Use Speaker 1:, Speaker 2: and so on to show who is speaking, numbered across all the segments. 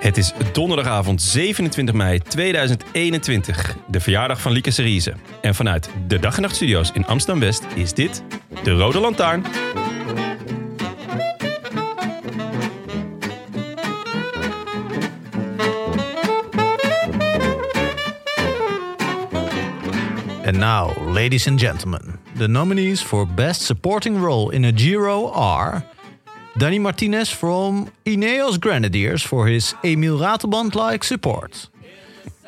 Speaker 1: Het is donderdagavond 27 mei 2021, de verjaardag van Lieke Serize. En vanuit de Dag en Nacht Studio's in Amsterdam-West is dit de Rode Lantaarn.
Speaker 2: And now, ladies and gentlemen, the nominees for Best Supporting Role in a Giro are Danny Martinez from Ineos Grenadiers for his Emil Ratelband like support,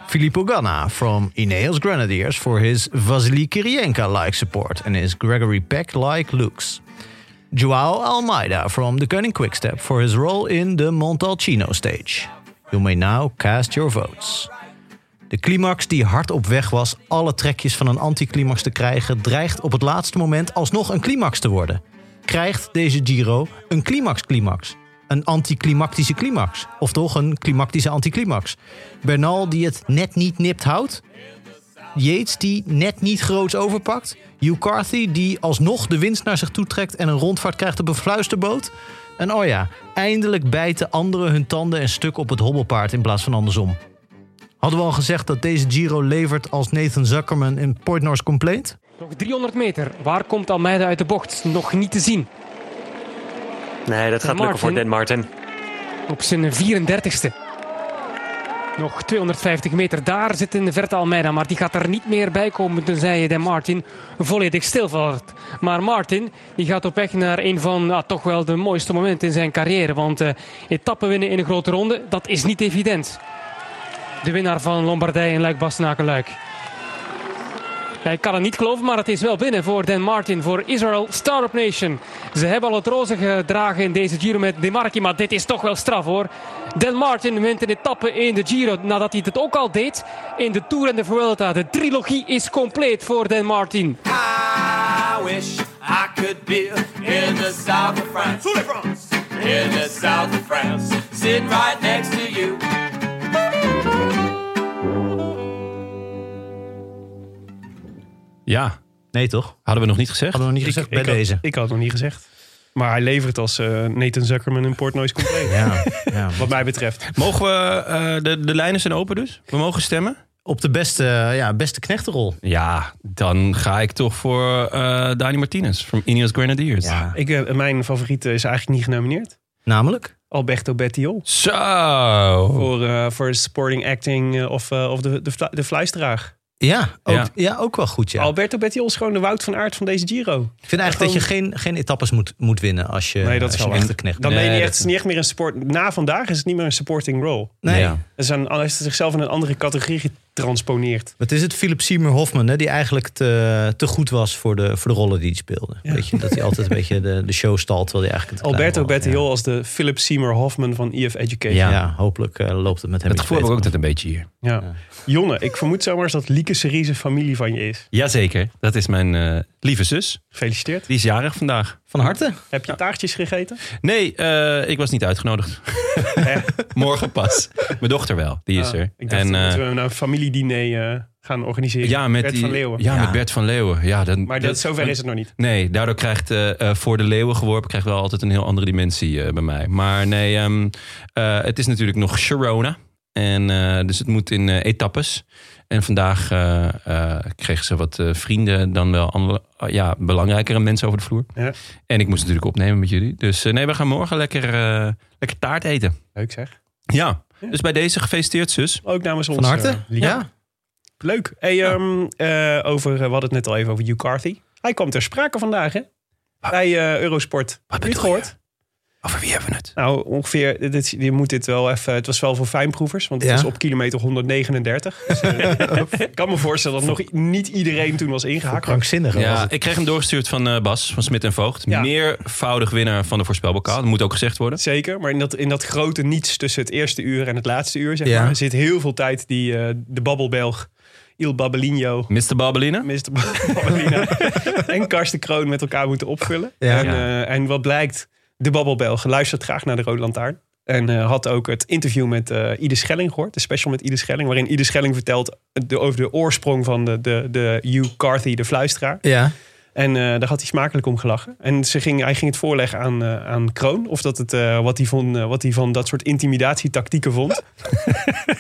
Speaker 2: Filippo Ganna from Ineos Grenadiers for his Vasily Kirienka like support and his Gregory Peck like looks, Joao Almeida from the Cunning Quickstep for his role in the Montalcino stage. You may now cast your votes. De climax die hard op weg was alle trekjes van een anticlimax te krijgen, dreigt op het laatste moment alsnog een climax te worden. Krijgt deze Giro een climax-climax? Een anticlimactische climax? Of toch een klimactische anticlimax? Bernal die het net niet nipt houdt? Yates die net niet groots overpakt? Hugh Carthy die alsnog de winst naar zich toetrekt en een rondvaart krijgt op een fluisterboot? En oh ja, eindelijk bijten anderen hun tanden en stuk op het hobbelpaard in plaats van andersom. Hadden we al gezegd dat deze Giro levert als Nathan Zuckerman in Poitnars Complaint?
Speaker 3: Nog 300 meter. Waar komt Almeida uit de bocht? Nog niet te zien.
Speaker 4: Nee, dat gaat
Speaker 3: Martin.
Speaker 4: lukken voor Dan Martin.
Speaker 3: Op zijn 34ste. Nog 250 meter. Daar zit in de verte Almeida. Maar die gaat er niet meer bij komen. Tenzij je de Martin volledig stilvalt. Maar Martin die gaat op weg naar een van ah, toch wel de mooiste momenten in zijn carrière. Want eh etappen winnen in een grote ronde, dat is niet evident. De winnaar van Lombardij en Luik-Bastenaken-Luik. Ja, ik kan het niet geloven, maar het is wel binnen voor Dan Martin, voor Israel Startup Nation. Ze hebben al het roze gedragen in deze Giro met Demarchi, maar dit is toch wel straf hoor. Dan Martin wint een etappe in de Giro nadat hij het ook al deed in de Tour en de Vuelta. De trilogie is compleet voor Dan Martin.
Speaker 5: I wish I could be in the south of France. In the south of France. Sitting right next to you.
Speaker 1: Ja,
Speaker 2: Nee, toch?
Speaker 1: hadden we nog niet gezegd.
Speaker 2: Hadden we nog niet gezegd bij
Speaker 6: had,
Speaker 2: deze.
Speaker 6: Ik had het nog niet gezegd. Maar hij levert als eh, Nathan Zuckerman een Portnoy's compleet.
Speaker 2: Ja, ja.
Speaker 6: Wat mij betreft.
Speaker 1: Mogen we, eh, de, de lijnen zijn open dus? We mogen stemmen?
Speaker 2: Op de beste, eh, ja, beste knechtenrol.
Speaker 1: Ja, dan ga ik toch voor eh, Dani Martinez van Ineos Grenadiers.
Speaker 6: Ik, eh, mijn favoriete is eigenlijk niet genomineerd.
Speaker 2: Namelijk?
Speaker 6: Alberto Bettiol.
Speaker 1: Zo!
Speaker 6: Voor, eh, voor supporting acting eh, of, eh, of de, de, fla- de fluisteraar.
Speaker 2: Ja, ook, ja.
Speaker 1: Ja.
Speaker 2: ook wel goed. Ja.
Speaker 6: Alberto Bettiol is gewoon de Wout van Aert van deze Giro.
Speaker 2: Ik vind eigenlijk dat je geen, geen etappes moet, moet winnen als je,
Speaker 6: Nee, dat
Speaker 2: als
Speaker 6: is
Speaker 2: je
Speaker 6: wel
Speaker 2: echt
Speaker 6: waar.
Speaker 2: een knecht
Speaker 6: Dan
Speaker 2: bent.
Speaker 1: Nee,
Speaker 6: ben je
Speaker 1: dat
Speaker 6: niet echt, het is niet echt meer een sport. Na vandaag is het niet meer een supporting role.
Speaker 2: Nee.
Speaker 1: Ja.
Speaker 6: Ze zijn- Hij heeft zichzelf in een andere categorie getransponeerd.
Speaker 2: Wat is het? Philip Seymour Hoffman, hè, die eigenlijk te, te goed was voor de, voor de rollen die hij speelde. Weet je, dat hij altijd een beetje de, de show stalt, terwijl hij eigenlijk... een te klein
Speaker 6: Alberto
Speaker 2: was.
Speaker 6: Bettiol als de Philip Seymour Hoffman van EF Education.
Speaker 2: Ja, ja hopelijk eh, loopt het met hem
Speaker 1: Het
Speaker 2: iets
Speaker 1: gevoel heb ik ook
Speaker 2: beter.
Speaker 1: net een beetje hier.
Speaker 6: Ja. Jonne, ik vermoed zomaar eens dat Lieke Serize familie van je is.
Speaker 1: Jazeker, dat is mijn eh, lieve zus.
Speaker 6: Gefeliciteerd.
Speaker 1: Die is jarig vandaag.
Speaker 2: Van harte.
Speaker 6: Heb je taartjes gegeten?
Speaker 1: Nee, eh, ik was niet uitgenodigd. Morgen pas. Mijn dochter wel, die is
Speaker 6: Ah,
Speaker 1: er.
Speaker 6: Ik dacht
Speaker 1: En, eh,
Speaker 6: dat we een familiediner eh gaan organiseren.
Speaker 1: ja, met
Speaker 6: Bert
Speaker 1: die-
Speaker 6: van Leeuwen.
Speaker 1: Ja,
Speaker 2: Ja.
Speaker 1: met Bert van Leeuwen. Ja, dan,
Speaker 6: Maar dat, zover is het nog niet.
Speaker 1: Nee, daardoor krijgt eh, eh, voor de leeuwen geworpen krijgt wel altijd een heel andere dimensie eh, bij mij. Maar nee, ehm, eh, het is natuurlijk nog Sharona. En, eh, dus het moet in eh, etappes. En vandaag eh, eh, kreeg ze wat eh, vrienden, dan wel andere, eh, ja, belangrijkere mensen over de vloer.
Speaker 6: Ja.
Speaker 1: En ik moest natuurlijk opnemen met jullie. Dus eh, nee, we gaan morgen lekker, eh, lekker taart eten.
Speaker 6: Leuk zeg.
Speaker 1: Ja, dus bij deze gefeliciteerd, zus.
Speaker 6: Ook namens ons.
Speaker 2: Van harte?
Speaker 6: eh, Lieke.
Speaker 2: ja.
Speaker 6: Leuk. Hey, ehm, eh, over, eh, we hadden het net al even over Hugh Carthy. Hij kwam ter sprake vandaag, hè? Bij eh, Eurosport. Heb je het
Speaker 1: bedoel
Speaker 6: gehoord?
Speaker 1: Over wie hebben we het?
Speaker 6: Nou, ongeveer, dit, je moet dit wel even, het was wel voor fijnproevers, want het
Speaker 2: Ja.
Speaker 6: is op kilometer 139. Dus, eh, ik kan me voorstellen dat nog niet iedereen toen was ingehaakt. Maar
Speaker 2: Krankzinnig. was
Speaker 1: Ja,
Speaker 2: het.
Speaker 1: ik kreeg hem doorgestuurd van eh, Bas, van Smit en Voogd.
Speaker 6: Ja.
Speaker 1: Meervoudig winnaar van de voorspelbokaal. Dat moet ook gezegd worden.
Speaker 6: Zeker, maar in dat, in dat grote niets tussen het eerste uur en het laatste uur, zeg
Speaker 2: Ja.
Speaker 6: maar, zit heel veel tijd die eh, de babbelbelg Il Babbelinho,
Speaker 1: Mr. Babbeline.
Speaker 6: Mr. Babbelina en Karsten Kroon met elkaar moeten opvullen.
Speaker 2: Ja.
Speaker 6: En,
Speaker 1: Ja.
Speaker 6: eh, en wat blijkt, de babbelbelg luistert graag naar de Rode Lantaarn. En eh, had ook het interview met eh Ide Schelling gehoord. De special met Ide Schelling. Waarin Ide Schelling vertelt de, over de oorsprong van de, de, de Hugh Carthy, de fluisteraar.
Speaker 2: Ja.
Speaker 6: En eh, daar had hij smakelijk om gelachen. En ze ging, hij ging het voorleggen aan, eh, aan Kroon. Of dat het, eh, wat, hij van, eh, wat hij van dat soort intimidatietactieken vond.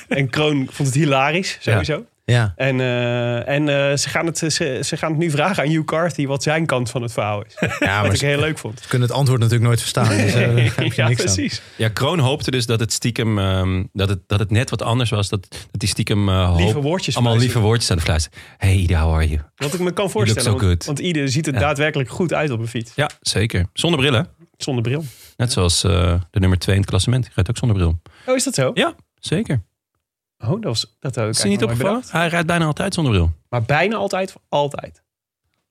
Speaker 6: en Kroon vond het hilarisch, sowieso.
Speaker 2: Ja.
Speaker 6: En, eh, en eh, ze, gaan het, ze, ze gaan het nu vragen aan Hugh Carthy wat zijn kant van het verhaal is.
Speaker 2: Ja,
Speaker 6: Wat
Speaker 2: maar
Speaker 6: ik
Speaker 2: ze
Speaker 6: heel leuk vond.
Speaker 2: kunnen het antwoord natuurlijk nooit verstaan. Dus, eh, daar heb je
Speaker 6: ja,
Speaker 2: niks aan.
Speaker 6: precies.
Speaker 1: Ja, Kroon hoopte dus dat het stiekem, ehm, dat, het, dat het net wat anders was. Dat, dat die stiekem eh, hoop-
Speaker 6: Lieve woordjes
Speaker 1: allemaal lieve
Speaker 6: fluisteren.
Speaker 1: woordjes aan de fluisteren. Hey Ida, how are you?
Speaker 6: Wat ik me kan
Speaker 1: looks
Speaker 6: voorstellen.
Speaker 1: so
Speaker 6: want,
Speaker 1: good.
Speaker 6: want ieder ziet er
Speaker 1: Ja.
Speaker 6: daadwerkelijk goed uit op een fiets.
Speaker 1: Ja, zeker. Zonder bril, hè?
Speaker 6: Zonder bril.
Speaker 1: Net zoals eh, de nummer 2 in het klassement. Die rijdt ook zonder bril.
Speaker 6: Oh, is dat zo?
Speaker 1: Ja, zeker.
Speaker 6: Oh, dat was dat ook.
Speaker 1: Is je niet opgevallen? Hij rijdt bijna altijd zonder bril.
Speaker 6: Maar bijna altijd, altijd.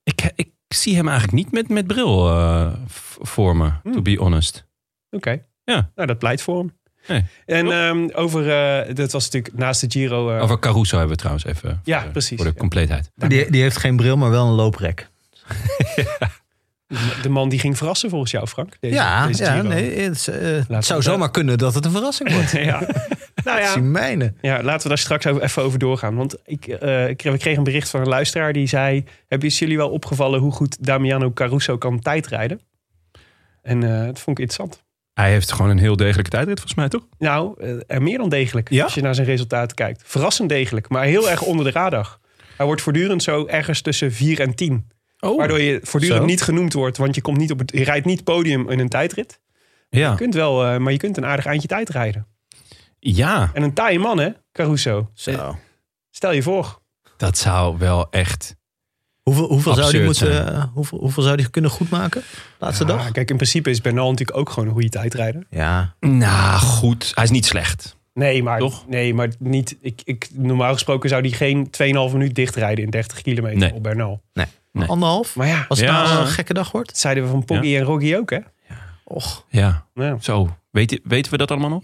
Speaker 1: Ik, ik zie hem eigenlijk niet met, met bril eh, v- voor me,
Speaker 6: Hmm.
Speaker 1: to be honest.
Speaker 6: Oké.
Speaker 1: Ja.
Speaker 6: Nou, dat pleit voor hem.
Speaker 1: Nee.
Speaker 6: En ehm, over, eh, dat was natuurlijk naast de Giro. eh,
Speaker 1: Over Caruso hebben we trouwens even.
Speaker 6: Ja,
Speaker 1: voor de-
Speaker 6: precies.
Speaker 1: Voor de
Speaker 6: Ja.
Speaker 1: compleetheid.
Speaker 2: Die, die heeft geen bril, maar wel een looprek.
Speaker 6: de man die ging verrassen volgens jou, Frank. Deze,
Speaker 2: ja,
Speaker 6: deze
Speaker 2: ja
Speaker 6: Giro.
Speaker 2: nee, het, is, eh, het
Speaker 6: Laten
Speaker 2: zou
Speaker 6: we-
Speaker 2: zomaar kunnen dat het een verrassing wordt.
Speaker 6: ja. Nou ja.
Speaker 2: Dat zien mijnen.
Speaker 6: Ja, laten we daar straks over- even over doorgaan. Want ik, eh, ik kreeg, we kregen een bericht van een luisteraar die zei... Hebben is jullie wel opgevallen hoe goed Damiano Caruso kan tijdrijden? En eh, dat vond ik interessant.
Speaker 1: Hij heeft gewoon een heel degelijke tijdrit, volgens mij, toch?
Speaker 6: Nou, eh, en meer dan degelijk
Speaker 1: Ja?
Speaker 6: als je naar zijn resultaten kijkt. Verrassend degelijk, maar heel erg onder de radar. Hij wordt voortdurend zo ergens tussen 4 en 10.
Speaker 1: Oh,
Speaker 6: Waardoor je voortdurend
Speaker 1: Zo.
Speaker 6: niet genoemd wordt, want je, komt niet op het, je rijdt niet podium in een tijdrit.
Speaker 1: ja.
Speaker 6: Je kunt wel, eh, maar je kunt een aardig eindje tijd rijden.
Speaker 1: ja,
Speaker 6: En een taaie man, hè, Caruso.
Speaker 2: Zo.
Speaker 6: Stel je voor.
Speaker 1: dat zou wel echt.
Speaker 2: Hoeveel, hoeveel, zou die
Speaker 1: Absurd
Speaker 2: moeten, eh, hoeveel, hoeveel zou die kunnen goedmaken? Laatste
Speaker 6: Ah,
Speaker 2: dag?
Speaker 6: kijk, in principe is Bernal natuurlijk ook gewoon een goede tijdrijder.
Speaker 2: Ja.
Speaker 1: Nou goed, hij is niet slecht.
Speaker 6: Nee, maar,
Speaker 1: Toch?
Speaker 6: Nee, maar niet, ik, ik, normaal gesproken zou die geen 2,5 minuut dichtrijden in 30 kilometer
Speaker 1: Nee.
Speaker 6: op Bernal.
Speaker 2: Anderhalf?
Speaker 6: Maar ja,
Speaker 2: Als het
Speaker 1: Ja.
Speaker 2: nou een gekke dag wordt?
Speaker 6: dat zeiden we van Poggi en Roggi ook, hè?
Speaker 2: Och.
Speaker 1: Ja,
Speaker 6: Ja.
Speaker 1: zo. Weet, weten we dat allemaal nog?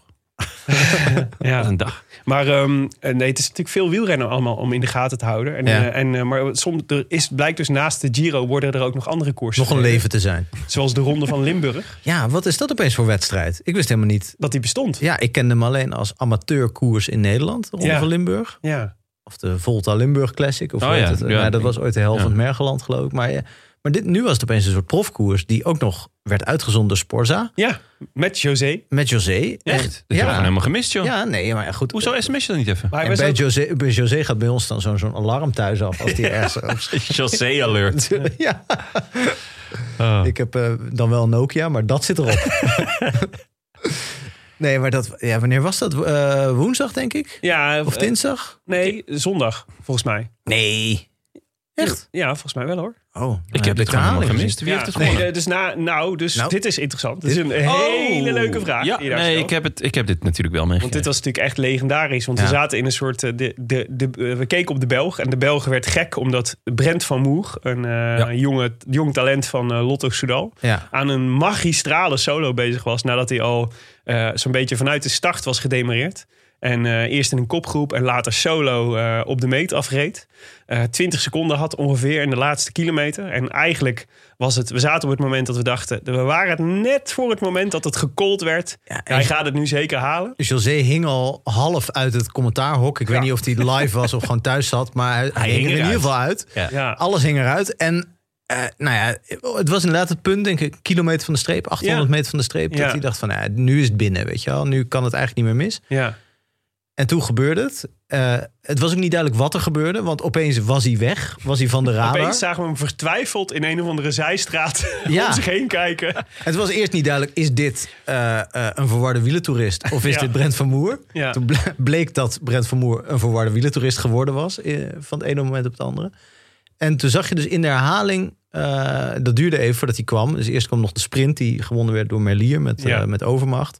Speaker 1: Wat
Speaker 6: ja.
Speaker 1: een dag.
Speaker 6: Maar ehm, nee, het is natuurlijk veel wielrennen allemaal om in de gaten te houden. En,
Speaker 2: Ja.
Speaker 6: eh, en, eh, maar soms, er is, blijkt dus naast de Giro worden er ook nog andere koersen.
Speaker 2: Nog een
Speaker 6: gereden.
Speaker 2: leven te zijn.
Speaker 6: Zoals de Ronde van Limburg,
Speaker 2: Ja, wat is dat opeens voor wedstrijd? Ik wist helemaal niet.
Speaker 6: dat die bestond.
Speaker 2: Ja, ik kende hem alleen als amateurkoers in Nederland. Ronde
Speaker 6: Ja.
Speaker 2: van Limburg.
Speaker 6: Ja.
Speaker 2: Of de Volta Limburg Classic. Of
Speaker 1: Oh
Speaker 2: hoe heet
Speaker 1: ja,
Speaker 2: het?
Speaker 1: ja.
Speaker 2: Nou, dat was ooit de helft
Speaker 1: Ja.
Speaker 2: van het Mergeland, geloof ik. Maar, ja. maar dit, nu was het opeens een soort profkoers... die ook nog werd uitgezonden door Sporza.
Speaker 6: ja, met José.
Speaker 2: Met José.
Speaker 1: Echt? Dat heb je
Speaker 2: Ja.
Speaker 1: gewoon helemaal gemist, joh.
Speaker 2: Ja, nee, maar goed.
Speaker 1: Hoezo sms je dat niet even?
Speaker 6: Maar
Speaker 2: En
Speaker 6: hij was
Speaker 2: bij
Speaker 6: ook-
Speaker 2: José, bij José gaat bij ons dan zo'n zo'n alarm thuis af als die ergens...
Speaker 1: José alert.
Speaker 2: ja.
Speaker 1: Ah.
Speaker 2: Ik heb eh, dan wel een Nokia, maar dat zit erop. nee, maar dat, ja, wanneer was dat? Eh, woensdag, denk ik?
Speaker 6: ja,
Speaker 2: Of
Speaker 6: eh,
Speaker 2: dinsdag?
Speaker 6: nee, zondag, volgens mij.
Speaker 2: Nee. Echt?
Speaker 6: Ja, volgens mij wel hoor.
Speaker 2: Oh, nou,
Speaker 1: Ik heb dit
Speaker 2: de
Speaker 1: gewoon helemaal
Speaker 2: herhaling
Speaker 1: gemist. Wie
Speaker 6: Ja,
Speaker 1: heeft het
Speaker 6: nee,
Speaker 1: gewonnen?
Speaker 6: eh, dus na, nou, dus
Speaker 2: Nou.
Speaker 6: dit is interessant. Dit is een
Speaker 1: Oh.
Speaker 6: hele leuke vraag.
Speaker 1: Ja,
Speaker 6: die je daar
Speaker 1: nee,
Speaker 6: stelt.
Speaker 1: ik heb, het, ik heb dit natuurlijk wel meegekregen.
Speaker 6: Want dit was natuurlijk echt legendarisch. Want
Speaker 2: Ja.
Speaker 6: we zaten in een soort. eh, De, de, de, eh, we keken op de Belg. En de Belg werd gek omdat Brent van Moer, een, eh, een jonge, jong talent van eh, Lotto Soudal.
Speaker 2: gezien. Ja.
Speaker 6: aan een magistrale solo bezig was. nadat hij al eh, zo'n beetje vanuit de start was gedemareerd. En eh, eerst in een kopgroep en later solo eh, op de meet afreed. Eh 20 seconden had ongeveer in de laatste kilometer. En eigenlijk was het, we zaten op het moment dat we dachten. we waren het net voor het moment dat het gekold werd.
Speaker 2: Ja, en-
Speaker 6: Hij gaat het nu zeker halen.
Speaker 2: José hing al half uit het commentaarhok. Ik weet niet of hij live was of gewoon thuis zat, maar hij, hij hing,
Speaker 1: hing
Speaker 2: er in
Speaker 1: eruit.
Speaker 2: ieder geval uit.
Speaker 1: Ja.
Speaker 6: Ja.
Speaker 2: Alles hing eruit. En eh, nou ja, het was inderdaad het punt, denk ik, kilometer van de streep, 800
Speaker 6: Ja.
Speaker 2: meter van de streep,
Speaker 6: Ja.
Speaker 2: dat hij dacht van, nou ja, nu is het binnen, weet je wel. Nu kan het eigenlijk niet meer mis.
Speaker 6: Ja.
Speaker 2: En toen gebeurde het. Eh, het was ook niet duidelijk wat er gebeurde, want opeens was hij weg. Was hij van de radar.
Speaker 6: Opeens zagen we hem vertwijfeld in een of andere zijstraat
Speaker 2: Ja.
Speaker 6: om zich heen kijken.
Speaker 2: Het was eerst niet duidelijk, is dit eh, eh, een verwarde wielentoerist of is
Speaker 6: Ja.
Speaker 2: dit Brent van Moer?
Speaker 6: Ja.
Speaker 2: Toen ble- bleek dat Brent van Moer een verwarde wielentoerist geworden was, eh, van het ene moment op het andere. En toen zag je dus in de herhaling, eh, dat duurde even voordat hij kwam. Dus eerst kwam nog de sprint die gewonnen werd door Merlier met, eh,
Speaker 6: Ja.
Speaker 2: met overmacht.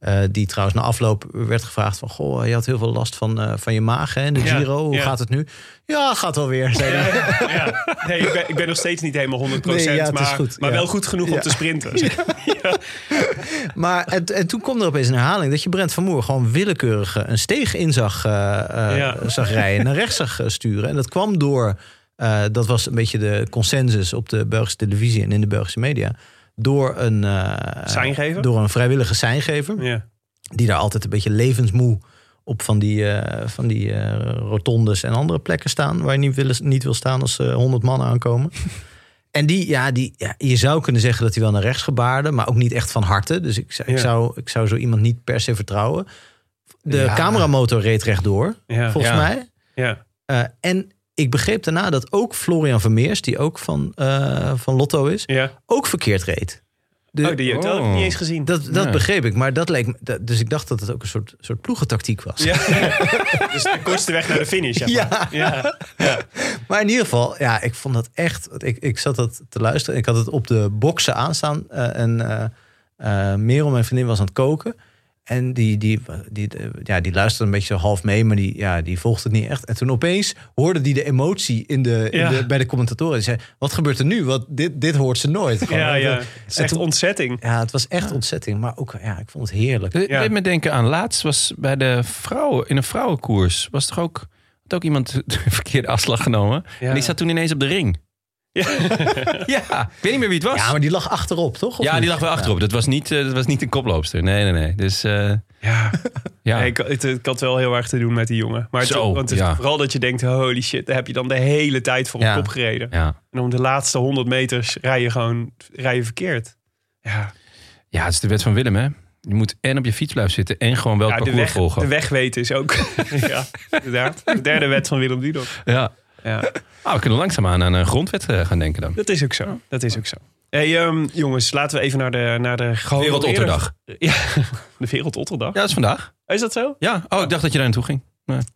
Speaker 2: Eh, die trouwens na afloop werd gevraagd van... Goh, je had heel veel last van, eh, van je maag hè, in de
Speaker 6: Ja,
Speaker 2: Giro. Hoe
Speaker 6: ja.
Speaker 2: gaat het nu? Ja, gaat wel weer, zei hij.
Speaker 6: Ja. Nee, ik ben, ik ben nog steeds niet helemaal 100%,
Speaker 2: Nee, ja, het is
Speaker 6: maar,
Speaker 2: goed,
Speaker 6: maar
Speaker 2: ja.
Speaker 6: wel goed genoeg
Speaker 2: Ja.
Speaker 6: om te sprinten. zeg maar.
Speaker 2: Maar en, en toen kwam er opeens een herhaling dat je Brent van Moer gewoon willekeurig eh, een steeg in zag, eh, eh,
Speaker 6: Ja.
Speaker 2: zag rijden, naar rechts zag eh, sturen. En dat kwam door, eh, dat was een beetje de consensus op de Belgische televisie en in de Belgische media, door een, eh,
Speaker 6: Seingever?
Speaker 2: Door een vrijwillige seingever,
Speaker 6: Ja.
Speaker 2: die daar altijd een beetje levensmoe op van die, eh, van die eh, rotondes en andere plekken staan, waar je niet wil, niet wil staan als eh, 100 mannen aankomen. En die, ja, die, ja, je zou kunnen zeggen dat hij wel naar rechts gebaarde, maar ook niet echt van harte. Dus ik, zou- ik,
Speaker 6: Ja.
Speaker 2: zou, ik zou zo iemand niet per se vertrouwen. De
Speaker 1: Ja.
Speaker 2: cameramotor reed rechtdoor,
Speaker 6: Ja.
Speaker 2: volgens
Speaker 1: Ja.
Speaker 2: mij.
Speaker 6: Ja.
Speaker 2: Eh, en ik begreep daarna dat ook Florian Vermeers, die ook van, eh, van Lotto is,
Speaker 6: ja.
Speaker 2: ook verkeerd reed. De-
Speaker 6: Oh, die heeft ik niet eens gezien.
Speaker 2: dat dat
Speaker 1: Ja.
Speaker 2: begreep ik, maar dat leek me, dat- dus ik dacht dat het ook een soort, soort ploegentactiek was.
Speaker 6: Ja. dus de kortste weg naar de finish. zeg maar.
Speaker 2: Ja,
Speaker 6: Ja.
Speaker 2: maar in ieder geval, ja, ik vond dat echt. want Ik, ik zat dat te luisteren. Ik had het op de boksen aanstaan. eh, en eh eh, Merel, mijn vriendin, was aan het koken. En die, die, die, eh, ja, die luisterde een beetje zo half mee, maar die, ja, die volgde het niet echt. En toen opeens hoorde die de emotie in de, in
Speaker 6: Ja.
Speaker 2: de, bij de commentatoren. Die zei, wat gebeurt er nu? Want dit, dit hoort ze nooit. Gewoon.
Speaker 6: Ja,
Speaker 2: En
Speaker 6: ja.
Speaker 2: toen-
Speaker 6: Het is
Speaker 2: en
Speaker 6: echt
Speaker 2: toen-
Speaker 6: ontzetting.
Speaker 2: ja, het was echt ontzetting. Maar ook, ja, ik vond het heerlijk.
Speaker 1: Ik
Speaker 6: Ja.
Speaker 1: deed me denken aan laatst was bij de vrouwen in een vrouwenkoers was toch ook had ook iemand de verkeerde afslag genomen
Speaker 6: Ja.
Speaker 1: en die zat toen ineens op de ring.
Speaker 6: Ja.
Speaker 1: ja, ik weet niet meer wie het was.
Speaker 2: Ja, maar die lag achterop, toch? Of
Speaker 1: Ja, die
Speaker 2: niet?
Speaker 1: lag wel achterop. Dat was niet, eh, dat was niet een koploopster. Nee, nee, nee. Dus eh,
Speaker 6: Ja.
Speaker 1: ja.
Speaker 6: Nee, ik, het, ik had wel heel erg te doen met die jongen. Maar het-
Speaker 1: Zo,
Speaker 6: want het is
Speaker 1: ja.
Speaker 6: vooral dat je denkt, holy shit, daar heb je dan de hele tijd voor op
Speaker 2: Ja.
Speaker 6: kop gereden.
Speaker 1: ja.
Speaker 6: En om de laatste 100 meters rij je gewoon rij je verkeerd. Ja,
Speaker 1: ja, het is de wet van Willem, hè. Je moet en op je fiets blijven zitten en gewoon wel
Speaker 6: ja
Speaker 1: het
Speaker 6: de,
Speaker 1: parcours
Speaker 6: weg,
Speaker 1: volgen.
Speaker 6: de weg weten is ook. ja, inderdaad. De derde wet van Willem Dudok.
Speaker 1: Ja.
Speaker 6: Ja,
Speaker 1: Ah, we kunnen langzaamaan aan een grondwet eh, gaan denken dan.
Speaker 6: dat is ook zo. Dat is ook zo. Hey, ehm, jongens, laten we even naar de, naar de
Speaker 1: Wereldotterdag.
Speaker 6: De Wereldotterdag.
Speaker 1: Ja, dat is vandaag.
Speaker 6: Is dat zo?
Speaker 1: Ja. Oh, ik dacht dat je daar naartoe ging.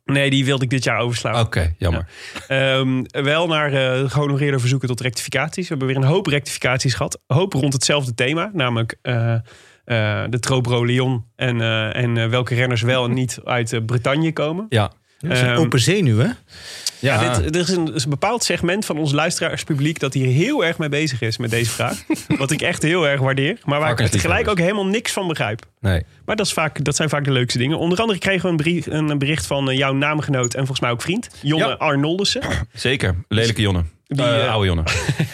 Speaker 6: Nee, die wilde ik dit jaar overslaan.
Speaker 1: Oké, jammer.
Speaker 6: Ehm, wel naar eh, gehonoreerde verzoeken tot rectificaties. We hebben weer een hoop rectificaties gehad. Een hoop rond hetzelfde thema, namelijk eh, eh, de Trobro Leon en, eh, en eh, welke renners wel en niet uit eh, Bretagne komen.
Speaker 1: Ja.
Speaker 2: Dat is een
Speaker 6: Ehm,
Speaker 2: open zenuw, hè?
Speaker 6: Ja,
Speaker 1: Ja.
Speaker 6: dit, eh, er is een, is een bepaald segment van ons luisteraarspubliek dat hier heel erg mee bezig is met deze vraag. wat ik echt heel erg waardeer, maar waar ik
Speaker 1: Varkensliefhebbers.
Speaker 6: tegelijk ook helemaal niks van begrijp.
Speaker 1: Nee.
Speaker 6: Maar dat, is vaak, dat zijn vaak de leukste dingen. Onder andere kregen we een, brief, een bericht van eh, jouw naamgenoot en volgens mij ook vriend, Jonne
Speaker 1: Ja.
Speaker 6: Arnoldussen.
Speaker 1: Zeker. Lelijke Jonne. Die,
Speaker 6: Die, eh,
Speaker 1: oude Jonne.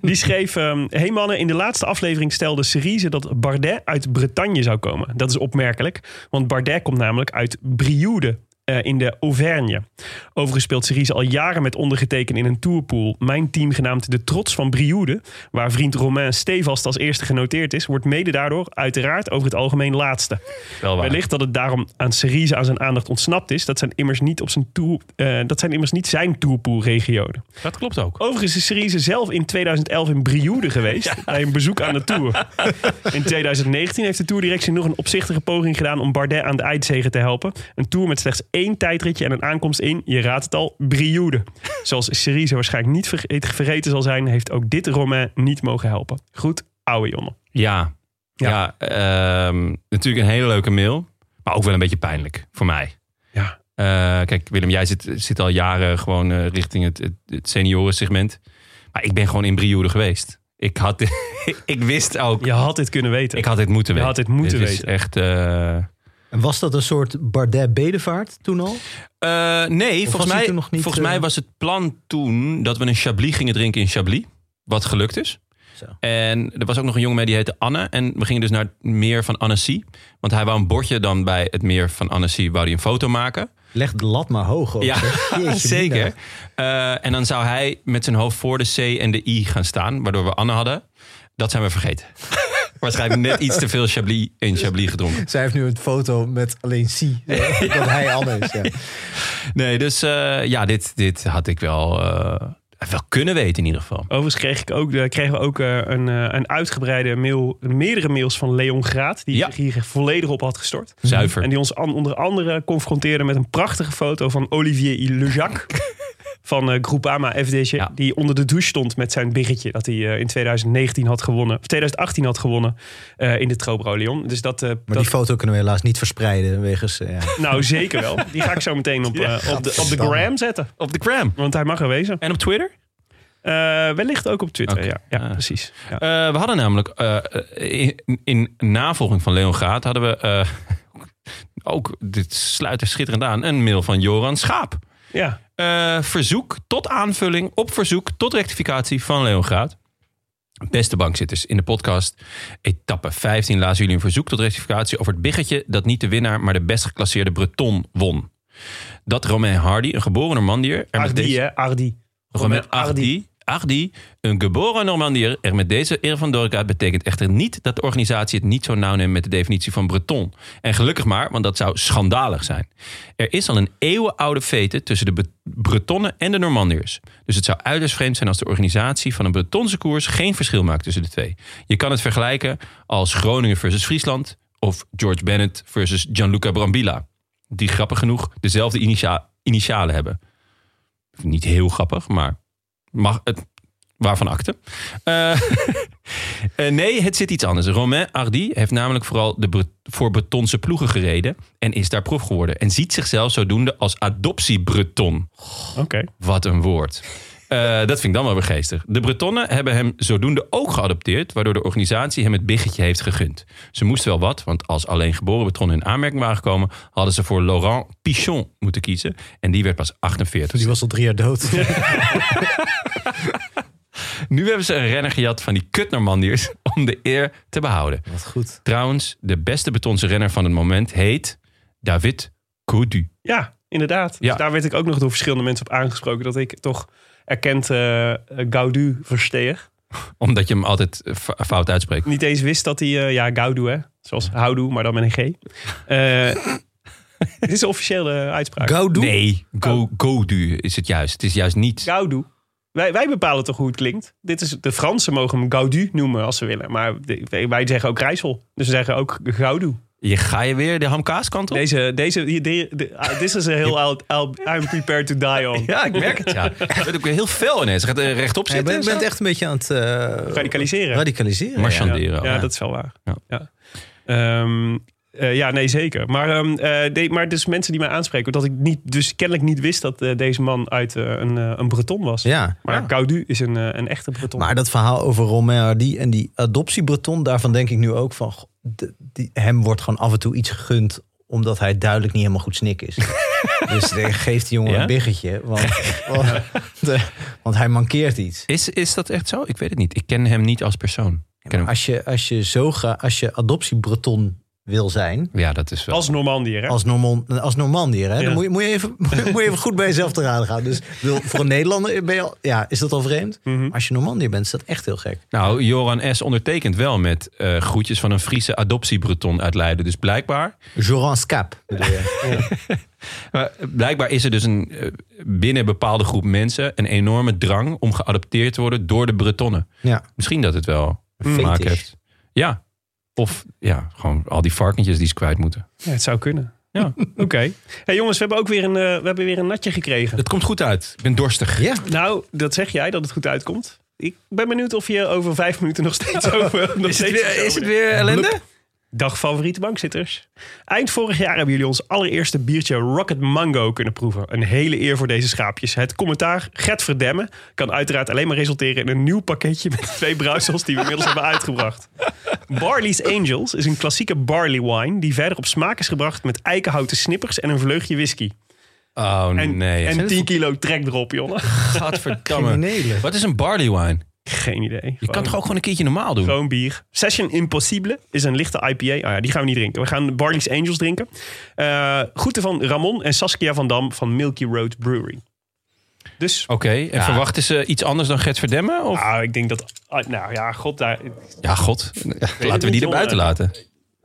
Speaker 6: Die schreef: ehm Hey mannen, in de laatste aflevering stelde Cerise dat Bardet uit Bretagne zou komen. Dat is opmerkelijk, want Bardet komt namelijk uit Brioude. eh, in de Auvergne. Overigens speelt Cerise al jaren met ondergetekend in een tourpool. Mijn team, genaamd De Trots van Brioude, waar vriend Romain Stevast als eerste genoteerd is, wordt mede daardoor uiteraard over het algemeen laatste.
Speaker 1: Wel waar.
Speaker 6: Wellicht dat het daarom aan Cerise aan zijn aandacht ontsnapt is. Dat zijn immers niet, op zijn tour, eh, dat zijn immers niet zijn tourpoolregionen.
Speaker 1: Dat klopt ook.
Speaker 6: Overigens is Cerise zelf in 2011 in Brioude geweest. Bij een bezoek aan de Tour. In 2019 heeft de Tourdirectie nog een opzichtige poging gedaan... om Bardet aan de eindzege te helpen. Een Tour met slechts één tijdritje en een aankomst in, je raadt het al, Brioude. Zoals Cerise waarschijnlijk niet verge- vergeten zal zijn... heeft ook dit Romain niet mogen helpen. Goed, ouwe jongen.
Speaker 1: Ja. Ja, ehm, natuurlijk een hele leuke mail. Maar ook wel een beetje pijnlijk voor mij.
Speaker 6: Ja.
Speaker 1: Eh, kijk, Willem, jij zit, zit al jaren gewoon eh, richting het, het, het seniorensegment. Maar ik ben gewoon in Brioude geweest. Ik, had, ik wist ook.
Speaker 6: Je had dit kunnen weten.
Speaker 1: Ik had dit moeten
Speaker 6: Je
Speaker 1: weten.
Speaker 6: had dit moeten
Speaker 1: Dit is
Speaker 6: weten.
Speaker 1: echt. eh,
Speaker 2: En was dat een soort Bardet-bedevaart toen al?
Speaker 1: Eh, nee,
Speaker 2: was
Speaker 1: volgens
Speaker 2: hij
Speaker 1: mij,
Speaker 2: toen nog niet,
Speaker 1: volgens mij
Speaker 2: eh,
Speaker 1: was het plan toen dat we een Chablis gingen drinken in Chablis. Wat gelukt is.
Speaker 2: Zo.
Speaker 1: En er was ook nog een jongen mee die heette Anne. En we gingen dus naar het meer van Annecy. Want hij wou een bordje dan bij het meer van Annecy. Wou hij een foto maken.
Speaker 2: Leg de lat maar hoog op.
Speaker 1: Ja,
Speaker 2: zeg. Jeetje,
Speaker 1: zeker.
Speaker 2: mina.
Speaker 1: Eh, en dan zou hij met zijn hoofd voor de C en de I gaan staan. Waardoor we Anne hadden. Dat zijn we vergeten. Waarschijnlijk net iets te veel Chablis en Chablis gedronken.
Speaker 2: Zij heeft nu een foto met alleen C. Dat hij Anne is. Ja.
Speaker 1: Nee, dus eh, ja, dit, dit had ik wel, eh, wel kunnen weten in ieder geval.
Speaker 6: Overigens kreeg ik ook, eh, kregen we ook eh, een, eh, een uitgebreide mail, meerdere mails van Leon Graat, die
Speaker 1: Ja.
Speaker 6: zich hier volledig op had gestort.
Speaker 1: Zuiver.
Speaker 6: En die ons an- onder andere confronteerde met een prachtige foto van Olivier Lejac. Van eh Groupama FDG.
Speaker 1: Ja.
Speaker 6: Die onder de douche stond met zijn biggetje. Dat hij eh, in 2019 had gewonnen. Of 2018 had gewonnen. eh, in de Trobro Leon. Dus dat, eh,
Speaker 2: Maar
Speaker 6: dat
Speaker 2: die foto kunnen we helaas niet verspreiden. Wegens, eh, ja.
Speaker 6: nou zeker wel. Die ga ik zo meteen op, eh, op, de, op de
Speaker 2: Gadverdamme.
Speaker 6: gram zetten.
Speaker 1: Op de gram.
Speaker 6: Want hij mag er wezen.
Speaker 1: En op Twitter?
Speaker 6: Eh, wellicht ook op Twitter.
Speaker 1: Oké.
Speaker 6: Ja, ja
Speaker 1: Ah.
Speaker 6: precies. Ja.
Speaker 1: Eh, we hadden namelijk eh, in, in navolging van Leon Gaat hadden we eh, ook, dit sluit er schitterend aan, een mail van Joran Schaap.
Speaker 6: ja.
Speaker 1: Eh, verzoek tot aanvulling, op verzoek tot rectificatie van Leon Graat. Beste bankzitters, in de podcast etappe 15 lazen jullie een verzoek tot rectificatie over het biggetje dat niet de winnaar, maar de best geclasseerde Breton won. Dat Romain Hardy, een geboren Normandier, er met
Speaker 6: Ardi,
Speaker 1: deze,
Speaker 6: hè? Ardi.
Speaker 1: Romain Hardy, Hardy, een geboren Normandier, er met deze eer van door gaat, betekent echter niet dat de organisatie het niet zo nauw neemt met de definitie van Breton. En gelukkig maar, want dat zou schandalig zijn. Er is al een eeuwenoude vete tussen de Be- Bretonnen en de Normandiërs. Dus het zou uiterst vreemd zijn als de organisatie van een Bretonse koers geen verschil maakt tussen de twee. Je kan het vergelijken als Groningen versus Friesland of George Bennett versus Gianluca Brambilla. Die grappig genoeg dezelfde initia- initialen hebben. Niet heel grappig, maar mag het. Waarvan akte? Eh, eh, nee, het zit iets anders. Romain Hardy heeft namelijk vooral de Bre- voor Bretonse ploegen gereden. En is daar prof geworden. En ziet zichzelf zodoende als adoptie-Breton.
Speaker 6: Oké.
Speaker 1: Wat een woord. Eh, dat vind ik dan wel weer geestig. De Bretonnen hebben hem zodoende ook geadopteerd, waardoor de organisatie hem het biggetje heeft gegund. Ze moesten wel wat, want als alleen geboren Bretonnen in aanmerking waren gekomen, hadden ze voor Laurent Pichon moeten kiezen. En die werd pas 48.
Speaker 2: Die was al drie jaar dood.
Speaker 1: Nu hebben ze een renner gejat van die kut Normandiërs om de eer te behouden.
Speaker 2: Wat goed.
Speaker 1: Trouwens, de beste betonse renner van het moment heet David Coutu.
Speaker 6: Ja, inderdaad.
Speaker 1: Ja.
Speaker 6: Dus daar werd ik ook nog door verschillende mensen op aangesproken dat ik toch erkend eh Gaudu versteeg.
Speaker 1: Omdat je hem altijd eh, fa- fout uitspreekt.
Speaker 6: Niet eens wist dat hij, eh, ja, Gaudu hè, zoals Houdoe, maar dan met een G. Eh, dit is de officiële eh, uitspraak.
Speaker 2: Gaudu?
Speaker 1: Nee, go, Godu is het juist. Het is juist niet.
Speaker 6: Gaudu. Wij, wij bepalen toch hoe het klinkt. Dit is, de Fransen mogen hem Gaudu noemen als ze willen. Maar de- wij zeggen ook Rijssel. Dus we zeggen ook Gaudu.
Speaker 1: Je ga je weer de hamkaaskant op?
Speaker 6: Deze, deze, die- die- die- ah, this is a heel oud, oud- I'm prepared to die on.
Speaker 1: Ja, ik merk het. Ja. Het wordt ook weer heel fel ineens. Ze gaat eh, rechtop
Speaker 2: Je
Speaker 1: zitten.
Speaker 2: bent,
Speaker 1: en zo.
Speaker 2: echt een beetje aan het... eh,
Speaker 6: Radicaliseren.
Speaker 2: Radicaliseren.
Speaker 1: Marchanderen.
Speaker 6: Ja,
Speaker 1: al.
Speaker 6: ja, dat is wel waar.
Speaker 1: Ja.
Speaker 6: Ja, Ehm, eh, ja nee, zeker. Maar, ehm, eh, nee, maar dus mensen die mij aanspreken, dat ik niet, dus kennelijk niet wist dat eh, deze man uit eh, een, eh, een Breton was.
Speaker 2: Ja.
Speaker 6: Maar
Speaker 2: Ja.
Speaker 6: Gaudu is een, eh, een echte Breton.
Speaker 2: Maar dat verhaal over Romain Hardy en die adoptie-Breton, daarvan denk ik nu ook van. goh, de- die, hem wordt gewoon af en toe iets gegund, omdat hij duidelijk niet helemaal goed snik is. dus de- geef die jongen
Speaker 1: Ja?
Speaker 2: een biggetje, want, want, de- want hij mankeert iets.
Speaker 1: Is, is dat echt zo? Ik weet het niet. Ik ken hem niet als persoon. Ik ken hem.
Speaker 2: Als je, als je, zo gra- als je adoptie-Breton wil zijn.
Speaker 1: Ja, dat is wel.
Speaker 6: Als Normandier, hè?
Speaker 2: Als, Normand, als Normandier, hè?
Speaker 6: Ja.
Speaker 2: dan moet je, moet, je even, moet je even goed bij jezelf te raden gaan. Dus ik bedoel, voor een Nederlander ben je al- ja, is dat al vreemd.
Speaker 1: Mhm.
Speaker 2: Als je Normandier bent, is dat echt heel gek.
Speaker 1: Nou, Joran S. ondertekent wel met eh, groetjes van een Friese adoptiebreton uit Leiden. Dus blijkbaar,
Speaker 2: Joran Scap. bedoel je.
Speaker 1: eh, blijkbaar is er dus een, eh, binnen een bepaalde groep mensen een enorme drang om geadopteerd te worden door de Bretonnen.
Speaker 2: Ja.
Speaker 1: Misschien dat het wel te
Speaker 2: Fetish.
Speaker 1: maken heeft. Ja. Of ja, gewoon al die varkentjes die ze kwijt moeten.
Speaker 6: Ja, het zou kunnen.
Speaker 1: Ja.
Speaker 6: Oké. Hey, jongens, we hebben ook weer een, eh, we hebben weer een natje gekregen.
Speaker 1: Het komt goed uit. Ik ben dorstig.
Speaker 2: Ja.
Speaker 6: Nou, dat zeg jij dat het goed uitkomt. Ik ben benieuwd of je over vijf minuten nog steeds over. Nog steeds over-
Speaker 1: weer Eh, ellende?
Speaker 6: Dag favoriete bankzitters. Eind vorig jaar hebben jullie ons allereerste biertje Rocket Mango kunnen proeven. Een hele eer voor deze schaapjes. Het commentaar Gert Verdemmen kan uiteraard alleen maar resulteren in een nieuw pakketje met twee bruisels die we inmiddels hebben uitgebracht. Barley's Angels is een klassieke barley wine die verder op smaak is gebracht met eikenhouten snippers en een vleugje whisky.
Speaker 1: Oh
Speaker 6: En,
Speaker 1: nee.
Speaker 6: en 10 kilo trekdrop, jongen.
Speaker 1: Gadverdamme. Wat is een barley wine?
Speaker 6: Geen idee.
Speaker 1: Je kan toch ook gewoon een keertje normaal doen?
Speaker 6: Gewoon bier. Session Impossible is een lichte IPA. Ah ja, die gaan we niet drinken. We gaan Barley's Angels drinken. Eh groeten van Ramon en Saskia van Dam van Milky Road Brewery. Dus
Speaker 1: Oké, en verwachten ze iets anders dan Gert Verdemmen? Of?
Speaker 6: ah, ik denk dat... ah, Nou ja, god, daar,
Speaker 1: Ja, god. Laten we
Speaker 6: niet,
Speaker 1: die er buiten
Speaker 6: jongen.
Speaker 1: laten.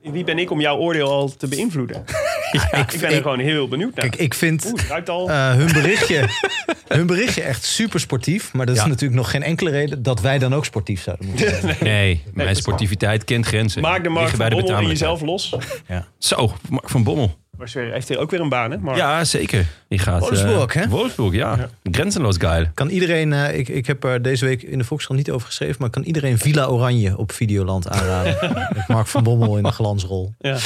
Speaker 6: wie ben ik om jouw oordeel al te beïnvloeden? ik, ben er
Speaker 2: ik-
Speaker 6: gewoon heel benieuwd naar.
Speaker 2: Kijk, ik vind
Speaker 6: Oeh, het ruikt al...
Speaker 2: eh, hun, berichtje, hun berichtje echt super sportief. Maar dat is natuurlijk nog geen enkele reden dat wij dan ook sportief zouden moeten zijn.
Speaker 1: Nee, mijn sportiviteit kent grenzen.
Speaker 6: Maak de Mark
Speaker 1: Liggen bij
Speaker 6: van Bommel in
Speaker 1: betamelijkheid.
Speaker 6: jezelf los.
Speaker 1: Zo, Mark van Bommel.
Speaker 6: Maar sorry, heeft hij ook weer een baan, hè? Mark?
Speaker 1: Ja, zeker. Die gaat, eh,
Speaker 2: Wolfsburg, hè?
Speaker 1: Wolfsburg, ja. Grenzenloos geil.
Speaker 2: Kan iedereen, eh, ik, ik heb er deze week in de Volkskrant niet over geschreven, maar kan iedereen Villa Oranje op Videoland aanraden? Met Mark van Bommel in een glansrol.
Speaker 6: Ja.
Speaker 1: Ja, dat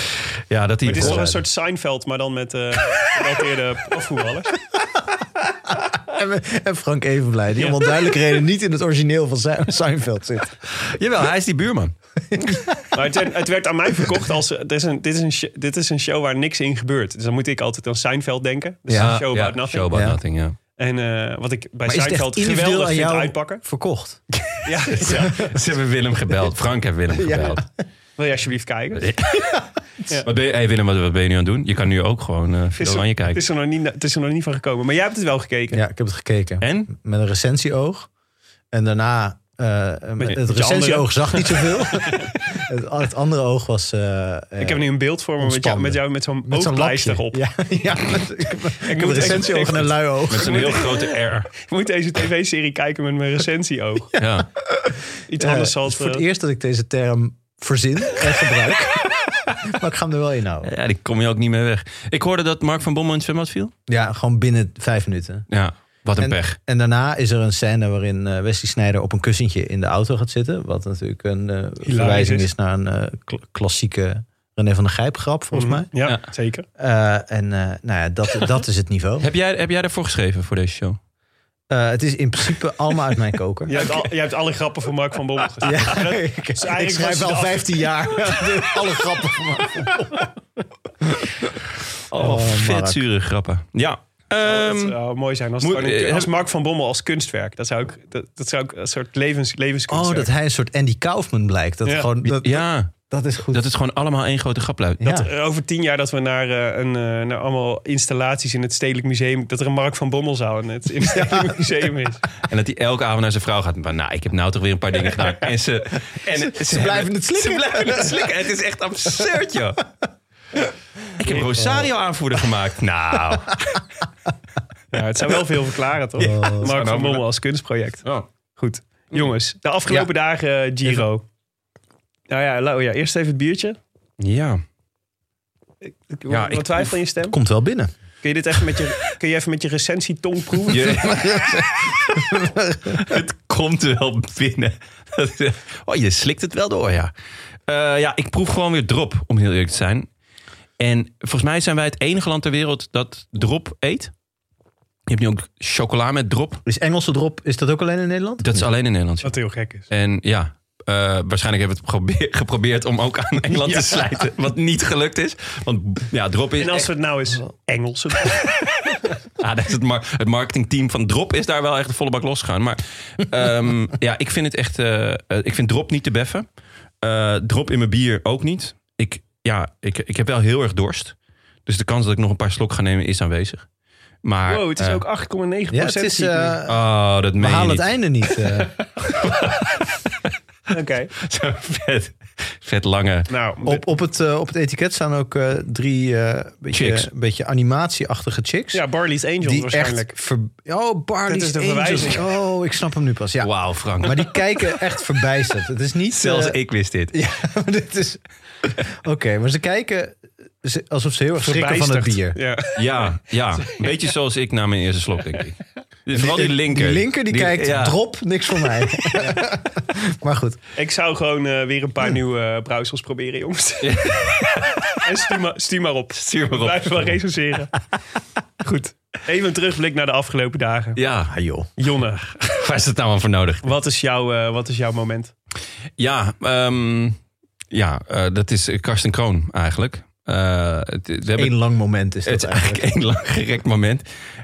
Speaker 6: Maar
Speaker 1: hij
Speaker 6: het is toch een soort Seinfeld, maar dan met eh gerelateerde profvoetballers.
Speaker 2: En, en Frank Evenblij, die om onduidelijke reden niet in het origineel van Se- Seinfeld zit.
Speaker 1: Jawel, hij is die buurman.
Speaker 6: Maar het, werd- het werd aan mij verkocht als... eh, Dit is, een, dit, is een, sh- dit is een show waar niks in gebeurt. Dus dan moet ik altijd aan Seinfeld denken. Dus
Speaker 2: Ja,
Speaker 6: een show about nothing.
Speaker 1: Show about
Speaker 2: Ja.
Speaker 1: nothing, ja.
Speaker 6: En eh, wat ik bij
Speaker 2: Maar is het echt
Speaker 6: Seinfeld
Speaker 2: individueel
Speaker 6: geweldig
Speaker 2: aan
Speaker 6: vind
Speaker 2: jou
Speaker 6: uitpakken.
Speaker 2: verkocht?
Speaker 6: Ja, ja.
Speaker 1: Ze hebben Willem gebeld. Frank heeft Willem gebeld.
Speaker 6: Wil je alsjeblieft kijken?
Speaker 1: Wat ben je, hey Willem, wat, wat ben je nu aan het doen? Je kan nu ook gewoon eh
Speaker 6: Het
Speaker 1: veel
Speaker 6: is,
Speaker 1: oranje
Speaker 6: er,
Speaker 1: kijken.
Speaker 6: het, is er nog niet, het is er nog niet van gekomen. Maar jij hebt het wel gekeken.
Speaker 2: Ja, ik heb het gekeken.
Speaker 1: En?
Speaker 2: Met een recensieoog. En daarna, eh,
Speaker 6: je
Speaker 2: het
Speaker 6: andere-
Speaker 2: recensieoog zag niet zoveel. het, het andere oog was... eh, eh,
Speaker 6: Ik heb nu een beeld voor me met jou
Speaker 2: Ontspannen.
Speaker 6: met, jou, met zo'n
Speaker 2: met zo'n
Speaker 6: oogpleister
Speaker 2: lapje.
Speaker 6: op.
Speaker 2: Ja, ja met- ik heb
Speaker 6: Ik
Speaker 2: een
Speaker 6: moet echt-
Speaker 2: recensieoog en een lui oog.
Speaker 1: Met een heel grote R.
Speaker 6: Ik moet deze tv-serie kijken met mijn recensieoog.
Speaker 1: Ja.
Speaker 6: Iets
Speaker 2: Eh,
Speaker 6: anders zal
Speaker 2: het
Speaker 6: het...
Speaker 2: is voor het
Speaker 6: eh,
Speaker 2: eerst dat ik deze term verzin en gebruik. maar ik ga hem er wel in houden.
Speaker 1: ja, die kom je ook niet meer weg. Ik hoorde dat Mark van Bommel in het zwembad viel.
Speaker 2: Ja, gewoon binnen vijf minuten.
Speaker 1: Ja, wat een
Speaker 2: En,
Speaker 1: pech.
Speaker 2: en daarna is er een scène waarin eh Wesley Snijder op een kussentje in de auto gaat zitten. Wat natuurlijk een eh, verwijzing
Speaker 6: is.
Speaker 2: is naar een eh, kla- klassieke René van der Gijp grap, volgens mij.
Speaker 6: mm. Ja,
Speaker 1: Ja.
Speaker 6: zeker.
Speaker 2: Eh, en eh, nou ja, dat, dat is het niveau.
Speaker 1: Heb jij, heb jij daarvoor geschreven voor deze show?
Speaker 2: Eh, het is in principe allemaal uit mijn koker.
Speaker 6: Jij hebt, al, jij hebt alle grappen van Mark van Bommel gezien.
Speaker 2: Ja, ik,
Speaker 6: eigenlijk
Speaker 2: ik
Speaker 6: was
Speaker 2: schrijf
Speaker 6: het
Speaker 2: al
Speaker 6: af-
Speaker 2: 15 jaar. Alle grappen van Mark van Bommel.
Speaker 1: Oh, vet
Speaker 2: Mark.
Speaker 1: zure grappen. Ja.
Speaker 6: Dat
Speaker 1: Ehm,
Speaker 6: zou mooi zijn als, het
Speaker 1: moet-
Speaker 6: gewoon een-
Speaker 1: eh,
Speaker 6: als Mark van Bommel als kunstwerk. Dat zou ik, dat, dat zou ik een soort levens,
Speaker 2: Oh,
Speaker 6: levenskunstwerk.
Speaker 2: dat hij een soort Andy Kaufman blijkt. Dat,
Speaker 6: Ja.
Speaker 2: gewoon, dat,
Speaker 1: ja,
Speaker 2: dat is eh, goed.
Speaker 1: dat het gewoon allemaal één grote grap luidt.
Speaker 2: Ja.
Speaker 1: Dat-
Speaker 6: Eh, Over tien jaar dat we naar, eh, een, eh, naar allemaal installaties in het Stedelijk Museum... dat er een Mark van Bommel zou in het, in het Stedelijk Museum is.
Speaker 1: En dat hij elke avond naar zijn vrouw gaat. Maar nou, ik heb nou toch weer een paar dingen gedaan. En ze, en ze,
Speaker 2: blijven het slikken.
Speaker 1: Ze blijven het slikken. Het is echt absurd, joh. Ik heb Rosario
Speaker 2: eh,
Speaker 1: aanvoerder gemaakt. Nou.
Speaker 6: Ja, het zou wel veel verklaren, toch? Mark van Bommel als kunstproject.
Speaker 2: Oh.
Speaker 6: Goed. Jongens, de afgelopen dagen eh, Giro. Nou ja, Lau, ja, eerst even het biertje.
Speaker 1: Ja.
Speaker 6: Ik,
Speaker 1: Ja,
Speaker 6: wat
Speaker 1: ik-
Speaker 6: twijfel in je stem?
Speaker 2: komt wel binnen.
Speaker 6: Kun je dit even met je, kun je even met je recensietong proeven?
Speaker 1: het komt wel binnen. Dat is- oh, je slikt het wel door, ja. Eh, ja, ik proef gewoon weer drop, om heel eerlijk te zijn. En volgens mij zijn wij het enige land ter wereld dat drop eet. Je hebt nu ook chocola met drop.
Speaker 2: Is Engelse drop, is dat ook alleen in Nederland?
Speaker 1: Dat is alleen in Nederland. ja.
Speaker 6: Wat heel gek is.
Speaker 1: En ja, eh, waarschijnlijk hebben we het probeer- geprobeerd om ook aan Engeland te slijten. Wat niet gelukt is. Want ja, eh, drop is...
Speaker 6: En als we het nou eens Engelse
Speaker 1: Ah, dat is het, mar- het marketingteam van Drop is daar wel echt de volle bak losgegaan. Maar ehm, ja, ik vind het echt. eh, eh, ik vind Drop niet te beffen. Eh, drop in mijn bier ook niet. Ik, ja, ik, ik heb wel heel erg dorst. Dus de kans dat ik nog een paar slok ga nemen is aanwezig. Maar.
Speaker 6: Wow, het is
Speaker 1: eh,
Speaker 6: ook 8,9
Speaker 2: Ja, het is,
Speaker 6: zie ik nu.
Speaker 2: eh,
Speaker 1: Oh, dat meen
Speaker 2: we
Speaker 1: je
Speaker 2: halen
Speaker 1: niet.
Speaker 2: het einde niet. eh.
Speaker 1: eh,
Speaker 6: Oké.
Speaker 1: Zo'n vet, vet lange.
Speaker 6: Nou,
Speaker 2: op, op, het, eh, op het etiket staan ook eh, drie eh
Speaker 1: Chicks.
Speaker 2: beetje, beetje animatieachtige chicks.
Speaker 6: ja, Barley's Angels
Speaker 2: die
Speaker 6: waarschijnlijk.
Speaker 2: echt... Ver... Oh, Barney
Speaker 6: Dit is de verwijzing.
Speaker 2: Oh, ik snap hem nu pas. Ja.
Speaker 1: Wauw, Frank.
Speaker 2: Maar die kijken echt verbijsterd. Het is niet...
Speaker 1: Zelfs
Speaker 2: eh,
Speaker 1: ik wist dit.
Speaker 2: Ja, maar dit is... Oké, maar ze kijken ze- alsof ze heel erg schrikken van het bier.
Speaker 6: Verbijsterd. Ja.
Speaker 1: Ja, ja. Een beetje zoals ik na mijn eerste slok, denk ik. Dus vooral die linker.
Speaker 2: Die linker die, kijkt,
Speaker 1: ja.
Speaker 2: drop, niks voor mij. maar goed.
Speaker 6: Ik zou gewoon eh, weer een paar nieuwe eh, brouwsels proberen, jongens. en stuur maar, stuur maar op.
Speaker 1: Stuur maar op.
Speaker 6: Blijf wel recenseren. Goed. Even een terugblik naar de afgelopen dagen.
Speaker 1: Ja,
Speaker 2: Ah joh.
Speaker 6: Jonne,
Speaker 1: waar is het nou aan voor nodig?
Speaker 6: wat is, jouw, eh, wat is jouw moment?
Speaker 1: Ja, ehm, ja eh, dat is eh, Karsten Kroon eigenlijk. Eh, het, we hebben,
Speaker 2: Eén lang moment is dat
Speaker 1: het is
Speaker 2: eigenlijk.
Speaker 1: eigenlijk één lang gerekt moment.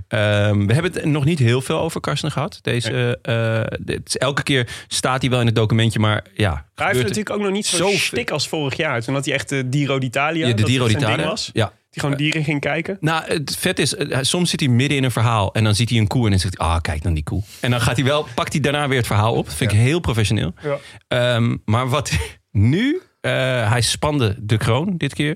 Speaker 1: Ehm, we hebben het nog niet heel veel over Karsten gehad. Deze, eh, dit is- elke keer staat hij wel in het documentje, maar ja.
Speaker 6: Hij
Speaker 1: gebeurt
Speaker 6: heeft
Speaker 1: het-
Speaker 6: natuurlijk ook nog niet zo'n
Speaker 1: Zoveel.
Speaker 6: stik als vorig jaar. Toen had hij echt de Giro d'Italia.
Speaker 1: Ja, de
Speaker 6: dat
Speaker 1: Giro
Speaker 6: het zijn ding
Speaker 1: d'Italia.
Speaker 6: was.
Speaker 1: Ja,
Speaker 6: Die gewoon dieren ging kijken.
Speaker 1: Nou, het vet is, eh, soms zit hij midden in een verhaal en dan ziet hij een koe en dan zegt hij, ah, kijk dan die koe. En dan gaat hij wel, pakt hij daarna weer het verhaal op. Dat vind ik heel professioneel.
Speaker 6: Ja.
Speaker 1: Ehm, maar wat nu, eh, hij spande de kroon dit keer.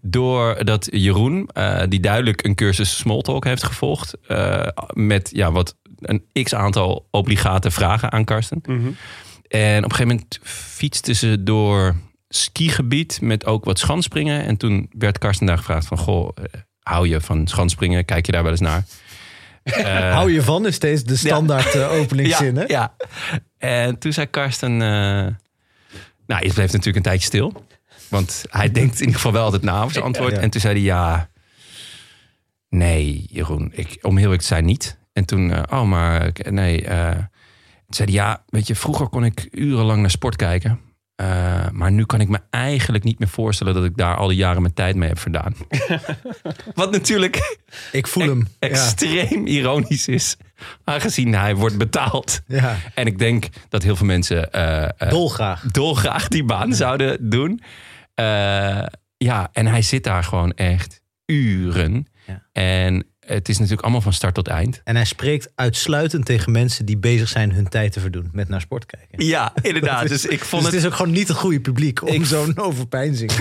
Speaker 1: Doordat Jeroen, eh, die duidelijk een cursus Smalltalk heeft gevolgd, eh, met ja, wat een x aantal obligate vragen aan Karsten. En op een gegeven moment fietsten ze door skigebied met ook wat schanspringen. En toen werd Karsten daar gevraagd van, goh, eh, hou je van schanspringen? Kijk je daar wel eens naar?
Speaker 2: Hou je van is steeds de standaard eh, openingszin, hè?
Speaker 1: eh, Ja. En toen zei Karsten... eh, nou, je bleef natuurlijk een tijdje stil. Want hij denkt in ieder geval wel altijd na over zijn antwoord. En toen zei hij ja... Nee, Jeroen, ik, om heel eerlijk te zijn niet. En toen, eh, oh, maar ik- nee. eh, toen zei hij ja, weet je, vroeger kon ik urenlang naar sport kijken. eh, maar nu kan ik me eigenlijk niet meer voorstellen dat ik daar al die jaren mijn tijd mee heb verdaan. Wat natuurlijk
Speaker 2: Ik voel hem. Ja.
Speaker 1: E- extreem ironisch is. Aangezien hij wordt betaald.
Speaker 2: Ja.
Speaker 1: En ik denk dat heel veel mensen eh, eh,
Speaker 2: Dolgraag.
Speaker 1: dolgraag die baan zouden doen. Eh, ja, en hij zit daar gewoon echt uren.
Speaker 2: Ja.
Speaker 1: En het is natuurlijk allemaal van start tot eind.
Speaker 2: En hij spreekt uitsluitend tegen mensen die bezig zijn hun tijd te verdoen met naar sport kijken.
Speaker 1: Ja, inderdaad. dus ik
Speaker 2: Dus
Speaker 1: vond
Speaker 2: het
Speaker 1: het...
Speaker 2: is ook gewoon niet het goede publiek om
Speaker 1: Ik-
Speaker 2: zo'n overpeinzing.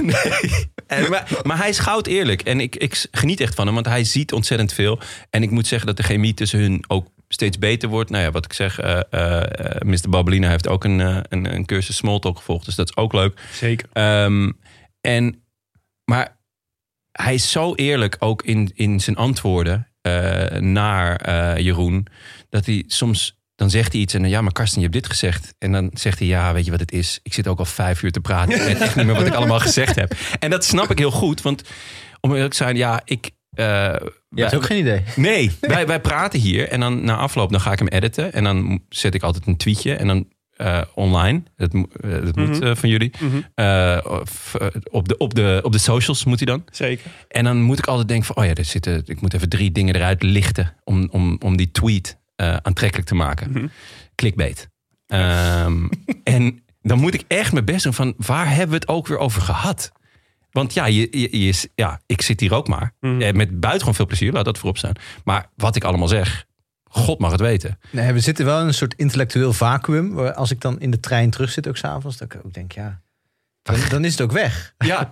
Speaker 1: En- maar, maar hij is goud eerlijk. En ik, ik geniet echt van hem, want hij ziet ontzettend veel. En ik moet zeggen dat de chemie tussen hun ook steeds beter wordt. Nou ja, wat ik zeg, eh eh, eh, Mr. Babelina heeft ook een, eh, een, een cursus Smalltalk gevolgd. Dus dat is ook leuk.
Speaker 6: Zeker.
Speaker 1: Ehm, en, maar hij is zo eerlijk ook in, in zijn antwoorden eh, naar eh, Jeroen. Dat hij soms, dan zegt hij iets en dan, ja, maar Karsten, je hebt dit gezegd. En dan zegt hij, ja, weet je wat het is? Ik zit ook al vijf uur te praten. Ik weet echt niet meer wat ik allemaal gezegd heb. En dat snap ik heel goed, want om eerlijk te zijn, ja, ik... eh,
Speaker 2: Dat is ook geen idee.
Speaker 1: Nee, wij, wij praten hier en dan na afloop dan ga ik hem editen. En dan zet ik altijd een tweetje en dan eh, online. Dat, mo- eh, dat moet eh, van jullie. Eh, of, eh, op, de, op, de, op de socials moet hij dan.
Speaker 6: Zeker.
Speaker 1: En dan moet ik altijd denken van, oh ja, er zitten, ik moet even drie dingen eruit lichten om, om, om die tweet eh, aantrekkelijk te maken. Clickbait. Ehm, en dan moet ik echt mijn best doen van, waar hebben we het ook weer over gehad? Want ja, je, je, je is, ja ik zit hier ook maar. Eh, Met buitengewoon veel plezier, laat dat voorop staan. Maar wat ik allemaal zeg, God mag het weten.
Speaker 2: Nee, we zitten wel in een soort intellectueel vacuüm. Waar als ik dan in de trein terug zit, ook s'avonds, dat ik ook denk, ja, dan, dan is het ook weg.
Speaker 1: Ja,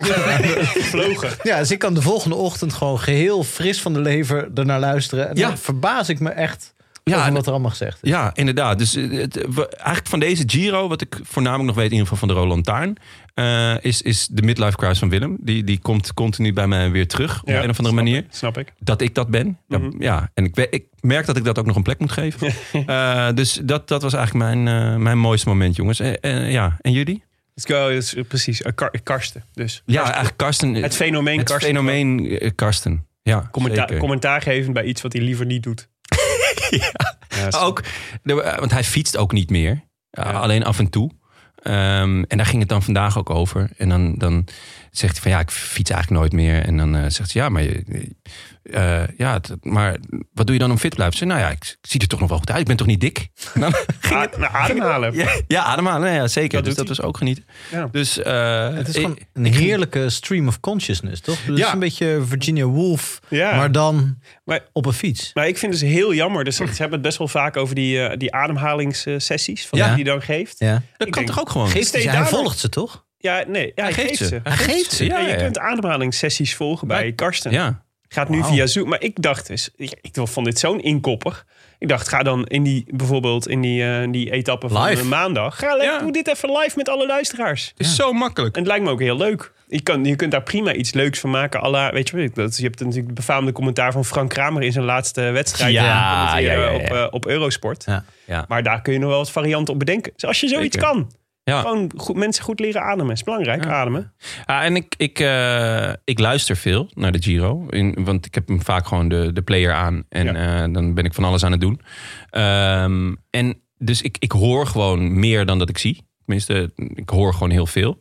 Speaker 6: Vlogen.
Speaker 2: Ja, dus ik kan de volgende ochtend gewoon geheel fris van de lever ernaar luisteren. En
Speaker 1: Ja.
Speaker 2: dan verbaas ik me echt
Speaker 1: Ja,
Speaker 2: over
Speaker 1: en-
Speaker 2: wat er allemaal gezegd is.
Speaker 1: Ja, inderdaad. Dus eh, het, eh, we- eigenlijk van deze Giro, wat ik voornamelijk nog weet, in ieder geval van de Roland Taarn, eh, is, is de midlife crisis van Willem. Die, die komt continu bij mij weer terug op
Speaker 6: Ja,
Speaker 1: een of andere manier.
Speaker 6: Snap ik. Mhm.
Speaker 1: Dat ik dat ben. Ja, ja, en ik, we- ik merk dat ik dat ook nog een plek moet geven. Eh, dus dat, dat was eigenlijk mijn, eh, mijn mooiste moment, jongens. Eh, eh, ja, en jullie?
Speaker 6: Let's go. Dat is, eh, precies. Eh, Kar- Karsten. Dus.
Speaker 1: Ja, eigenlijk Karsten.
Speaker 6: Het fenomeen
Speaker 1: het
Speaker 6: Karsten.
Speaker 1: fenomeen eh, Karsten. Ja,
Speaker 6: Commentaar,
Speaker 1: zeker.
Speaker 6: commentaar geven bij iets wat hij liever niet doet. ja.
Speaker 1: Maar ook, de- eh, want hij fietst ook niet meer. Uh,
Speaker 6: Ja.
Speaker 1: Alleen af en toe. Ehm, en daar ging het dan vandaag ook over. En dan, dan zegt hij van ja, ik fiets eigenlijk nooit meer. En dan eh, zegt hij ja, maar, je, eh, ja, het- maar wat doe je dan om fit te blijven? Ik zei, nou ja, ik, zie er toch nog wel goed uit. Ik ben toch niet dik? En dan ging het-
Speaker 6: Ad- ademhalen.
Speaker 1: ja, ja, ademhalen. Ja, zeker.
Speaker 6: Dat
Speaker 1: dus
Speaker 6: doet
Speaker 1: dat was ook genieten.
Speaker 6: Ja.
Speaker 1: Dus, eh,
Speaker 2: Het is
Speaker 1: ik-
Speaker 2: gewoon een heerlijke stream of consciousness, toch? Dat
Speaker 1: Ja.
Speaker 2: is een beetje Virginia Woolf,
Speaker 6: Ja.
Speaker 2: maar dan
Speaker 6: Maar-
Speaker 2: op een fiets.
Speaker 6: Maar ik vind het dus heel jammer. Dus ze hebben het best wel vaak over die, eh, die ademhalingssessies. Van
Speaker 2: Ja.
Speaker 6: die hij dan geeft.
Speaker 2: Ja.
Speaker 1: dat
Speaker 6: ik
Speaker 1: kan
Speaker 6: denk-
Speaker 1: toch ook gewoon?
Speaker 2: Geeft hij,
Speaker 6: Steeds
Speaker 2: ze- hij
Speaker 6: daardoor-
Speaker 2: volgt ze toch?
Speaker 6: Ja, nee. Ja, hij geeft, ze.
Speaker 1: Dus Hij geeft ze. Ja,
Speaker 6: En je
Speaker 1: ja.
Speaker 6: kunt ademhalingssessies volgen bij Karsten.
Speaker 1: ja.
Speaker 6: Gaat nu
Speaker 1: Wauw.
Speaker 6: via Zoom. Maar ik dacht dus, ja, ik vond dit zo'n inkoppig. Ik dacht, ga dan in die, bijvoorbeeld in die, eh, in die etappe van
Speaker 2: Live.
Speaker 6: eh, maandag. Ga, le-
Speaker 1: Ja.
Speaker 6: Doe dit even live met alle luisteraars.
Speaker 1: Het is zo makkelijk.
Speaker 6: En het lijkt me ook heel leuk. Je, kan, je kunt daar prima iets leuks van maken. Alla, weet je, wat ik- dat, je hebt natuurlijk het befaamde commentaar van Frank Kramer in zijn laatste wedstrijd.
Speaker 1: Ja,
Speaker 6: eh, van het
Speaker 1: ja,
Speaker 6: hier, eh,
Speaker 1: ja,
Speaker 6: Op,
Speaker 1: ja.
Speaker 6: eh, op Eurosport.
Speaker 2: Ja,
Speaker 1: ja.
Speaker 6: Maar daar kun je nog wel wat varianten op bedenken. Dus als je zoiets
Speaker 1: Zeker.
Speaker 6: kan.
Speaker 1: Ja.
Speaker 6: Gewoon goed, mensen goed leren ademen. is belangrijk, ademen.
Speaker 1: Ja, Ah, en ik, ik, eh, ik luister veel naar de Giro. In, want ik heb hem vaak gewoon de, de player aan. En eh, dan ben ik van alles aan het doen. Ehm, en dus ik, ik hoor gewoon meer dan dat ik zie. Tenminste, ik hoor gewoon heel veel.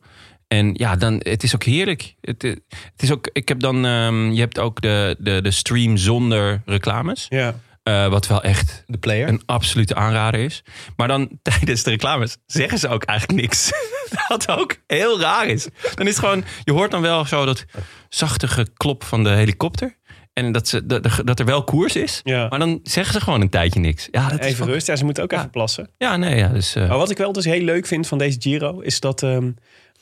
Speaker 1: En ja, dan, het is ook heerlijk. Het, eh, het is ook, ik heb dan, ehm, je hebt ook de, de, de stream zonder reclames.
Speaker 6: Ja.
Speaker 1: Eh, wat wel echt
Speaker 2: De player.
Speaker 1: een absolute aanrader is. Maar dan tijdens de reclames zeggen ze ook eigenlijk niks. Wat ook heel raar is. Dan is het gewoon, je hoort dan wel zo dat zachte geklop van de helikopter. En dat, ze, dat, dat er wel koers is.
Speaker 6: Ja.
Speaker 1: Maar dan zeggen ze gewoon een tijdje niks. Ja, dat is
Speaker 6: Even
Speaker 1: fuck-
Speaker 6: rust. Ja, ze moeten ook
Speaker 1: Ja.
Speaker 6: even plassen.
Speaker 1: Ja, nee, ja. Dus, eh,
Speaker 6: Maar wat ik wel dus heel leuk vind van deze Giro... is dat, ehm,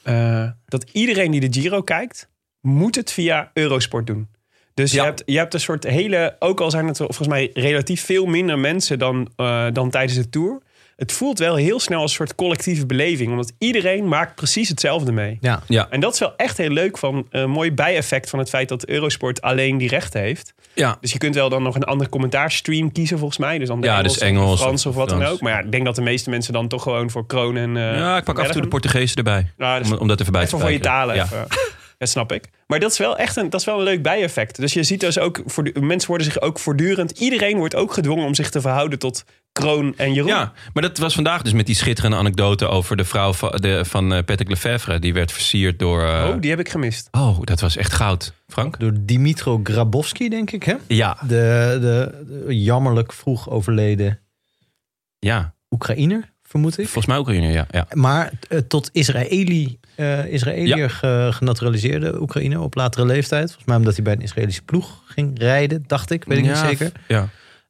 Speaker 6: eh, dat iedereen die de Giro kijkt... moet het via Eurosport doen. Dus
Speaker 1: Ja.
Speaker 6: je, hebt, je hebt een soort hele... ook al zijn het volgens mij relatief veel minder mensen... dan, eh, dan tijdens de Tour... het voelt wel heel snel als een soort collectieve beleving. Omdat iedereen maakt precies hetzelfde mee.
Speaker 2: Ja.
Speaker 1: ja.
Speaker 6: En dat is wel echt heel leuk van een mooi bijeffect van het feit dat Eurosport alleen die rechten heeft.
Speaker 1: ja.
Speaker 6: Dus je kunt wel dan nog een andere commentaarstream kiezen volgens mij. Dus dan de
Speaker 1: Ja,
Speaker 6: Engels,
Speaker 1: dus Engels
Speaker 6: of Frans
Speaker 1: of
Speaker 6: of wat dan
Speaker 1: Frans.
Speaker 6: ook. Maar ja, ik denk dat de meeste mensen dan toch gewoon voor kroon en... eh,
Speaker 1: ja, ik pak af en toe de
Speaker 6: Bergen.
Speaker 1: Portugezen erbij.
Speaker 6: Ja, dat is-
Speaker 1: om, om dat even bij te
Speaker 6: Even voor je
Speaker 1: spijkeren.
Speaker 6: talen.
Speaker 1: Ja.
Speaker 6: even. Dat snap ik. Maar dat is wel echt een, dat is wel een leuk bijeffect. Dus je ziet dus ook, voortdu- mensen worden zich ook voortdurend... Iedereen wordt ook gedwongen om zich te verhouden tot kroon en Jeroen.
Speaker 1: Ja, maar dat was vandaag dus met die schitterende anekdote over de vrouw van, de, van eh, Patrick Lefevre. Die werd versierd door... eh,
Speaker 6: Oh, die heb ik gemist.
Speaker 1: oh, dat was echt goud. Frank?
Speaker 2: Door Dimitro Grabowski, denk ik, hè?
Speaker 1: Ja,
Speaker 2: De, de, de jammerlijk vroeg overleden
Speaker 1: ja.
Speaker 2: Oekraïner, vermoed ik.
Speaker 1: Volgens mij ook een ja. ja.
Speaker 2: Maar eh, tot Israëli, eh Israëliër
Speaker 1: Ja.
Speaker 2: ge- genaturaliseerde Oekraïner op latere leeftijd. Volgens mij omdat hij bij een Israëlische ploeg ging rijden, dacht ik. Weet ik niet
Speaker 1: Ja,
Speaker 2: zeker.
Speaker 1: Ja.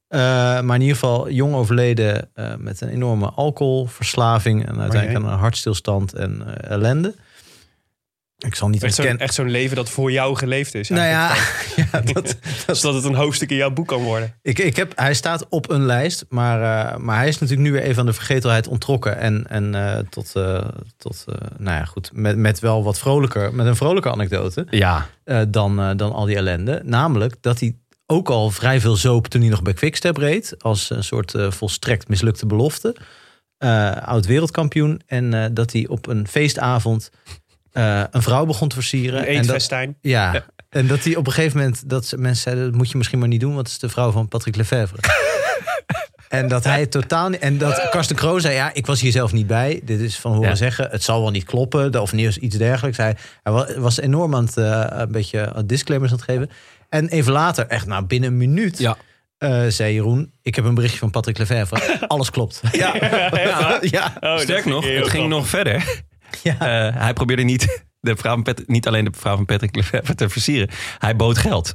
Speaker 2: Eh, maar in ieder geval jong overleden eh, met een enorme alcoholverslaving. En uiteindelijk
Speaker 6: jee.
Speaker 2: aan een hartstilstand en eh, ellende. Ik zal niet
Speaker 6: Echt zo'n,
Speaker 2: herkennen.
Speaker 6: echt zo'n leven dat voor jou geleefd is.
Speaker 2: Nou ja, ja dat,
Speaker 6: Zodat het een hoofdstuk in jouw boek kan worden.
Speaker 2: Ik, ik heb, hij staat op een lijst, maar, eh, maar hij is natuurlijk nu weer even aan de vergetelheid onttrokken. En, en eh, tot, eh, tot eh, nou ja, goed, met, met wel wat vrolijker, met een vrolijke anekdote
Speaker 6: Oh,
Speaker 1: Ja.
Speaker 2: eh, dan, eh, dan al die ellende. Namelijk dat hij ook al vrij veel zoop toen hij nog bij Quickstep reed. Als een soort eh, volstrekt mislukte belofte. Eh, oud wereldkampioen. En eh, dat hij op een feestavond eh, een vrouw begon te versieren.
Speaker 6: Een
Speaker 2: en dat,
Speaker 6: eetfestijn.
Speaker 2: ja. En dat hij op een gegeven moment dat ze, mensen zeiden, dat moet je misschien maar niet doen, want het is de vrouw van Patrick Lefevre. en dat hij het totaal niet- en dat Karsten Kroo zei, ja, ik was hier zelf niet bij. Dit is van horen
Speaker 1: Ja.
Speaker 2: zeggen, het zal wel niet kloppen, de- of nieuws iets dergelijks. Hij, hij wa- was enorm aan het eh, een beetje disclaimers aan het geven. En even later, echt nou binnen een minuut,
Speaker 1: Ja.
Speaker 2: eh, zei Jeroen, ik heb een berichtje van Patrick Lefevre. Alles klopt. Ja, ja. ja.
Speaker 6: Oh, dat
Speaker 1: Sterk
Speaker 6: vind ik
Speaker 1: nog,
Speaker 6: heel
Speaker 1: het ging
Speaker 6: grappig.
Speaker 1: nog verder. Eh, hij probeerde niet, de vrouw van Pat- niet alleen de vrouw van Patrick Lefevre te versieren. Hij bood geld.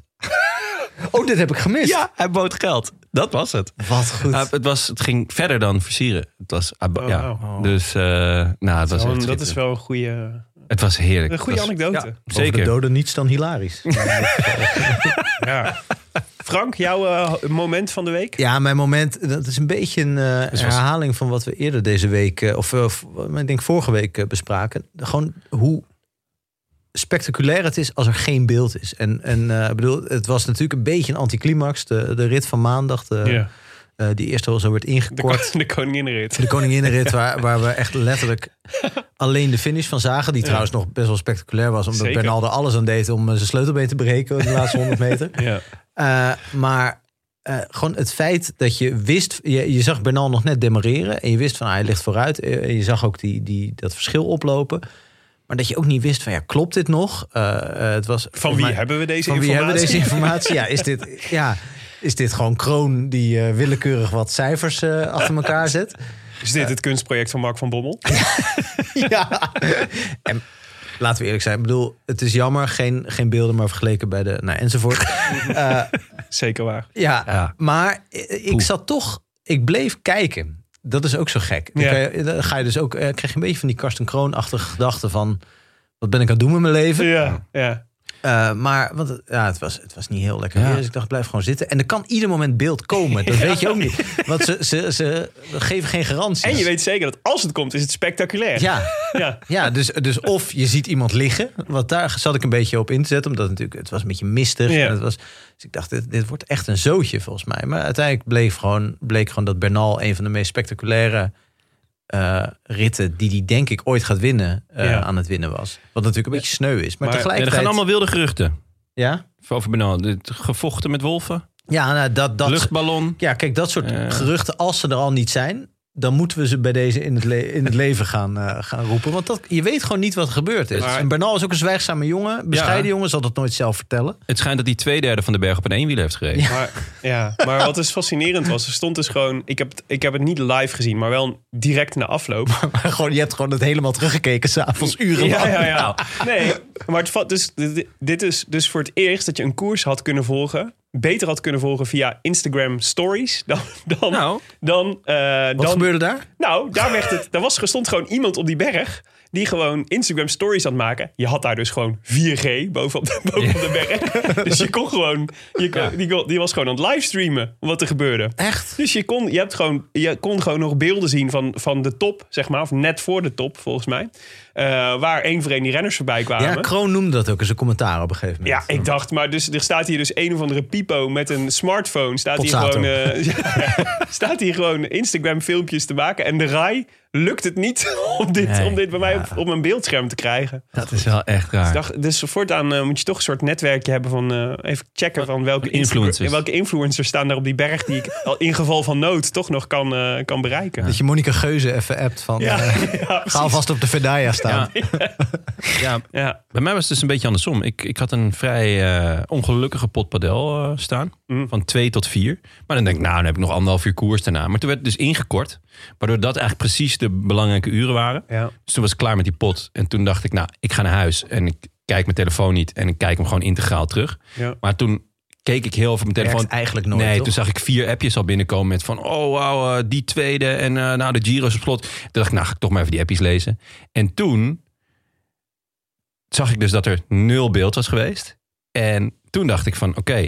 Speaker 2: Oh, dit heb ik gemist.
Speaker 1: Ja, hij bood geld. Dat was het.
Speaker 2: Wat goed.
Speaker 1: Hij- het, was, het ging verder dan versieren. Het was, hij bo-
Speaker 6: Oh,
Speaker 1: ja.
Speaker 6: oh.
Speaker 1: Dus, eh, nou, het was
Speaker 6: Oh,
Speaker 1: echt
Speaker 6: dat is
Speaker 1: schitterend.
Speaker 6: wel een goede,
Speaker 1: Het was heerlijk.
Speaker 6: een goede
Speaker 1: Het was-
Speaker 6: anekdote.
Speaker 1: Ja,
Speaker 2: Over de
Speaker 1: zeker.
Speaker 2: doden niets dan hilarisch.
Speaker 6: Ja. Frank, jouw eh, moment van de week?
Speaker 2: Ja, mijn moment, dat is een beetje een eh,
Speaker 1: Dus was-
Speaker 2: herhaling van wat we eerder deze week, eh, of eh, v- ik denk vorige week eh, bespraken. Gewoon hoe spectaculair het is als er geen beeld is. En, en eh, ik bedoel, het was natuurlijk een beetje een anticlimax. De, de rit van maandag, de, eh, die eerst al zo werd
Speaker 6: De,
Speaker 2: ingekort.
Speaker 6: ko- de koninginrit.
Speaker 2: De koninginrit, waar, waar we echt letterlijk alleen de finish van zagen. Die trouwens nog best wel spectaculair was. Omdat
Speaker 6: Zeker.
Speaker 2: Bernal er alles aan deed om eh, zijn sleutelbeen te breken in de laatste 100 meter.
Speaker 6: Ja.
Speaker 2: Eh, maar eh, gewoon het feit dat je wist... Je, je zag Bernal nog net demareren. En je wist van, ah, hij ligt vooruit. Eh, en je zag ook die, die, dat verschil oplopen. Maar dat je ook niet wist van, ja, klopt dit nog? Eh, eh, het was,
Speaker 6: Van wie hebben we deze
Speaker 2: van wie
Speaker 6: informatie?
Speaker 2: hebben we deze informatie? Ja, is dit, ja, is dit gewoon Kroon die eh, willekeurig wat cijfers eh, achter elkaar zet?
Speaker 6: Is dit het kunstproject van Mark van Bommel?
Speaker 2: ja. En laten we eerlijk zijn. Ik bedoel, het is jammer. Geen, geen beelden, maar vergeleken bij de... Nou, enzovoort. Eh,
Speaker 6: Zeker waar.
Speaker 2: ja,
Speaker 1: Ja.
Speaker 2: maar i- ik zat toch... Ik bleef kijken. Dat is ook zo gek. Dan,
Speaker 6: Ja.
Speaker 2: kan je, dan ga je dus ook, eh, krijg je een beetje van die Karsten Kroon-achtige gedachten van... Wat ben ik aan het doen met mijn leven?
Speaker 6: Ja, ja.
Speaker 2: Eh, maar want, het- ja, het, was, het was niet heel lekker
Speaker 1: Ja.
Speaker 2: weer, dus ik dacht, blijf gewoon zitten. En er kan ieder moment beeld komen. Dat weet je ook niet. Want ze, ze, ze geven geen garanties.
Speaker 6: En je weet zeker dat als het komt, is het spectaculair.
Speaker 2: Ja,
Speaker 6: Ja.
Speaker 2: Ja, dus, dus of je ziet iemand liggen. Want daar zat ik een beetje op in te zetten. Omdat het natuurlijk, het was een beetje mistig.
Speaker 6: Ja.
Speaker 2: En het was, dus ik dacht, dit, dit wordt echt een zootje volgens mij. Maar uiteindelijk bleef gewoon, bleek gewoon dat Bernal een van de meest spectaculaire eh, ritten... die hij denk ik ooit gaat winnen, eh,
Speaker 6: Ja.
Speaker 2: aan het winnen was. Wat natuurlijk een beetje sneu is. Maar,
Speaker 6: Maar-
Speaker 1: Ja, er
Speaker 2: tegelijkertijd...
Speaker 1: gaan allemaal wilde geruchten.
Speaker 2: Ja,
Speaker 1: Over Bernal. Dit Gevochten met wolven.
Speaker 2: ja nou, dat, dat,
Speaker 1: luchtballon.
Speaker 2: ja, kijk, dat soort
Speaker 1: Eh.
Speaker 2: geruchten, als ze er al niet zijn... dan moeten we ze bij deze in het, le- in het leven gaan, eh, gaan roepen. Want dat, je weet gewoon niet wat er gebeurd is.
Speaker 6: Maar-
Speaker 2: en Bernal is ook een zwijgzame jongen. Bescheiden jongen zal dat nooit zelf vertellen.
Speaker 1: Het schijnt dat hij twee derde van de berg op een eenwiel heeft gereden.
Speaker 6: Maar, ja, maar wat dus fascinerend was, er stond dus gewoon... Ik heb, het- ik heb het niet live gezien, maar wel direct na afloop.
Speaker 2: Maar gewoon, je hebt gewoon het helemaal teruggekeken s'avonds uren
Speaker 6: Ja,
Speaker 2: lang. Nou,
Speaker 6: ja, ja. Nee, maar het valt dus, dit- dit is dus voor het eerst dat je een koers had kunnen volgen. Beter had kunnen volgen via Instagram Stories dan. dan,
Speaker 1: Nou.
Speaker 6: dan, eh,
Speaker 2: Wat
Speaker 6: dan
Speaker 2: gebeurde daar?
Speaker 6: Nou, daar, werd het, daar was, er stond gewoon iemand op die berg. die gewoon Instagram Stories aan het maken. Je had daar dus gewoon 4G bovenop de, bovenop de berg. Dus je kon gewoon. Je kon- die, kon- die was gewoon aan het livestreamen wat er gebeurde.
Speaker 2: Echt?
Speaker 6: Dus je kon, je, hebt gewoon, je kon gewoon nog beelden zien van, van de top, zeg maar. Of net voor de top, volgens mij. Eh, waar één voor één die renners voorbij kwamen.
Speaker 2: Ja, Kroon noemde dat ook eens een commentaar op een gegeven moment.
Speaker 6: Ja, ik dacht, maar dus, er staat hier dus een of andere pipo met een smartphone. Staat
Speaker 2: Potzato.
Speaker 6: hier, gewoon, eh, ja, staat hier gewoon Instagram-filmpjes te maken. En de RAI lukt het niet om dit,
Speaker 2: Nee,
Speaker 6: om dit bij mij op, op mijn beeldscherm te krijgen.
Speaker 1: Dat is wel Oh, echt raar.
Speaker 6: Ik dacht, dus voortaan eh, moet je toch een soort netwerkje hebben van... eh, even checken van welke,
Speaker 1: Van influencers.
Speaker 6: Insta- welke influencers staan daar op die berg... die ik al in geval van nood toch nog kan, eh, kan bereiken.
Speaker 2: Dat je Monica Geuze even appt van...
Speaker 6: Ja,
Speaker 2: eh,
Speaker 6: ja,
Speaker 2: ga alvast op de Vedaya staan.
Speaker 1: Ja. ja,
Speaker 6: ja.
Speaker 1: Bij mij was het dus een beetje andersom. Ik, ik had een vrij eh, ongelukkige potpadel eh, staan.
Speaker 6: Mm.
Speaker 1: Van twee tot vier. Maar dan denk ik, nou, dan heb ik nog anderhalf uur koers daarna. Maar toen werd het dus ingekort. Waardoor dat eigenlijk precies de belangrijke uren waren.
Speaker 6: Ja.
Speaker 1: Dus toen was ik klaar met die pot. En toen dacht ik, nou, ik ga naar huis. En ik kijk mijn telefoon niet. En ik kijk hem gewoon integraal terug.
Speaker 6: Ja.
Speaker 1: Maar toen keek ik heel veel op mijn
Speaker 2: Werkt
Speaker 1: telefoon.
Speaker 2: eigenlijk nooit,
Speaker 1: Nee,
Speaker 2: toch?
Speaker 1: toen zag ik vier appjes al binnenkomen met van... oh, wauw, eh, die tweede en eh, nou, de Giro is op slot. Toen dacht ik, nou, ga ik toch maar even die appjes lezen. En toen zag ik dus dat er nul beeld was geweest. En toen dacht ik van, oké,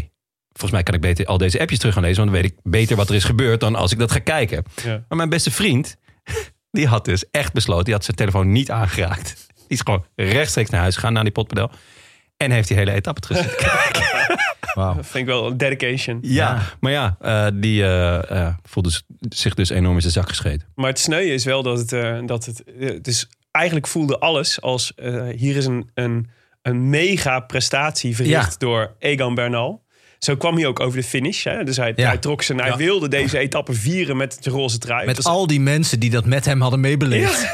Speaker 1: volgens mij kan ik beter al deze appjes terug gaan lezen... want dan weet ik beter wat er is gebeurd dan als ik dat ga kijken.
Speaker 6: Ja.
Speaker 1: Maar mijn beste vriend, die had dus echt besloten... die had zijn telefoon niet aangeraakt. Die is gewoon rechtstreeks naar huis gegaan, naar die potpedel... en heeft die hele etappe gezet.
Speaker 6: Dat vind ik wel een dedication.
Speaker 1: Ja, maar ja, eh, die eh, eh, voelde z- zich dus enorm in zijn zak gescheten.
Speaker 6: Maar het sneuwe is wel dat het... eh, dat het eh, dus eigenlijk voelde alles als... eh, hier is een, een, een mega prestatie verricht door Egan Bernal. Zo kwam hij ook over de finish. Hè? Dus hij,
Speaker 2: Ja.
Speaker 6: hij trok zijn... Hij wilde deze etappe vieren met de roze trui.
Speaker 2: Met al die mensen die dat met hem hadden meebeleefd.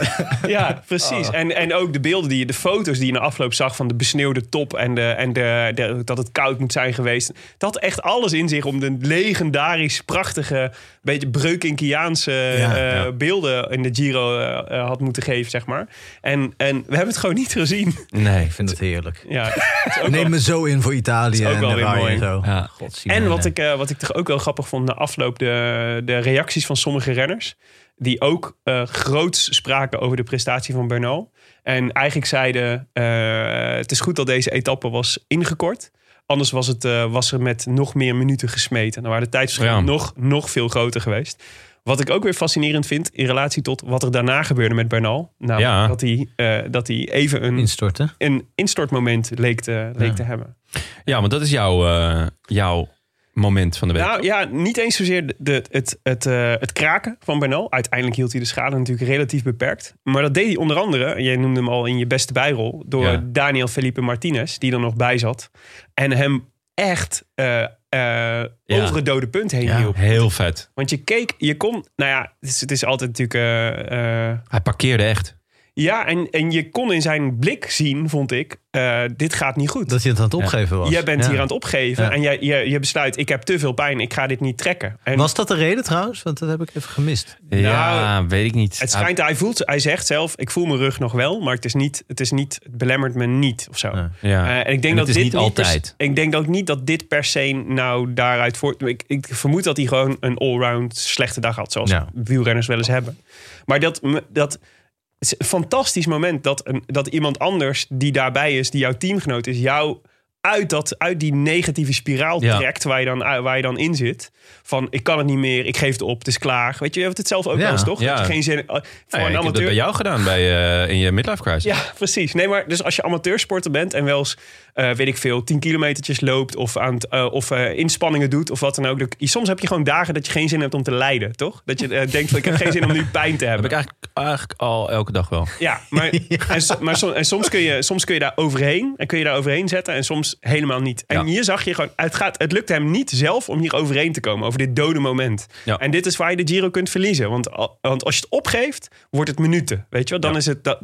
Speaker 6: Ja, precies. En, en ook de beelden die je, de foto's die je na afloop zag van de besneeuwde top en, de, en de, de- dat het koud moet zijn geweest. Dat had echt alles in zich om de legendarisch prachtige, beetje breukinkiaanse eh, beelden in de Giro eh, eh, had moeten geven, zeg maar. En, en we hebben het gewoon niet gezien.
Speaker 1: Nee.
Speaker 2: Ik vind het heerlijk.
Speaker 6: Ja, het is ook wel-
Speaker 2: Neem me zo in voor Italië
Speaker 6: ook
Speaker 2: en
Speaker 6: wel
Speaker 2: de
Speaker 6: weer
Speaker 2: Rij
Speaker 6: mooi.
Speaker 2: en zo.
Speaker 1: Ja.
Speaker 6: En wat ik, eh, wat ik toch ook wel grappig vond na afloop, de, de reacties van sommige renners. Die ook eh, groots spraken over de prestatie van Bernal. En eigenlijk zeiden, eh, het is goed dat deze etappe was ingekort. Anders was, het, eh, was er met nog meer minuten gesmeten. Dan waren de tijdsverschillen
Speaker 1: Ja.
Speaker 6: nog, nog veel groter geweest. Wat ik ook weer fascinerend vind in relatie tot wat er daarna gebeurde met Bernal. Nou,
Speaker 1: Ja.
Speaker 6: dat, hij, eh, dat hij even een,
Speaker 2: Instorten.
Speaker 6: een instortmoment leek te, leek te hebben.
Speaker 1: Ja, want dat is jouw, eh, jouw moment van de week.
Speaker 6: Nou ja, niet eens zozeer de, de- het, het, eh, het kraken van Bernal. Uiteindelijk hield hij de schade natuurlijk relatief beperkt. Maar dat deed hij onder andere, en jij noemde hem al in je beste bijrol, door
Speaker 1: Ja.
Speaker 6: Daniel Felipe Martinez, die er nog bij zat. En hem echt eh, eh, over het dode punt heen
Speaker 1: Ja,
Speaker 6: hielp.
Speaker 1: heel vet.
Speaker 6: Want je keek, je kon, nou ja, het is, het is altijd natuurlijk eh, eh,
Speaker 1: Hij parkeerde echt.
Speaker 6: ja, en, en je kon in zijn blik zien, vond ik, eh, dit gaat niet goed.
Speaker 2: Dat hij het aan het opgeven was.
Speaker 6: Jij bent
Speaker 2: Ja.
Speaker 6: hier aan het opgeven
Speaker 2: Ja.
Speaker 6: en jij, je, je besluit, ik heb te veel pijn, ik ga dit niet trekken. En
Speaker 2: Was dat de reden trouwens? Want dat heb ik even gemist.
Speaker 1: ja, weet ik niet.
Speaker 6: Nou, Het schijnt, hij, voelt, hij zegt zelf, ik voel mijn rug nog wel, maar het is niet, het, is niet, het belemmert me niet of zo.
Speaker 1: ja.
Speaker 6: Eh, en ik denk
Speaker 1: En het
Speaker 6: dat
Speaker 1: is
Speaker 6: dit
Speaker 1: niet
Speaker 6: per-
Speaker 1: altijd.
Speaker 6: ik denk ook niet dat dit per se nou daaruit voort. Ik, ik vermoed dat hij gewoon een allround slechte dag had, zoals
Speaker 2: Ja.
Speaker 6: wielrenners wel eens hebben. Maar dat, m- dat is een fantastisch moment dat, een, dat iemand anders die daarbij is, die jouw teamgenoot is, jou uit, dat, uit die negatieve spiraal
Speaker 1: Ja.
Speaker 6: trekt waar je, dan, waar je dan in zit. Van ik kan het niet meer, ik geef het op, het is klaar. Weet je, je hebt het zelf ook
Speaker 2: Ja,
Speaker 6: wel eens toch?
Speaker 1: ja.
Speaker 6: Dat je geen zin voor
Speaker 1: Nou ja,
Speaker 6: een
Speaker 1: ik heb dat bij
Speaker 6: amateur.
Speaker 1: jou gedaan bij, eh, in je midlife crisis.
Speaker 6: Ja, precies. Nee, maar dus als je amateursporter bent en wel eens, eh, weet ik veel, 10 kilometertjes loopt of, aan het, eh, of eh, inspanningen doet of wat dan ook. Je- Soms heb je gewoon dagen dat je geen zin hebt om te lijden, toch? Dat je eh, denkt van ik heb geen zin om nu pijn te
Speaker 1: Heb
Speaker 6: hebben.
Speaker 1: ik eigenlijk, eigenlijk al elke dag wel.
Speaker 6: Ja, maar, En, so- maar so- en soms, kun je, soms kun je daar overheen en kun je daar overheen zetten. En soms helemaal niet. En
Speaker 1: Ja.
Speaker 6: hier zag je gewoon, het, gaat, het lukt hem niet zelf om hier overheen te komen, over dit dode moment.
Speaker 1: Ja.
Speaker 6: En dit is waar je de Giro kunt verliezen. Want, al- want als je het opgeeft, wordt het minuten. Weet je wel, dan is het dat.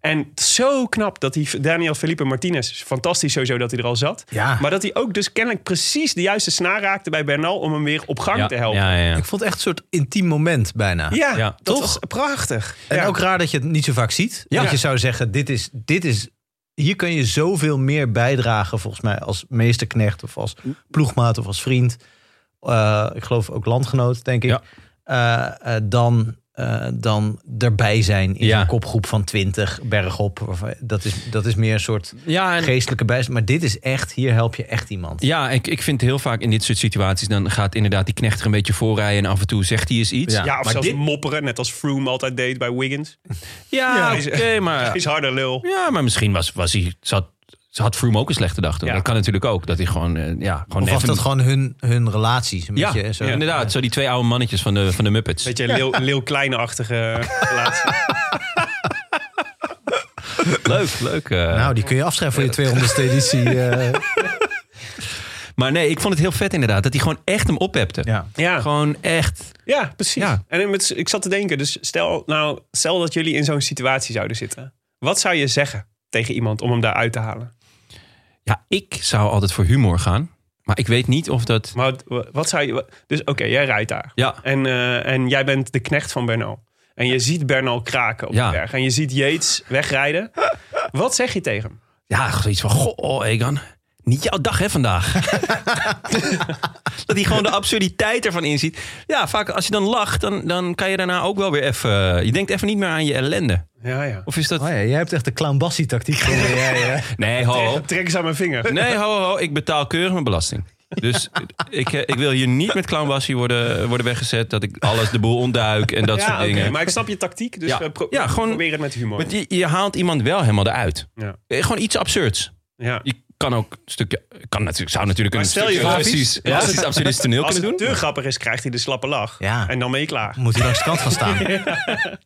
Speaker 6: En zo knap dat die Daniel Felipe Martinez, fantastisch sowieso dat hij er al zat.
Speaker 2: Ja.
Speaker 6: Maar dat hij ook dus kennelijk precies de juiste snaar raakte bij Bernal om hem weer op gang
Speaker 1: ja,
Speaker 6: te helpen. Ja,
Speaker 1: Ja, ja, ja.
Speaker 2: Ik vond het echt een soort intiem moment bijna.
Speaker 1: Ja.
Speaker 6: dat
Speaker 2: Toch?
Speaker 6: was prachtig.
Speaker 2: En
Speaker 6: Ja.
Speaker 2: ook raar dat je het niet zo vaak ziet.
Speaker 6: Ja.
Speaker 2: Dat je zou zeggen, dit is, dit is... Hier kun je zoveel meer bijdragen volgens mij als meesterknecht... of als ploegmaat of als vriend. Eh, ik geloof ook landgenoot, denk ik.
Speaker 1: Ja.
Speaker 2: Eh, eh, dan, eh, dan erbij zijn in
Speaker 1: Ja.
Speaker 2: zo'n kopgroep van 20 bergop. Waarvan- Dat is, dat is meer een soort
Speaker 1: Ja, en
Speaker 2: geestelijke bijstand. Maar dit is echt, hier help je echt iemand.
Speaker 1: Ja, ik, ik vind heel vaak in dit soort situaties... dan gaat inderdaad die knecht er een beetje voorrijden... en af en toe zegt hij eens iets.
Speaker 6: Ja, of
Speaker 1: maar
Speaker 6: zelfs
Speaker 1: dit-
Speaker 6: mopperen, net als Froome altijd deed bij Wiggins.
Speaker 1: ja,
Speaker 6: Ja, is-
Speaker 1: oké, maar...
Speaker 6: Is harder lul.
Speaker 1: Ja, maar misschien was, was hij... Zat, had Froome ook een slechte dag toen.
Speaker 6: Ja.
Speaker 1: Dat kan natuurlijk ook. Dat hij gewoon... eh, Ja, gewoon
Speaker 2: Of was
Speaker 1: even-
Speaker 2: dat gewoon hun, hun relaties? Een
Speaker 1: Ja,
Speaker 2: beetje, zo.
Speaker 1: ja, inderdaad. Zo die twee oude mannetjes van de, van de Muppets.
Speaker 6: Beetje leeuw, leeuw kleine-achtige relatie.
Speaker 1: Leuk, leuk. eh.
Speaker 2: Nou, die kun je afschrijven voor je 200ste editie. eh.
Speaker 1: maar nee, ik vond het heel vet inderdaad. Dat hij gewoon echt hem ophepte.
Speaker 2: ja.
Speaker 6: Ja.
Speaker 1: Gewoon echt...
Speaker 6: Ja, precies.
Speaker 1: Ja.
Speaker 6: En met, ik zat te denken, dus stel, nou, stel dat jullie in zo'n situatie zouden zitten. Wat zou je zeggen tegen iemand om hem daaruit te halen?
Speaker 1: Ja, ik zou altijd voor humor gaan. Maar ik weet niet of dat...
Speaker 6: Maar wat, wat zou je... Dus oké, jij rijdt daar.
Speaker 1: Ja,
Speaker 6: En, eh, en jij bent de knecht van Bernal. En je ziet Bernal kraken op
Speaker 1: Ja.
Speaker 6: de berg. En je ziet Yates wegrijden. Wat zeg je tegen hem?
Speaker 1: Ja, zoiets van, goh, Egan. Niet jouw dag, hè, vandaag. dat hij gewoon de absurditeit ervan inziet. Ja, vaak als je dan lacht, dan, dan kan je daarna ook wel weer even... Je denkt even niet meer aan je ellende.
Speaker 6: Ja, ja.
Speaker 1: Of is dat...
Speaker 2: Oh ja, jij hebt echt de clown Bassie tactiek. ja, ja.
Speaker 1: Nee, ho.
Speaker 6: Trek eens aan mijn vinger.
Speaker 1: Nee, ho, ho. Ik betaal keurig mijn belasting. Dus ik, eh, ik wil hier niet met Clown Bassie worden, worden weggezet. Dat ik alles de boel ontduik en dat
Speaker 6: ja,
Speaker 1: soort
Speaker 6: oké,
Speaker 1: dingen.
Speaker 6: Maar ik snap je tactiek. Dus
Speaker 1: Ja.
Speaker 6: eh, pro-
Speaker 1: Ja, gewoon-
Speaker 6: probeer het met humor.
Speaker 1: Want je, je haalt iemand wel helemaal eruit.
Speaker 6: Ja.
Speaker 1: Eh, Gewoon iets absurds.
Speaker 6: ja.
Speaker 1: Je kan ook een stukje... Kan natuurlijk, zou natuurlijk
Speaker 6: Maar
Speaker 1: een
Speaker 6: stel je
Speaker 1: stukje
Speaker 6: voor-
Speaker 1: racistisch, racistisch absurdisch toneel
Speaker 6: Als
Speaker 1: kunnen doen.
Speaker 6: het te grappig is, krijgt hij de slappe lach.
Speaker 2: Ja.
Speaker 6: En dan ben je klaar.
Speaker 2: Moet hij langs de kant gaan staan.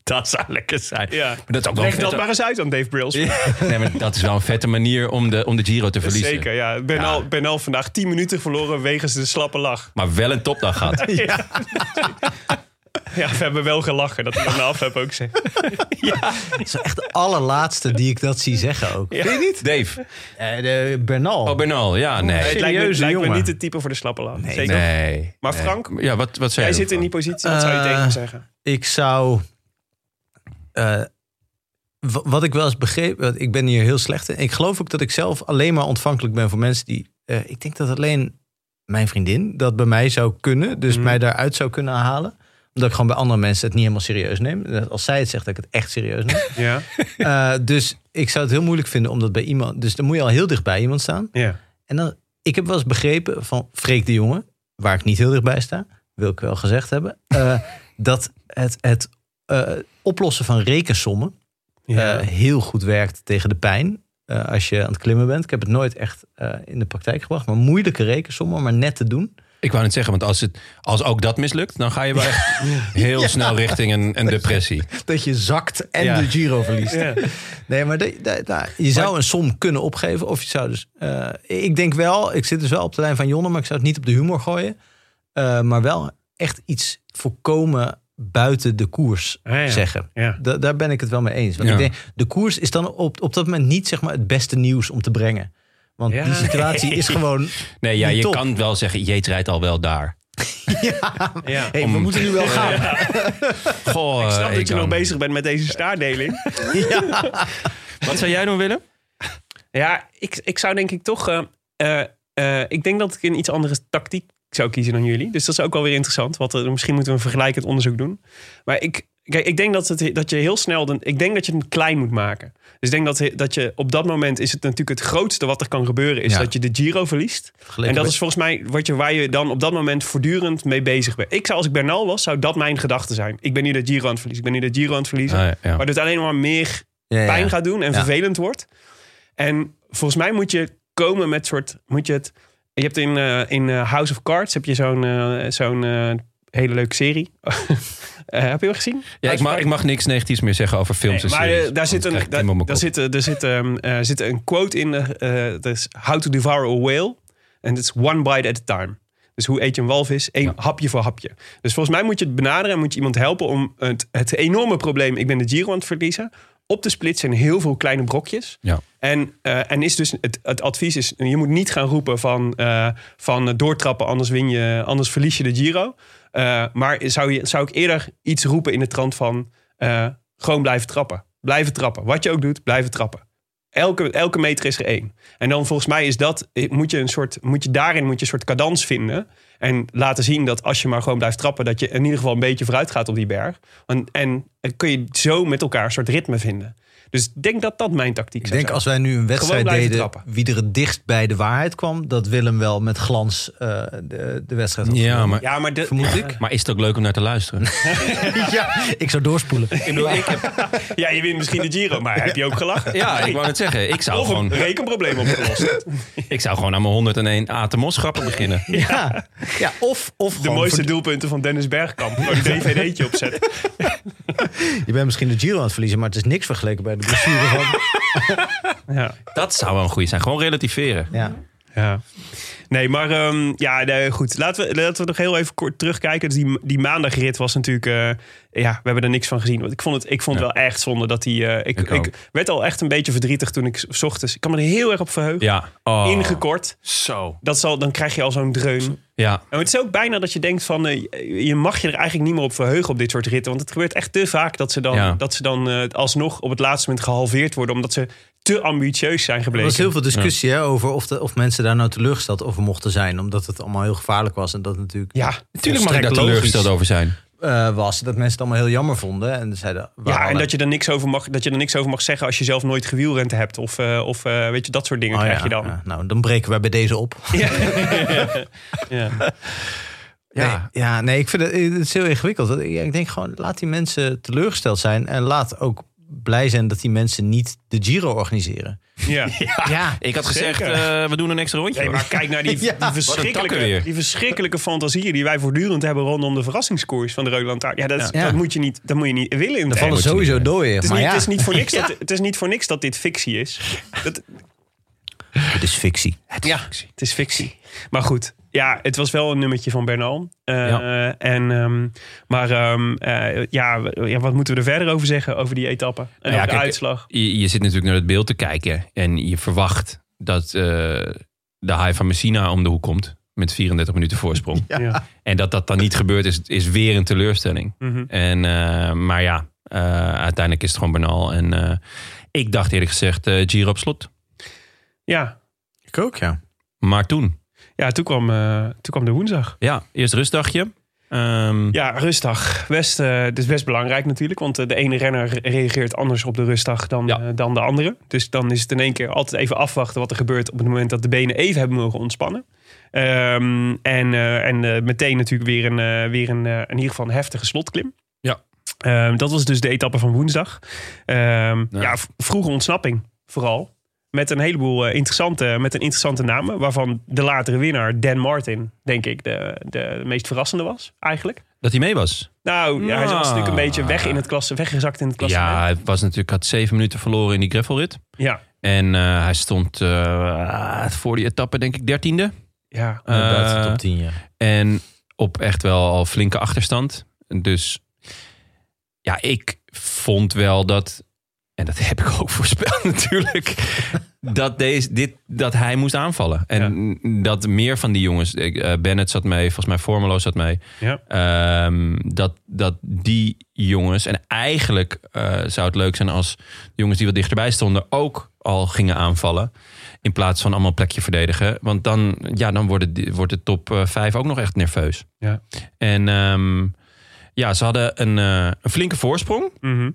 Speaker 1: Dat zou lekker zijn.
Speaker 6: Ja.
Speaker 1: Maar dat is ook wel een
Speaker 6: Leg dat
Speaker 1: vette...
Speaker 6: maar eens uit aan Dave Brills.
Speaker 1: Nee, maar dat is wel een vette manier om de, om de Giro te verliezen.
Speaker 6: Zeker, ja. Ben, Al, ben al vandaag 10 minuten verloren wegens de slappe lach.
Speaker 1: Maar wel een topdag gehad.
Speaker 6: Ja, we hebben wel gelachen. Dat ik dat na afheb ook zeg.
Speaker 2: Dat is echt de allerlaatste die ik dat zie zeggen ook.
Speaker 6: Ja. Vind je niet?
Speaker 1: Dave.
Speaker 2: Eh, de Bernal.
Speaker 1: Oh, Bernal. Ja, nee.
Speaker 6: Het lijkt me,
Speaker 2: Serieuze
Speaker 6: lijkt me
Speaker 2: jongen.
Speaker 6: niet het type voor de slappe lach. Zeker.
Speaker 1: Nee.
Speaker 6: Maar
Speaker 1: nee.
Speaker 6: Frank,
Speaker 1: Ja, wat, wat zei
Speaker 6: jij
Speaker 1: je
Speaker 6: zit in die
Speaker 1: ervan?
Speaker 6: positie. Wat zou je
Speaker 2: Eh,
Speaker 6: tegen hem zeggen?
Speaker 2: Ik zou... eh, wa- wat ik wel eens begreep... want Ik ben hier heel slecht in. Ik geloof ook dat ik zelf alleen maar ontvankelijk ben voor mensen die... eh, ik denk dat alleen mijn vriendin dat bij mij zou kunnen. Dus mij daaruit zou kunnen halen. Omdat ik gewoon bij andere mensen het niet helemaal serieus neem. Dat Als zij het zegt, dat ik het echt serieus neem.
Speaker 6: Ja.
Speaker 2: Eh, dus ik zou het heel moeilijk vinden om dat bij iemand... Dus dan moet je al heel dicht bij iemand staan.
Speaker 6: ja.
Speaker 2: En dan, ik heb wel eens begrepen van Freek de Jonge, waar ik niet heel dichtbij sta, wil ik wel gezegd hebben, eh, dat het, het eh, oplossen van rekensommen eh, heel goed werkt tegen de pijn. eh, als je aan het klimmen bent. Ik heb het nooit echt eh, in de praktijk gebracht. Maar moeilijke rekensommen, maar net te doen.
Speaker 1: Ik wou net zeggen, want als, het, als ook dat mislukt... dan ga je wel echt heel snel richting een, een depressie.
Speaker 2: Dat je zakt en
Speaker 1: Ja.
Speaker 2: de Giro verliest.
Speaker 6: Ja.
Speaker 2: Nee, maar de- de- de- je zou een som kunnen opgeven. Of je zou dus. eh, ik denk wel, ik zit dus wel op de lijn van Jonne, maar ik zou het niet op de humor gooien. Eh, maar wel echt iets voorkomen buiten de koers
Speaker 6: Ah, ja.
Speaker 2: zeggen.
Speaker 6: Ja.
Speaker 2: Da- daar ben ik het wel mee eens. Want
Speaker 1: Ja.
Speaker 2: ik denk, de koers is dan op, op dat moment niet zeg maar, het beste nieuws om te brengen. Want
Speaker 6: Ja.
Speaker 2: die situatie is gewoon.
Speaker 1: Nee, ja,
Speaker 2: Niet
Speaker 1: je
Speaker 2: top.
Speaker 1: kan wel zeggen... Jeet rijdt al wel daar. Eh.
Speaker 6: Ja.
Speaker 2: hey, we moeten nu wel gaan.
Speaker 1: Goh,
Speaker 6: Ik snap dat je
Speaker 1: Eh, Egan.
Speaker 6: nog bezig bent met deze staardeling.
Speaker 1: Wat zou jij doen, Willem?
Speaker 6: Ja, ik, ik zou denk ik toch... eh, eh, eh, ik denk dat ik een iets andere tactiek zou kiezen dan jullie. Dus dat is ook wel weer interessant. Want eh, misschien moeten we een vergelijkend onderzoek doen. Maar ik, kijk, ik denk dat, het, dat je heel snel... de- ik denk dat je het klein moet maken. Dus ik denk dat, dat je op dat moment is het natuurlijk het grootste wat er kan gebeuren... is
Speaker 2: Ja.
Speaker 6: dat je de Giro verliest. en dat is volgens mij wat je, waar je dan op dat moment voortdurend mee bezig bent. Ik zou, als ik Bernal was, zou dat mijn gedachte zijn. Ik ben nu de Giro aan het verliezen. Ik ben nu de Giro aan het verliezen.
Speaker 1: Ah, ja.
Speaker 6: Maar dat alleen maar meer
Speaker 2: Ja, ja.
Speaker 6: pijn gaat doen en
Speaker 2: Ja.
Speaker 6: vervelend wordt. En volgens mij moet je komen met soort, moet je het. Je hebt in, eh, in eh, House of Cards heb je zo'n eh, zo'n eh, hele leuke serie Eh, heb je hem gezien?
Speaker 1: Ja, ik, mag, ik mag niks negatiefs meer zeggen over films
Speaker 6: Nee,
Speaker 1: en
Speaker 6: maar eh,
Speaker 1: series.
Speaker 6: daar
Speaker 1: want
Speaker 6: zit
Speaker 1: dan
Speaker 6: een,
Speaker 1: krijg ik Tim op
Speaker 6: daar,
Speaker 1: mijn
Speaker 6: daar
Speaker 1: kop.
Speaker 6: zit, eh, daar zit, ehm, eh, zit een quote in. eh, eh, dat is How to devour a whale. En het is one bite at a time. Dus hoe eet je een walvis? Eén hapje voor hapje. Dus volgens mij moet je het benaderen en moet je iemand helpen om het, het enorme probleem, ik ben de Giro aan het verliezen, op te splitsen in heel veel kleine brokjes.
Speaker 1: Ja.
Speaker 6: En, eh, en is dus het, het advies is, je moet niet gaan roepen van, eh, van eh, doortrappen, anders, win je, anders verlies je de Giro. Eh, maar zou, je, zou ik eerder iets roepen in de trant van eh, gewoon blijven trappen. Blijven trappen. Wat je ook doet, blijven trappen. Elke, elke meter is er één. En dan volgens mij is dat, eh, moet je een soort, moet je daarin moet je een soort cadans vinden. En laten zien dat als je maar gewoon blijft trappen, dat je in ieder geval een beetje vooruit gaat op die berg. En, en eh, kun je zo met elkaar een soort ritme vinden. Dus ik denk dat dat mijn tactiek
Speaker 2: Ik
Speaker 6: zou
Speaker 2: denk
Speaker 6: zijn.
Speaker 2: als wij nu een wedstrijd
Speaker 6: blijven
Speaker 2: deden
Speaker 6: trappen.
Speaker 2: wie er het dichtst bij de waarheid kwam, dat Willem wel met glans eh, de, de wedstrijd had
Speaker 1: Ja,
Speaker 2: gewonnen.
Speaker 1: maar,
Speaker 6: Ja, maar de,
Speaker 2: Vermoed ik.
Speaker 1: maar is het ook leuk om naar te luisteren?
Speaker 2: Ja, ik zou doorspoelen.
Speaker 6: ja, je wint misschien de Giro, maar heb je ook gelachen?
Speaker 1: ja, ik wou net zeggen. Ik zou,
Speaker 6: Of een
Speaker 1: gewoon,
Speaker 6: rekenprobleem opgelost.
Speaker 1: ik zou gewoon aan mijn 101 Atemos grappen beginnen.
Speaker 2: Ja, ja of, of
Speaker 6: De
Speaker 2: gewoon
Speaker 6: mooiste
Speaker 2: verd-
Speaker 6: doelpunten van Dennis Bergkamp. Waar een dvd'tje op zet.
Speaker 2: Je bent misschien de Giro aan het verliezen, maar het is niks vergeleken bij de blessure van...
Speaker 6: Ja.
Speaker 1: Dat zou wel een goeie zijn. Gewoon relativeren.
Speaker 2: Ja.
Speaker 6: Ja. Nee, maar ehm, ja, nee, goed. Laten we, laten we nog heel even kort terugkijken. Dus die, die maandagrit was natuurlijk... eh, ja, we hebben er niks van gezien. Want ik vond het, ik vond het wel echt zonde dat die... eh, ik,
Speaker 1: Ik
Speaker 6: ik,
Speaker 1: ook.
Speaker 6: werd al echt een beetje verdrietig toen ik s- s ochtends... Ik kan me er heel erg op verheugen.
Speaker 1: Ja. Oh,
Speaker 6: Ingekort.
Speaker 1: Zo.
Speaker 6: Dat zal, dan krijg je al zo'n dreun.
Speaker 1: Ja.
Speaker 6: En het is ook bijna dat je denkt van... eh, je mag je er eigenlijk niet meer op verheugen op dit soort ritten. Want het gebeurt echt te vaak dat ze dan,
Speaker 1: Ja.
Speaker 6: dat ze dan eh, alsnog op het laatste moment gehalveerd worden. Omdat ze te ambitieus zijn
Speaker 2: Er
Speaker 6: gebleken.
Speaker 2: was heel veel discussie hè, over of, de, of mensen daar nou teleurgesteld over mochten zijn. Omdat het allemaal heel gevaarlijk was. En dat het natuurlijk
Speaker 6: Ja,
Speaker 1: Tuurlijk mag ik daar
Speaker 2: Volstrekt
Speaker 1: teleurgesteld
Speaker 2: logisch.
Speaker 1: over zijn.
Speaker 2: eh, was. Dat mensen het allemaal heel jammer vonden. En zeiden,
Speaker 6: Ja,
Speaker 2: waarom-
Speaker 6: en dat je, er niks over mag, dat je er niks over mag zeggen als je zelf nooit gewielrend hebt. Of, eh, of eh, weet je, dat soort dingen
Speaker 2: Oh,
Speaker 6: krijg
Speaker 2: ja,
Speaker 6: je dan.
Speaker 2: ja. nou, dan breken wij bij deze op.
Speaker 6: Ja.
Speaker 2: Ja, nee, ja, nee ik vind het, eh, het is heel ingewikkeld. Ja, Ik denk gewoon, laat die mensen teleurgesteld zijn. En laat ook blij zijn dat die mensen niet de Giro organiseren.
Speaker 6: Ja.
Speaker 2: Ja,
Speaker 1: Ik had
Speaker 6: Zeker.
Speaker 1: gezegd, eh, we doen een extra rondje.
Speaker 6: Nee, maar kijk naar die, die,
Speaker 1: takken
Speaker 6: verschrikkelijke,
Speaker 1: weer.
Speaker 6: die verschrikkelijke fantasieën die wij voortdurend hebben rondom de verrassingskoers van de Rode Lantaarn. Ja, dat, is-
Speaker 2: Ja.
Speaker 6: dat moet je niet, dat moet je niet willen in de
Speaker 2: vallen
Speaker 6: het,
Speaker 1: je
Speaker 2: sowieso
Speaker 1: niet
Speaker 2: dooien.
Speaker 6: is
Speaker 2: Maar
Speaker 6: niet-
Speaker 2: ja,
Speaker 6: Dus het is niet voor niks dat- het is niet voor niks dat dit fictie is. Dat,
Speaker 2: het is fictie.
Speaker 1: ja.
Speaker 6: Het is fictie. Maar goed, ja, het was wel een nummertje van Bernal. Eh,
Speaker 1: Ja.
Speaker 6: en, ehm, maar ehm, eh, ja, w- ja, wat moeten we er verder over zeggen? Over die etappe en over
Speaker 1: ja,
Speaker 6: de
Speaker 1: kijk,
Speaker 6: uitslag.
Speaker 1: Je, je zit natuurlijk naar het beeld te kijken. En je verwacht dat eh, de haai van Messina om de hoek komt. Met 34 minuten voorsprong.
Speaker 6: Ja.
Speaker 1: En dat dat dan niet gebeurt is, is weer een teleurstelling.
Speaker 6: Mhm.
Speaker 1: En, eh, maar ja, eh, uiteindelijk is het gewoon banaal. En eh, ik dacht eerlijk gezegd eh Giro op slot.
Speaker 6: ja.
Speaker 2: Ik ook, ja.
Speaker 1: Maar toen,
Speaker 6: ja toen, kwam, eh, toen kwam de woensdag.
Speaker 1: ja, eerst rustdagje. Ehm,
Speaker 6: Ja, rustdag. Best, eh, het is best belangrijk natuurlijk. Want eh, de ene renner reageert anders op de rustdag dan,
Speaker 1: Ja.
Speaker 6: eh, dan de andere. Dus dan is het in één keer altijd even afwachten wat er gebeurt... op het moment dat de benen even hebben mogen ontspannen. Ehm, en eh, en eh, meteen natuurlijk weer een, eh, weer een eh, in ieder geval een heftige slotklim.
Speaker 1: Ja.
Speaker 6: Ehm, dat was dus de etappe van woensdag. Ehm,
Speaker 1: Ja.
Speaker 6: ja. v- vroege ontsnapping vooral. Met een heleboel eh, interessante, met een interessante namen. Waarvan de latere winnaar, Dan Martin, denk ik, de, de meest verrassende was eigenlijk.
Speaker 1: Dat hij mee was.
Speaker 6: Nou, ja, hij was
Speaker 1: Nou.
Speaker 6: natuurlijk een beetje weg in het klasse, weggezakt in het klasse.
Speaker 1: Ja, hij was natuurlijk, had zeven minuten verloren in die gravelrit.
Speaker 6: ja.
Speaker 1: En eh, hij stond eh, voor die etappe denk ik dertiende.
Speaker 6: ja.
Speaker 2: Buiten de
Speaker 1: Eh,
Speaker 2: top 10, ja.
Speaker 1: En op echt wel al flinke achterstand. Dus ja, ik vond wel dat. En dat heb ik ook voorspeld natuurlijk. Dat, deze, dit, dat hij moest aanvallen. En dat meer van die jongens. ik, eh, Bennett zat mee, volgens mij Formelo zat mee.
Speaker 6: Ja.
Speaker 1: Ehm, dat, dat die jongens. En eigenlijk eh, zou het leuk zijn als de jongens die wat dichterbij stonden. ook al gingen aanvallen. In plaats van allemaal plekje verdedigen. Want dan, ja, dan wordt, het, wordt de top eh, 5 ook nog echt nerveus.
Speaker 6: Ja.
Speaker 1: En ehm, ja, ze hadden een, eh, een flinke voorsprong.
Speaker 6: Mhm.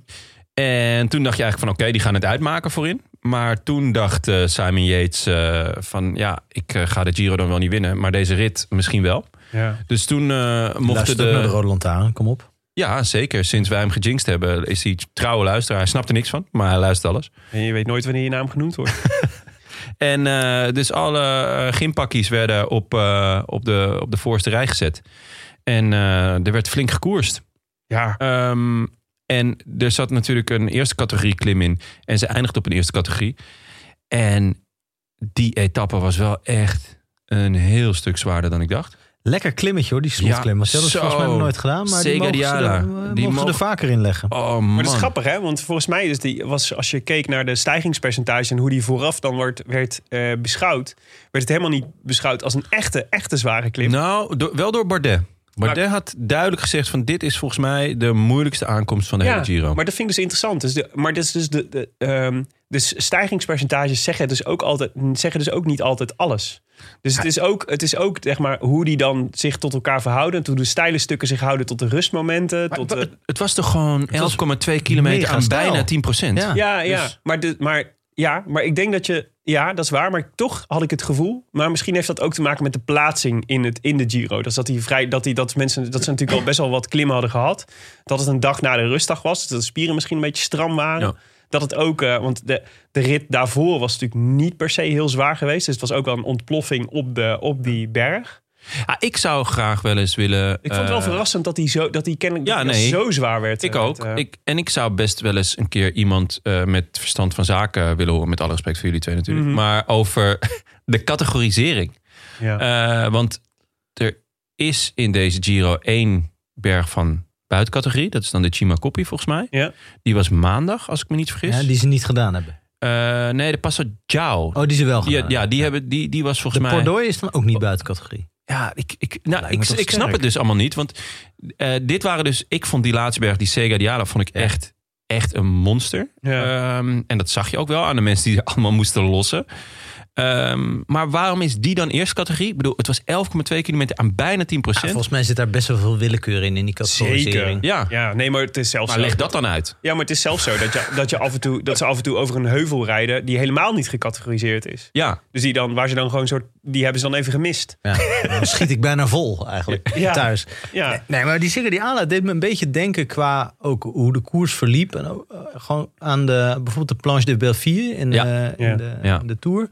Speaker 1: En toen dacht je eigenlijk van oké, die gaan het uitmaken voorin. Maar toen dacht eh, Simon Yates eh, van ja, ik eh, ga de Giro dan wel niet winnen. Maar deze rit misschien wel.
Speaker 6: ja.
Speaker 1: Dus toen eh, mochten
Speaker 2: Luister ook naar de
Speaker 1: de...
Speaker 2: Rode Lantaarn, kom op.
Speaker 1: Ja, zeker. Sinds wij hem gejinxed hebben is hij trouwe luisteraar. Hij snapt er niks van, maar hij luistert alles.
Speaker 6: En je weet nooit wanneer je naam genoemd wordt.
Speaker 1: En eh, dus alle eh, gympakkies werden op, eh, op, de, op de voorste rij gezet. En eh, er werd flink gekoerst.
Speaker 6: Ja,
Speaker 1: Ehm, en er zat natuurlijk een eerste categorie klim in. En ze eindigt op een eerste categorie. En die etappe was wel echt een heel stuk zwaarder dan ik dacht.
Speaker 2: Lekker klimmetje hoor, die slotklim.
Speaker 1: Ja,
Speaker 2: Want dat is
Speaker 1: zo.
Speaker 2: volgens mij nog nooit gedaan. Maar die
Speaker 1: Zeker
Speaker 2: mogen,
Speaker 1: die
Speaker 2: ze,
Speaker 1: Jala.
Speaker 2: er, eh,
Speaker 1: Die
Speaker 2: mogen ze
Speaker 1: mogen-
Speaker 2: er vaker in leggen.
Speaker 1: Oh man.
Speaker 6: Maar dat is grappig, hè? Want volgens mij is die, was, als je keek naar de stijgingspercentage en hoe die vooraf dan wordt, werd eh, beschouwd, werd het helemaal niet beschouwd als een echte, echte zware klim.
Speaker 1: Nou, do- wel door Bardet.
Speaker 6: Nou,
Speaker 1: Bardet had duidelijk gezegd van dit is volgens mij de moeilijkste aankomst van de hele Giro.
Speaker 6: maar dat vind ik dus interessant. Dus de, maar dat is dus de, de, ehm, dus stijgingspercentages zeggen dus, ook altijd, zeggen dus ook niet altijd alles. Dus het is ook, het is ook zeg maar, hoe die dan zich tot elkaar verhouden. Hoe de steile stukken zich houden tot de rustmomenten. Tot eh, de-
Speaker 1: het, het was toch gewoon 11,2
Speaker 2: was
Speaker 1: kilometer
Speaker 2: mega
Speaker 1: aan
Speaker 2: stijl.
Speaker 1: bijna 10 procent.
Speaker 2: Ja.
Speaker 6: Ja, ja.
Speaker 2: Dus-
Speaker 6: Maar, de, maar, ja, maar ik denk dat je... Ja, dat is waar. Maar toch had ik het gevoel... Maar misschien heeft dat ook te maken met de plaatsing in, het, in de Giro. Dat, is dat, die vrij, dat, die, dat, mensen, dat ze natuurlijk al best wel wat klimmen hadden gehad. Dat het een dag na de rustdag was. Dat de spieren misschien een beetje stram waren.
Speaker 1: Ja.
Speaker 6: Dat het ook... eh, want de, de rit daarvoor was natuurlijk niet per se heel zwaar geweest. Dus het was ook wel een ontploffing op, de, op die berg.
Speaker 1: Ah, ik zou graag wel eens willen...
Speaker 6: Ik vond het wel
Speaker 1: eh,
Speaker 6: verrassend dat die, zo, dat die kennelijk
Speaker 1: ja,
Speaker 6: dat die
Speaker 1: nee.
Speaker 6: zo zwaar werd.
Speaker 1: Ik
Speaker 6: eh,
Speaker 1: ook.
Speaker 6: werd, eh,
Speaker 1: ik, en ik zou best wel eens een keer iemand eh, met verstand van zaken willen horen. Met alle respect voor jullie twee natuurlijk.
Speaker 6: Mhm.
Speaker 1: Maar over de categorisering.
Speaker 6: ja.
Speaker 1: Eh, want er is in deze Giro één berg van buitencategorie. Dat is dan de Cima Coppi volgens mij.
Speaker 6: Ja.
Speaker 1: Die was maandag, als ik me niet vergis.
Speaker 2: Ja, die ze niet gedaan hebben.
Speaker 1: Eh, nee, de Passo Giao.
Speaker 2: Oh, die ze wel gedaan
Speaker 1: ja, ja,
Speaker 2: hebben.
Speaker 1: die, hebben, die, die was
Speaker 2: De
Speaker 1: volgens mij...
Speaker 2: Pordoi is dan ook niet buiten categorie.
Speaker 1: Ja, ik, ik, nou,
Speaker 2: Lijkt
Speaker 1: ik,
Speaker 2: me toch
Speaker 1: ik snap
Speaker 2: sterk.
Speaker 1: het dus allemaal niet. Want eh, dit waren dus... Ik vond die laatste berg, die Sega Diala, vond ik echt, echt een monster.
Speaker 6: Ja.
Speaker 1: Ehm, en dat zag je ook wel aan de mensen die er allemaal moesten lossen. Ehm, maar waarom is die dan eerste categorie? Ik bedoel, het was 11,2 kilometer aan bijna 10
Speaker 2: Ja,
Speaker 1: procent.
Speaker 2: volgens mij zit daar best wel veel willekeur in, in die categorisering.
Speaker 1: ja.
Speaker 6: ja, nee, maar het is zelfs
Speaker 1: maar
Speaker 6: zo
Speaker 1: leg dat dan uit.
Speaker 6: Ja, maar het is zelfs zo dat, je, dat, je af en toe, dat ze af en toe over een heuvel rijden die helemaal niet gecategoriseerd is.
Speaker 1: Ja,
Speaker 6: Dus die dan, waar ze dan gewoon een soort, die hebben ze dan even gemist.
Speaker 2: Ja. Dan schiet ik bijna vol eigenlijk
Speaker 6: Ja.
Speaker 2: thuis. Nee,
Speaker 6: Ja,
Speaker 2: Nee, maar die Sigrid Ala deed me een beetje denken qua ook hoe de koers verliep. En ook, eh, gewoon aan de, bijvoorbeeld de Planche de Belfier in,
Speaker 1: Ja.
Speaker 2: de,
Speaker 6: Ja.
Speaker 2: in, de,
Speaker 1: Ja.
Speaker 2: in de Tour.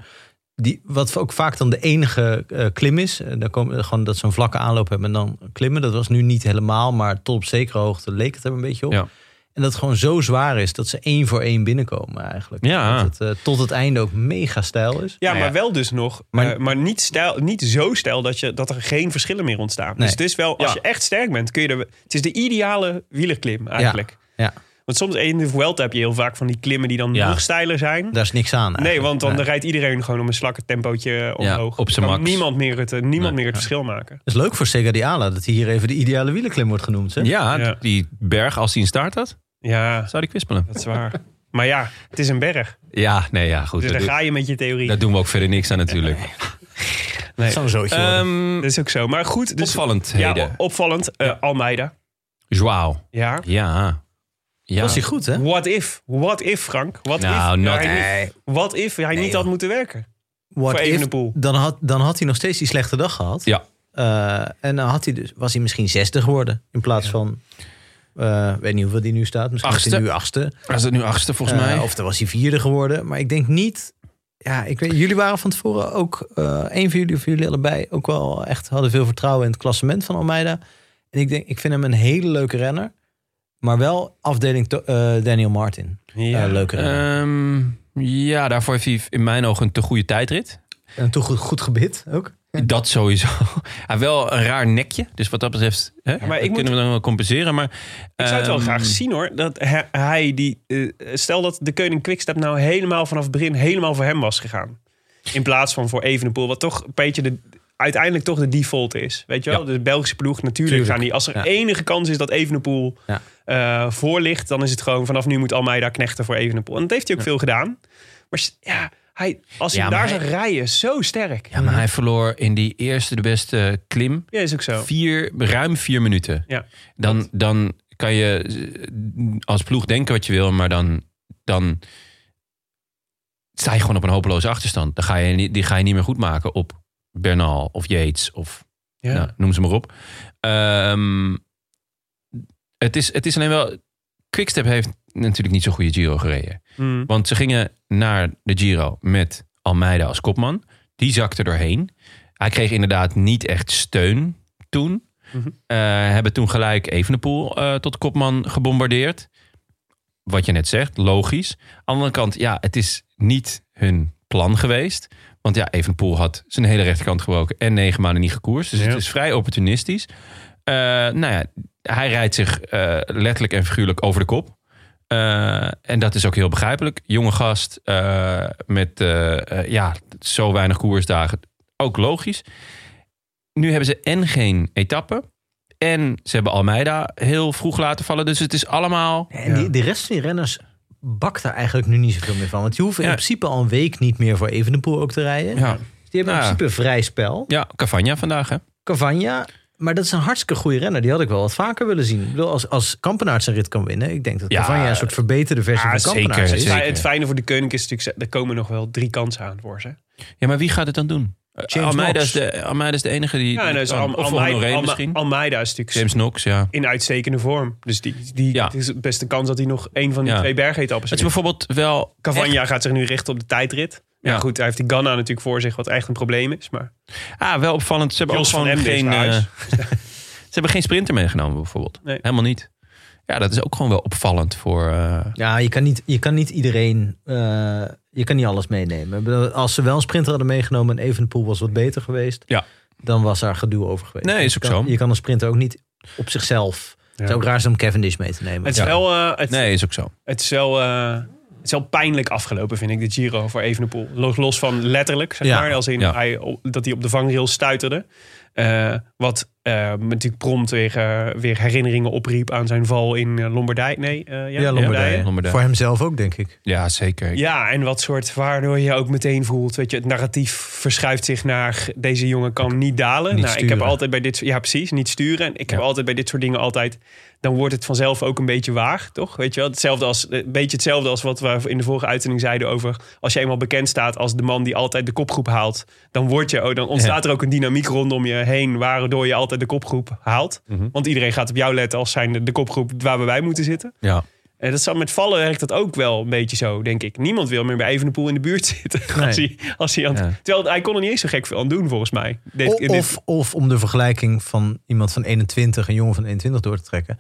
Speaker 2: Die, wat ook vaak dan de enige eh, klim is. Eh, daar komen, gewoon dat ze een vlakke aanloop hebben en dan klimmen. Dat was nu niet helemaal, maar tot op zekere hoogte leek het er een beetje op.
Speaker 1: Ja.
Speaker 2: En dat het gewoon zo zwaar is dat ze één voor één binnenkomen eigenlijk.
Speaker 1: Ja.
Speaker 2: Dat het eh, tot het einde ook mega stijl is.
Speaker 6: ja
Speaker 1: Nou ja.
Speaker 6: maar wel dus nog. eh, Maar,
Speaker 2: Maar-
Speaker 6: niet, stijl, niet zo stijl dat, je, dat er geen verschillen meer ontstaan.
Speaker 2: Nee.
Speaker 6: Dus het is wel, als
Speaker 1: Ja.
Speaker 6: je echt sterk bent, kun je er... Het is de ideale wielerklim eigenlijk.
Speaker 2: Ja,
Speaker 6: Want soms in de Vuelta heb je heel vaak van die klimmen die dan
Speaker 1: Ja.
Speaker 6: nog steiler zijn.
Speaker 2: daar is niks aan.
Speaker 6: Nee,
Speaker 2: eigenlijk.
Speaker 6: want dan
Speaker 2: Nee.
Speaker 6: rijdt iedereen gewoon om een slakke tempootje omhoog.
Speaker 1: op zijn
Speaker 6: Kan
Speaker 1: max.
Speaker 6: Niemand meer het, eh, niemand
Speaker 1: Nee.
Speaker 6: meer het verschil maken.
Speaker 2: Het is leuk voor Segadiala dat hij hier even de ideale wielerklim wordt genoemd. Hè?
Speaker 1: ja,
Speaker 6: Ja.
Speaker 1: die berg, als hij een staart had,
Speaker 6: Ja,
Speaker 1: zou die kwispelen.
Speaker 6: dat is waar. Maar ja, het is een berg.
Speaker 1: Ja, nee, ja, goed. dat
Speaker 6: Dus daar
Speaker 1: doe-
Speaker 6: ga je met je theorie.
Speaker 1: daar doen we ook verder niks aan natuurlijk.
Speaker 2: Dat zou een zootje worden.
Speaker 1: Ehm
Speaker 6: Dat is ook zo. Maar goed, dus,
Speaker 1: opvallendheden.
Speaker 6: ja, opvallend. eh, Almeida.
Speaker 1: Joao.
Speaker 6: Ja.
Speaker 1: Ja. ja.
Speaker 2: Was hij goed, hè?
Speaker 6: What if? What if, Frank? What
Speaker 1: Nou,
Speaker 6: if?
Speaker 1: not-
Speaker 6: hij niet, what if hij niet had moeten werken?
Speaker 2: What
Speaker 6: Voor
Speaker 2: if,
Speaker 6: Evenepoel.
Speaker 2: dan, had, dan had hij nog steeds die slechte dag gehad.
Speaker 1: Ja.
Speaker 2: Eh, en dan had hij dus, was hij misschien zesde geworden. In plaats van, eh, weet niet hoeveel die nu staat. Misschien is hij
Speaker 1: Achtste.
Speaker 2: nu achtste.
Speaker 1: Was het nu achtste volgens
Speaker 2: Eh,
Speaker 1: mij?
Speaker 2: Of dan was hij vierde geworden. Maar ik denk niet... Ja, ik weet, jullie waren van tevoren ook... eh één van jullie of jullie allebei ook wel echt... hadden veel vertrouwen in het klassement van Almeida. En ik denk, ik vind hem een hele leuke renner. Maar wel afdeling to- eh, Daniel Martin.
Speaker 6: Ja.
Speaker 2: Eh, leuke renner.
Speaker 1: Ehm, ja, daarvoor heeft hij in mijn ogen een te goede tijdrit.
Speaker 2: en toch goed, goed gebit ook.
Speaker 1: Dat sowieso. Hij heeft wel een raar nekje. Dus wat dat betreft, hè,
Speaker 6: maar
Speaker 1: dat
Speaker 6: ik moet-
Speaker 1: kunnen we dan wel compenseren. Maar,
Speaker 6: Ik zou het wel
Speaker 1: ehm,
Speaker 6: graag zien hoor. Dat hij, hij die, eh, stel dat de Koning Quickstep nou helemaal vanaf het begin helemaal voor hem was gegaan. In plaats van voor Evenepoel. Wat toch een beetje de, uiteindelijk toch de default is. Weet je wel?
Speaker 1: Ja.
Speaker 6: De Belgische ploeg natuurlijk
Speaker 2: Tuurlijk.
Speaker 6: gaan die. Als er
Speaker 2: Ja.
Speaker 6: enige kans is dat Evenepoel
Speaker 2: Ja.
Speaker 6: eh, voor ligt. Dan is het gewoon vanaf nu moet Almeida knechten voor Evenepoel. En dat heeft hij ook veel gedaan. Maar s- ja, hij, als hij
Speaker 1: Ja,
Speaker 6: daar
Speaker 1: maar
Speaker 6: zou rijden, zo sterk.
Speaker 1: Ja, maar hij verloor in die eerste de beste klim
Speaker 6: Ja, is ook zo.
Speaker 1: vier, ruim vier minuten.
Speaker 6: Ja.
Speaker 1: Dan, dan kan je eh, als ploeg denken wat je wil, maar dan, dan sta je gewoon op een hopeloze achterstand. Dan ga je, niet- die ga je niet meer goed maken op Bernal of Yates of
Speaker 6: Ja.
Speaker 1: nou, noem ze maar op. Ehm, het, is, het is alleen wel... Quickstep heeft natuurlijk niet zo'n goede Giro gereden.
Speaker 6: Mm.
Speaker 1: Want ze gingen naar de Giro met Almeida als kopman. Die zakte doorheen. Hij kreeg inderdaad niet echt steun toen. Eh, hebben toen gelijk Evenepoel eh tot kopman gebombardeerd. Wat je net zegt, logisch. Aan de andere kant, ja, het is niet hun plan geweest. Want ja, Evenepoel had zijn hele rechterkant gebroken en negen maanden niet gekoerst. Dus
Speaker 6: Ja.
Speaker 1: het is vrij opportunistisch. Eh, nou ja, hij rijdt zich eh, letterlijk en figuurlijk over de kop. Eh, en dat is ook heel begrijpelijk. Jonge gast eh, met eh, eh, ja, zo weinig koersdagen. Ook logisch. Nu hebben ze en geen etappe. En ze hebben Almeida heel vroeg laten vallen. Dus het is allemaal...
Speaker 2: En die, de rest van die renners bakt daar eigenlijk nu niet zoveel meer van. Want die hoeven
Speaker 1: Ja.
Speaker 2: in principe al een week niet meer voor Evenepoel ook te rijden. Dus
Speaker 1: Ja,
Speaker 2: Die hebben
Speaker 1: Nou ja.
Speaker 2: in principe vrij spel.
Speaker 1: ja Cavagna vandaag hè.
Speaker 2: Cavagna, maar dat is een hartstikke goede renner. Die had ik wel wat vaker willen zien. Ik bedoel, als, als Kampenaert zijn rit kan winnen... ik denk dat
Speaker 1: Ja.
Speaker 2: Cavagna een soort verbeterde versie
Speaker 1: Ah,
Speaker 2: van
Speaker 1: zeker,
Speaker 2: Kampenaert is.
Speaker 1: zeker.
Speaker 6: Maar het fijne voor de koning is natuurlijk, er komen nog wel drie kansen aan voor ze.
Speaker 1: Ja, maar wie gaat het dan doen? Eh,
Speaker 2: James
Speaker 1: Almeida is,
Speaker 2: Knox.
Speaker 1: de, Almeida is de enige die...
Speaker 6: Ja,
Speaker 1: die
Speaker 6: en dus
Speaker 1: kan.
Speaker 6: Al-
Speaker 1: of
Speaker 6: Almeida-
Speaker 1: Honoré
Speaker 6: Alme-
Speaker 1: misschien.
Speaker 6: Almeida is natuurlijk
Speaker 1: James Knox, ja.
Speaker 6: in uitstekende vorm. Dus die, die,
Speaker 1: Ja.
Speaker 6: het is best een kans dat hij nog een van die
Speaker 1: Ja.
Speaker 6: twee bergetappes
Speaker 1: Het is
Speaker 6: wint.
Speaker 1: bijvoorbeeld wel...
Speaker 6: Cavagna gaat zich nu richten op de tijdrit. Ja,
Speaker 1: Ja.
Speaker 6: goed, hij heeft die Ganna natuurlijk voor zich, wat echt een probleem is. Maar
Speaker 1: echt- ah, wel opvallend. Ze hebben
Speaker 6: Jos
Speaker 1: ook gewoon
Speaker 6: van Emden is
Speaker 1: geen...
Speaker 6: naar huis.
Speaker 1: eh, Ze hebben geen sprinter meegenomen bijvoorbeeld.
Speaker 6: Nee.
Speaker 1: Helemaal niet. Ja, dat is ook gewoon wel opvallend voor... eh,
Speaker 2: Ja, je kan niet, je kan niet iedereen... eh, je kan niet alles meenemen. Ik bedoel, Als ze wel een sprinter hadden meegenomen... en Evenepoel was wat beter geweest...
Speaker 1: Ja.
Speaker 2: dan was daar gedoe over geweest.
Speaker 1: Nee, is
Speaker 2: Je
Speaker 1: ook
Speaker 2: kan-
Speaker 1: zo.
Speaker 2: Je kan een sprinter ook niet op zichzelf... Het zou ook raar zijn om Cavendish mee te nemen.
Speaker 6: het is
Speaker 2: Ja.
Speaker 6: wel... eh, het,
Speaker 1: Nee, is ook zo.
Speaker 6: Het is wel, eh, het is wel pijnlijk afgelopen, vind ik, de Giro voor Evenepoel. Los, los van letterlijk, zeg
Speaker 2: Ja,
Speaker 6: maar, als in
Speaker 1: ja.
Speaker 6: hij, op- dat hij op de vangrail stuiterde. Eh, wat eh, me natuurlijk prompt weer, eh, weer herinneringen opriep aan zijn val in eh, Lombardij. Nee, eh, ja,
Speaker 2: Ja,
Speaker 1: Lombardije.
Speaker 2: Lombardije.
Speaker 1: Lombardije.
Speaker 2: Voor hemzelf ook, denk ik.
Speaker 1: Ja, zeker.
Speaker 6: Ja, en wat soort, waardoor je ook meteen voelt, weet je, het narratief verschuift zich naar deze jongen kan niet dalen.
Speaker 2: Niet
Speaker 6: nou, ik heb
Speaker 2: sturen.
Speaker 6: altijd bij dit soort, ja precies, niet sturen. En ik heb
Speaker 1: Ja.
Speaker 6: altijd bij dit soort dingen altijd, dan wordt het vanzelf ook een beetje waar, toch? Weet je wel, hetzelfde als, een beetje hetzelfde als wat we in de vorige uitzending zeiden over, als je eenmaal bekend staat als de man die altijd de kopgroep haalt, dan word je, oh, dan ontstaat er ook een dynamiek rondom je heen, waardoor je altijd de kopgroep haalt.
Speaker 2: Mhm.
Speaker 6: Want iedereen gaat op jou letten als zijnde de kopgroep waar we bij moeten zitten.
Speaker 1: Ja.
Speaker 6: En Eh, dat zal, met vallen werkt dat ook wel een beetje zo, denk ik. Niemand wil meer bij Evenepoel in de buurt zitten. Als hij, als hij aan,
Speaker 1: Ja.
Speaker 6: Terwijl hij kon er niet eens zo gek veel aan doen, volgens mij. Dit-
Speaker 2: O-
Speaker 6: in dit-
Speaker 2: of, of om de vergelijking van iemand van 21, een jongen van 21 door te trekken.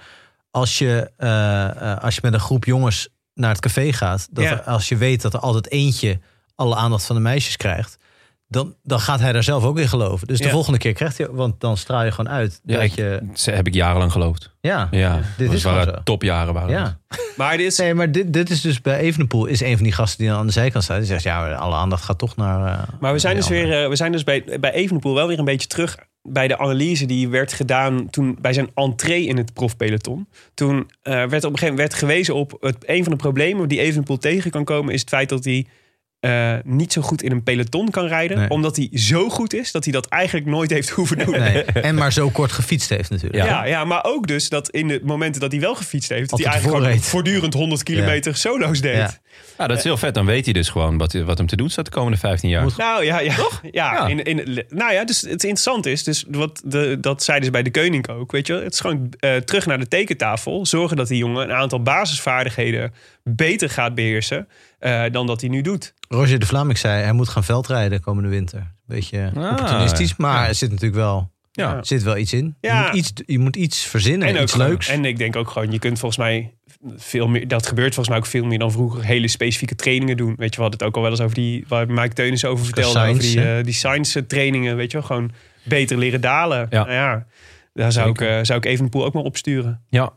Speaker 2: Als je, eh, eh, als je met een groep jongens naar het café gaat, dat
Speaker 6: Ja.
Speaker 2: er- als je weet dat er altijd eentje alle aandacht van de meisjes krijgt, dan, dan gaat hij daar zelf ook in geloven. Dus de
Speaker 6: Ja.
Speaker 2: volgende keer krijgt hij, want dan straal je gewoon uit.
Speaker 1: Ja,
Speaker 2: dat
Speaker 1: ik-
Speaker 2: je,
Speaker 1: Ze heb ik jarenlang geloofd.
Speaker 2: ja,
Speaker 1: Ja,
Speaker 2: dit
Speaker 1: dat
Speaker 2: is gewoon
Speaker 1: waren
Speaker 2: zo.
Speaker 1: topjaren. Waren
Speaker 2: Ja.
Speaker 1: dat.
Speaker 6: maar dit is,
Speaker 2: Nee, maar dit, dit is dus bij Evenepoel is een van die gasten die aan de zijkant staat. Die zegt, ja, maar alle aandacht gaat toch naar... eh,
Speaker 6: Maar we zijn
Speaker 2: die
Speaker 6: dus,
Speaker 2: anderen.
Speaker 6: weer, eh, we zijn dus bij, bij Evenepoel wel weer een beetje terug bij de analyse die werd gedaan toen bij zijn entree in het profpeloton. Toen eh, werd op een gegeven moment werd gewezen op het, een van de problemen die Evenepoel tegen kan komen is het feit dat hij eh, niet zo goed in een peloton kan rijden.
Speaker 2: Nee.
Speaker 6: Omdat hij zo goed is dat hij dat eigenlijk nooit heeft hoeven doen.
Speaker 2: Nee. En maar zo kort gefietst heeft natuurlijk.
Speaker 6: Ja. Ja, maar ook dus dat in de momenten dat hij wel gefietst heeft, dat hij
Speaker 2: Altijd
Speaker 6: eigenlijk gewoon
Speaker 2: voorreed.
Speaker 6: voortdurend 100 kilometer solo's deed.
Speaker 2: Ja.
Speaker 1: Ja, dat is
Speaker 6: Eh,
Speaker 1: heel vet. Dan weet hij dus gewoon wat, wat hem te doen staat de komende 15 jaar.
Speaker 6: Nou ja, ja, ja,
Speaker 1: Ja.
Speaker 6: In, in, nou ja, dus het interessante is, dus wat de, dat zeiden ze bij de Koning ook, weet je, wel. het is gewoon eh, terug naar de tekentafel, zorgen dat die jongen een aantal basisvaardigheden beter gaat beheersen eh, dan dat hij nu doet.
Speaker 2: Roger de Vlaming zei, hij moet gaan veldrijden komende winter. Beetje
Speaker 1: Ah,
Speaker 2: opportunistisch, maar er zit natuurlijk wel,
Speaker 1: Ja.
Speaker 2: er zit wel iets in.
Speaker 6: Ja.
Speaker 2: Je, moet iets, je moet iets verzinnen,
Speaker 6: ook
Speaker 2: iets
Speaker 6: gewoon-
Speaker 2: leuks.
Speaker 6: en ik denk ook gewoon, je kunt volgens mij veel meer, dat gebeurt volgens mij ook veel meer dan vroeger, hele specifieke trainingen doen. Weet je, we hadden het ook al wel eens over die, waar Mike Teunissen over vertelde, over
Speaker 2: science,
Speaker 6: die,
Speaker 2: hè?
Speaker 6: eh, die science trainingen, weet je wel, gewoon beter leren dalen.
Speaker 1: Ja.
Speaker 6: Nou ja, daar zou ik,
Speaker 1: Zeker.
Speaker 6: eh, zou ik Evenepoel ook maar opsturen.
Speaker 1: Ja.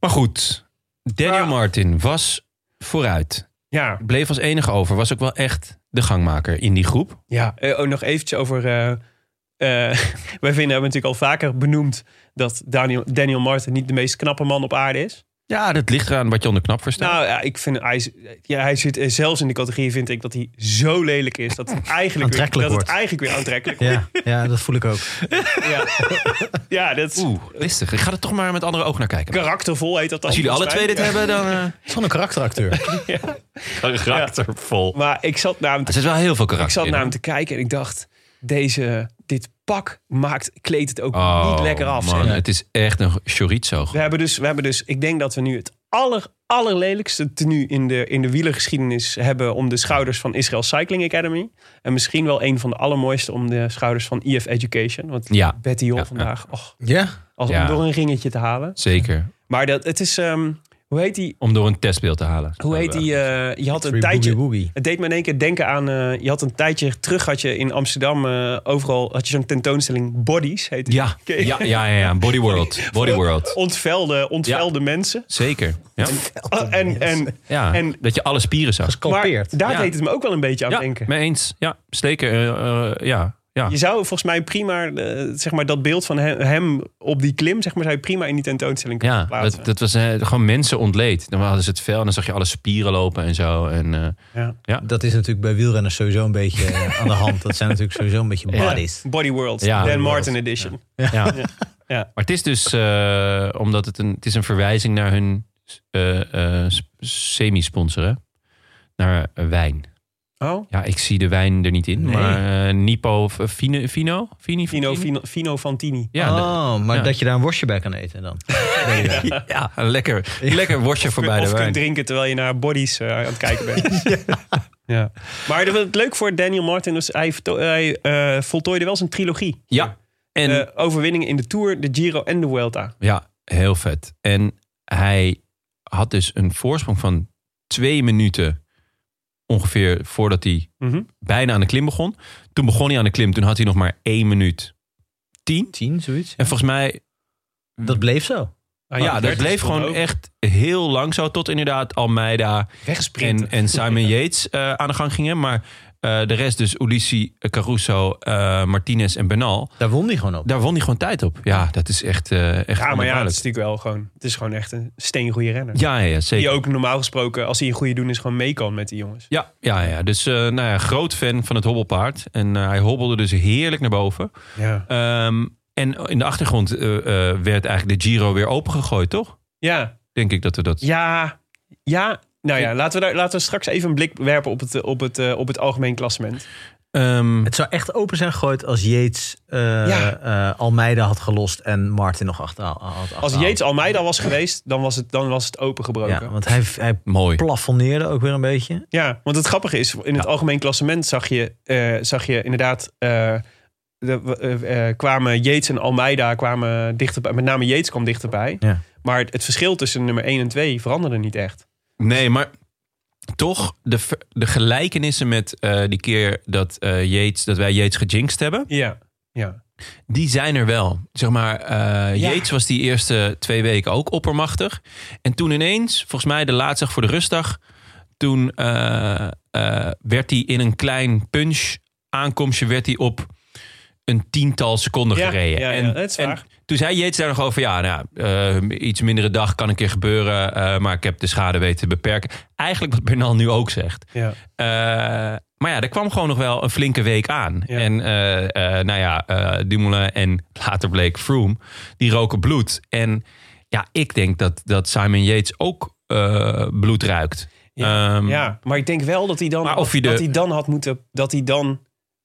Speaker 1: Maar goed, Daniel
Speaker 6: Ah.
Speaker 1: Martin was vooruit.
Speaker 6: Ja,
Speaker 1: Bleef als enige over. Was ook wel echt de gangmaker in die groep.
Speaker 6: ja. Eh, oh, nog eventjes over... eh eh, wij vinden, hebben natuurlijk al vaker benoemd... dat Daniel, Daniel Martin niet de meest knappe man op aarde is.
Speaker 1: Ja, dat ligt eraan wat je onder knap verstaat.
Speaker 6: Nou ja, ik vind... Hij, is- ja, hij zit eh, zelfs in de categorie, vind ik... dat hij zo lelijk is dat het eigenlijk, weer,
Speaker 2: Aantrekkelijk
Speaker 6: dat het
Speaker 2: wordt.
Speaker 6: eigenlijk weer aantrekkelijk wordt.
Speaker 2: Ja, ja, dat voel ik ook.
Speaker 6: Ja, ja dat Nou, is...
Speaker 1: Oeh, listig. Ik ga er toch maar met andere ogen naar kijken.
Speaker 6: Karaktervol heet dat dan.
Speaker 1: Als jullie alle
Speaker 6: volgens
Speaker 1: twee
Speaker 6: mij.
Speaker 1: dit hebben, dan... eh
Speaker 2: Van een karakteracteur.
Speaker 1: Karaktervol.
Speaker 6: Maar ik zat naar hem te
Speaker 1: Er zit wel heel veel karakter
Speaker 6: Ik zat
Speaker 1: in,
Speaker 6: naar
Speaker 1: hoor.
Speaker 6: hem te kijken en ik dacht, deze, dit pak maakt, kleedt het ook
Speaker 1: Oh,
Speaker 6: niet lekker af.
Speaker 1: Man,
Speaker 6: zeg.
Speaker 1: het is echt een chorizo.
Speaker 6: We hebben, dus, we hebben dus, ik denk dat we nu het aller, allerlelijkste tenue in de, in de wielergeschiedenis hebben om de schouders van Israel Cycling Academy. En misschien wel een van de allermooiste om de schouders van EF Education. Want
Speaker 1: Ja.
Speaker 6: Betty Jol
Speaker 1: Ja,
Speaker 6: vandaag, och,
Speaker 2: Ja.
Speaker 6: als
Speaker 1: Ja.
Speaker 6: om door een ringetje te halen.
Speaker 1: Zeker.
Speaker 6: Maar dat, het is, ehm, hoe heet die?
Speaker 1: Om door een testbeeld te halen.
Speaker 6: Hoe heet die? eh, je had een
Speaker 2: Free
Speaker 6: tijdje.
Speaker 2: Boogie Woogie.
Speaker 6: Het deed me in één keer denken aan. eh, je had een tijdje terug had je in Amsterdam eh, overal had je zo'n tentoonstelling Bodies heet die.
Speaker 1: Ja, ja, ja, ja, ja. Body World. Body World.
Speaker 6: Ontvelde, ontvelde mensen.
Speaker 1: Zeker. Ja.
Speaker 6: Oh, en, en,
Speaker 1: Ja,
Speaker 6: En-
Speaker 1: dat je alle spieren zag.
Speaker 6: maar
Speaker 2: Gescalpeerd.
Speaker 6: daar
Speaker 1: Ja.
Speaker 6: deed het me ook wel een beetje aan
Speaker 1: Ja,
Speaker 6: denken.
Speaker 1: mee eens. Ja, zeker. Eh, eh, ja, ja.
Speaker 6: Je zou volgens mij prima, eh, zeg maar, dat beeld van hem, hem op die klim, zeg maar, zou je prima in die tentoonstelling kunnen
Speaker 1: Ja,
Speaker 6: plaatsen.
Speaker 1: dat, dat was eh, gewoon mensen ontleed. Dan hadden ze het vel en dan zag je alle spieren lopen en zo. En, eh,
Speaker 2: Dat is natuurlijk bij wielrenners sowieso een beetje eh, aan de hand. Dat zijn natuurlijk sowieso een beetje bodies.
Speaker 6: Body World,
Speaker 1: Ja,
Speaker 6: Dan
Speaker 1: Body
Speaker 6: Martin Edition.
Speaker 1: ja.
Speaker 6: Ja.
Speaker 1: Maar het is dus, eh, omdat het een, het is een verwijzing naar hun eh, eh, sp- semi-sponsor, hè? Naar eh, wijn.
Speaker 6: Oh,
Speaker 1: Ja, ik zie de wijn er niet in,
Speaker 2: Nee.
Speaker 1: maar eh Nipo of eh, Fino, Fino? Fini,
Speaker 6: Fino, Fino, Fino Fantini.
Speaker 1: Ja, de-
Speaker 2: oh, maar
Speaker 1: ja.
Speaker 2: dat je daar een worstje bij kan eten dan.
Speaker 1: ja, een lekker, lekker worstje
Speaker 6: Kun-
Speaker 1: voorbij
Speaker 6: of
Speaker 1: de
Speaker 6: kunt
Speaker 1: wijn.
Speaker 6: drinken terwijl je naar bodies eh, aan het kijken bent. ja. Maar dat was het leuk voor Daniel Martin was, hij, verto- hij eh, voltooide wel zijn trilogie.
Speaker 1: Ja, en
Speaker 6: Eh, overwinningen in de Tour, de Giro en de Vuelta.
Speaker 1: Ja, heel vet. En hij had dus een voorsprong van twee minuten ongeveer voordat hij
Speaker 6: Mhm.
Speaker 1: bijna aan de klim begon. Toen begon hij aan de klim, toen had hij nog maar één minuut tien.
Speaker 2: Tien, zoiets.
Speaker 1: En volgens mij,
Speaker 2: Dat bleef zo.
Speaker 6: Ah,
Speaker 1: ja, dat
Speaker 6: Bertens
Speaker 1: bleef
Speaker 6: stond
Speaker 1: gewoon
Speaker 6: ook
Speaker 1: echt heel lang zo. Tot inderdaad Almeida
Speaker 6: Weggesprint.
Speaker 1: en, en Simon Yates eh, aan de gang gingen. Maar eh, de rest dus Ulissi, eh, Caruso, eh, Martinez en Bernal.
Speaker 2: Daar won hij gewoon op.
Speaker 1: Daar won hij gewoon tijd op. Ja, dat is echt, eh echt
Speaker 6: Ja, maar ja, het
Speaker 1: onwaarschijnlijk.
Speaker 6: is natuurlijk wel gewoon... Het is gewoon echt een steengoede renner.
Speaker 1: ja, ja, ja, zeker.
Speaker 6: Die ook normaal gesproken, als hij een goede doen is, gewoon mee kan met die jongens.
Speaker 1: Ja, ja, ja. dus eh, nou ja, groot fan van het hobbelpaard. En eh, hij hobbelde dus heerlijk naar boven.
Speaker 6: Ja.
Speaker 1: Ehm, en in de achtergrond eh, eh, werd eigenlijk de Giro weer opengegooid, toch?
Speaker 6: Ja,
Speaker 1: Denk ik dat we dat...
Speaker 6: ja, ja. Nou ja, laten we, daar, laten we straks even een blik werpen op het, eh, op het, eh, op het algemeen klassement.
Speaker 1: Ehm,
Speaker 2: Het zou echt open zijn gegooid als Yates eh,
Speaker 6: Ja.
Speaker 2: eh, Almeida had gelost en Martin nog achter had
Speaker 6: Als
Speaker 2: achterhaald.
Speaker 6: Yates Almeida was geweest, dan was het, dan was het
Speaker 2: Ja,
Speaker 6: opengebroken. Ja,
Speaker 2: want hij, hij
Speaker 1: mooi.
Speaker 2: plafonneerde ook weer een beetje.
Speaker 6: want het grappige is, in het algemeen klassement zag je, eh, zag je inderdaad... eh, de, eh, eh, kwamen Yates en Almeida kwamen dichterbij. Met name Yates kwam dichterbij.
Speaker 2: Ja.
Speaker 6: Maar het, het verschil tussen nummer 1 en 2 veranderde niet echt.
Speaker 1: Nee, maar toch de, ver- de gelijkenissen met eh, die keer dat, eh Yates, dat wij Yates gejinxed hebben...
Speaker 6: Ja, ja.
Speaker 1: Die zijn er wel. Zeg maar, eh
Speaker 6: Ja.
Speaker 1: Yates was die eerste twee weken ook oppermachtig. En toen ineens, volgens mij de laatste dag voor de rustdag... toen eh, eh, werd hij in een klein punch aankomstje... werd hij op een tiental seconden
Speaker 6: Ja,
Speaker 1: gereden.
Speaker 6: ja, ja,
Speaker 1: en,
Speaker 6: dat is
Speaker 1: en
Speaker 6: waar.
Speaker 1: toen zei Yates daar nog over... ja, nou, eh, iets mindere dag kan een keer gebeuren... eh, maar ik heb de schade weten te beperken. Eigenlijk wat Bernal nu ook zegt.
Speaker 6: ja.
Speaker 1: Eh, maar ja, er kwam gewoon nog wel een flinke week aan.
Speaker 6: Ja.
Speaker 1: En eh, eh, nou ja, eh Dumoulin en later bleek Froome, die roken bloed. En ja, ik denk dat, dat Simon Yates ook eh, bloed ruikt.
Speaker 6: Ja,
Speaker 1: Ehm,
Speaker 6: ja, maar ik denk wel dat hij dan,
Speaker 1: Maar of hij de-
Speaker 6: dat hij dan had moeten, dat hij dan,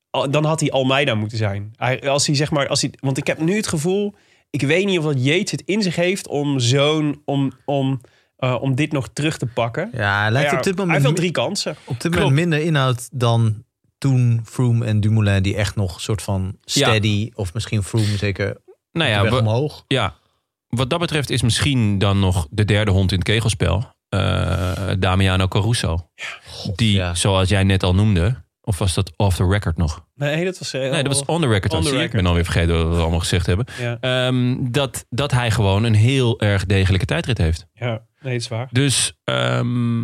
Speaker 6: al- dan had hij Almeida moeten zijn. Hij- Als hij zeg maar, als hij, want ik heb nu het gevoel, ik weet niet of dat Yates het in zich heeft om zo'n, om, om, eh, om dit nog terug te pakken.
Speaker 2: Ja, hij lijkt
Speaker 6: Ja,
Speaker 2: op dit
Speaker 6: hij
Speaker 2: moment,
Speaker 6: heeft wel drie kansen.
Speaker 2: op dit moment minder inhoud dan toen Froome en Dumoulin... die echt nog soort van steady, of misschien Froome zeker
Speaker 1: nou ja,
Speaker 2: de weg
Speaker 1: wa-
Speaker 2: omhoog.
Speaker 1: ja, wat dat betreft is misschien dan nog de derde hond in het kegelspel. eh, Damiano Caruso. die,
Speaker 2: ja.
Speaker 1: zoals jij net al noemde, of was dat off the record nog?
Speaker 6: Nee, dat was, eh,
Speaker 1: Nee, dat was on the record.
Speaker 6: On
Speaker 1: al.
Speaker 6: the
Speaker 1: Zie je, Ik
Speaker 6: record.
Speaker 1: ben alweer vergeten wat we allemaal gezegd hebben.
Speaker 6: ja,
Speaker 1: Ehm, dat, dat hij gewoon een heel erg degelijke tijdrit heeft.
Speaker 6: ja, nee, dat is waar.
Speaker 1: Dus ehm,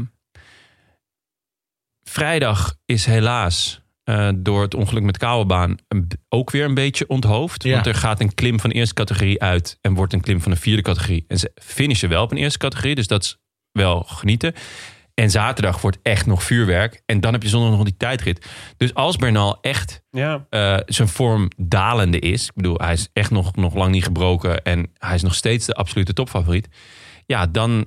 Speaker 1: vrijdag is helaas eh, door het ongeluk met Kouwenbaan een b- ook weer een beetje onthoofd.
Speaker 2: Ja.
Speaker 1: Want er gaat een klim van de eerste categorie uit en wordt een klim van de vierde categorie. En ze finishen wel op een eerste categorie, dus dat is wel genieten. En zaterdag wordt echt nog vuurwerk. En dan heb je zondag nog die tijdrit. Dus als Bernal echt
Speaker 6: Ja,
Speaker 1: eh, zijn vorm dalende is. Ik bedoel, hij is echt nog, nog lang niet gebroken. En hij is nog steeds de absolute topfavoriet. Ja, dan,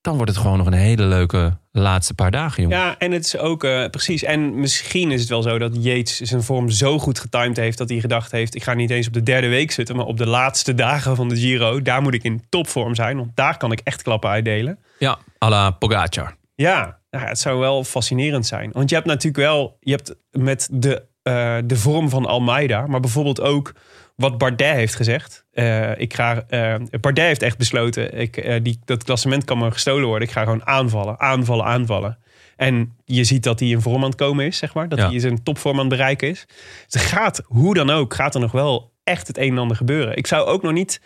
Speaker 1: dan wordt het gewoon nog een hele leuke laatste paar dagen, jongen.
Speaker 6: Ja, en het is ook eh, precies. En misschien is het wel zo dat Yates zijn vorm zo goed getimed heeft dat hij gedacht heeft: ik ga niet eens op de derde week zitten, maar op de laatste dagen van de Giro. Daar moet ik in topvorm zijn, want daar kan ik echt klappen uitdelen.
Speaker 1: Ja, à la Pogacar.
Speaker 6: Ja, nou ja, het zou wel fascinerend zijn. Want je hebt natuurlijk wel, je hebt met de, eh, de vorm van Almeida, maar bijvoorbeeld ook wat Bardet heeft gezegd. Eh, ik ga, eh, Bardet heeft echt besloten, ik, eh, die, dat klassement kan me gestolen worden. Ik ga gewoon aanvallen, aanvallen, aanvallen. En je ziet dat hij in vorm aan het komen is, zeg maar. Dat
Speaker 1: Ja.
Speaker 6: hij zijn topvorm aan het bereiken is. Dus er gaat, hoe dan ook, gaat er nog wel echt het een en ander gebeuren. Ik zou ook nog niet...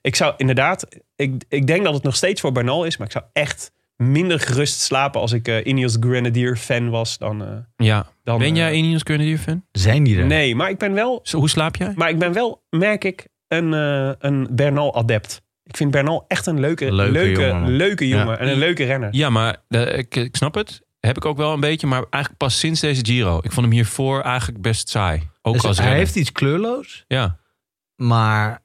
Speaker 6: Ik zou inderdaad... Ik, ik denk dat het nog steeds voor Bernal is, maar ik zou echt minder gerust slapen als ik eh Ineos Grenadier fan was dan... eh,
Speaker 1: Ja.
Speaker 6: dan
Speaker 1: ben
Speaker 6: eh,
Speaker 1: jij Ineos Grenadier fan?
Speaker 2: Zijn die er?
Speaker 6: Nee, maar ik ben wel,
Speaker 1: Zo, hoe slaap jij?
Speaker 6: maar ik ben wel merk ik, een, eh, een Bernal-adept. Ik vind Bernal echt een leuke,
Speaker 2: Leuke
Speaker 6: leuke, leuke
Speaker 2: jongen, man.
Speaker 6: jongen, en een leuke renner.
Speaker 1: Ja, maar eh, ik, ik snap het. Heb ik ook wel een beetje, maar eigenlijk pas sinds deze Giro. Ik vond hem hiervoor eigenlijk best saai. Ook
Speaker 2: Dus
Speaker 1: als
Speaker 2: hij
Speaker 1: renner.
Speaker 2: heeft iets kleurloos,
Speaker 1: Ja,
Speaker 2: maar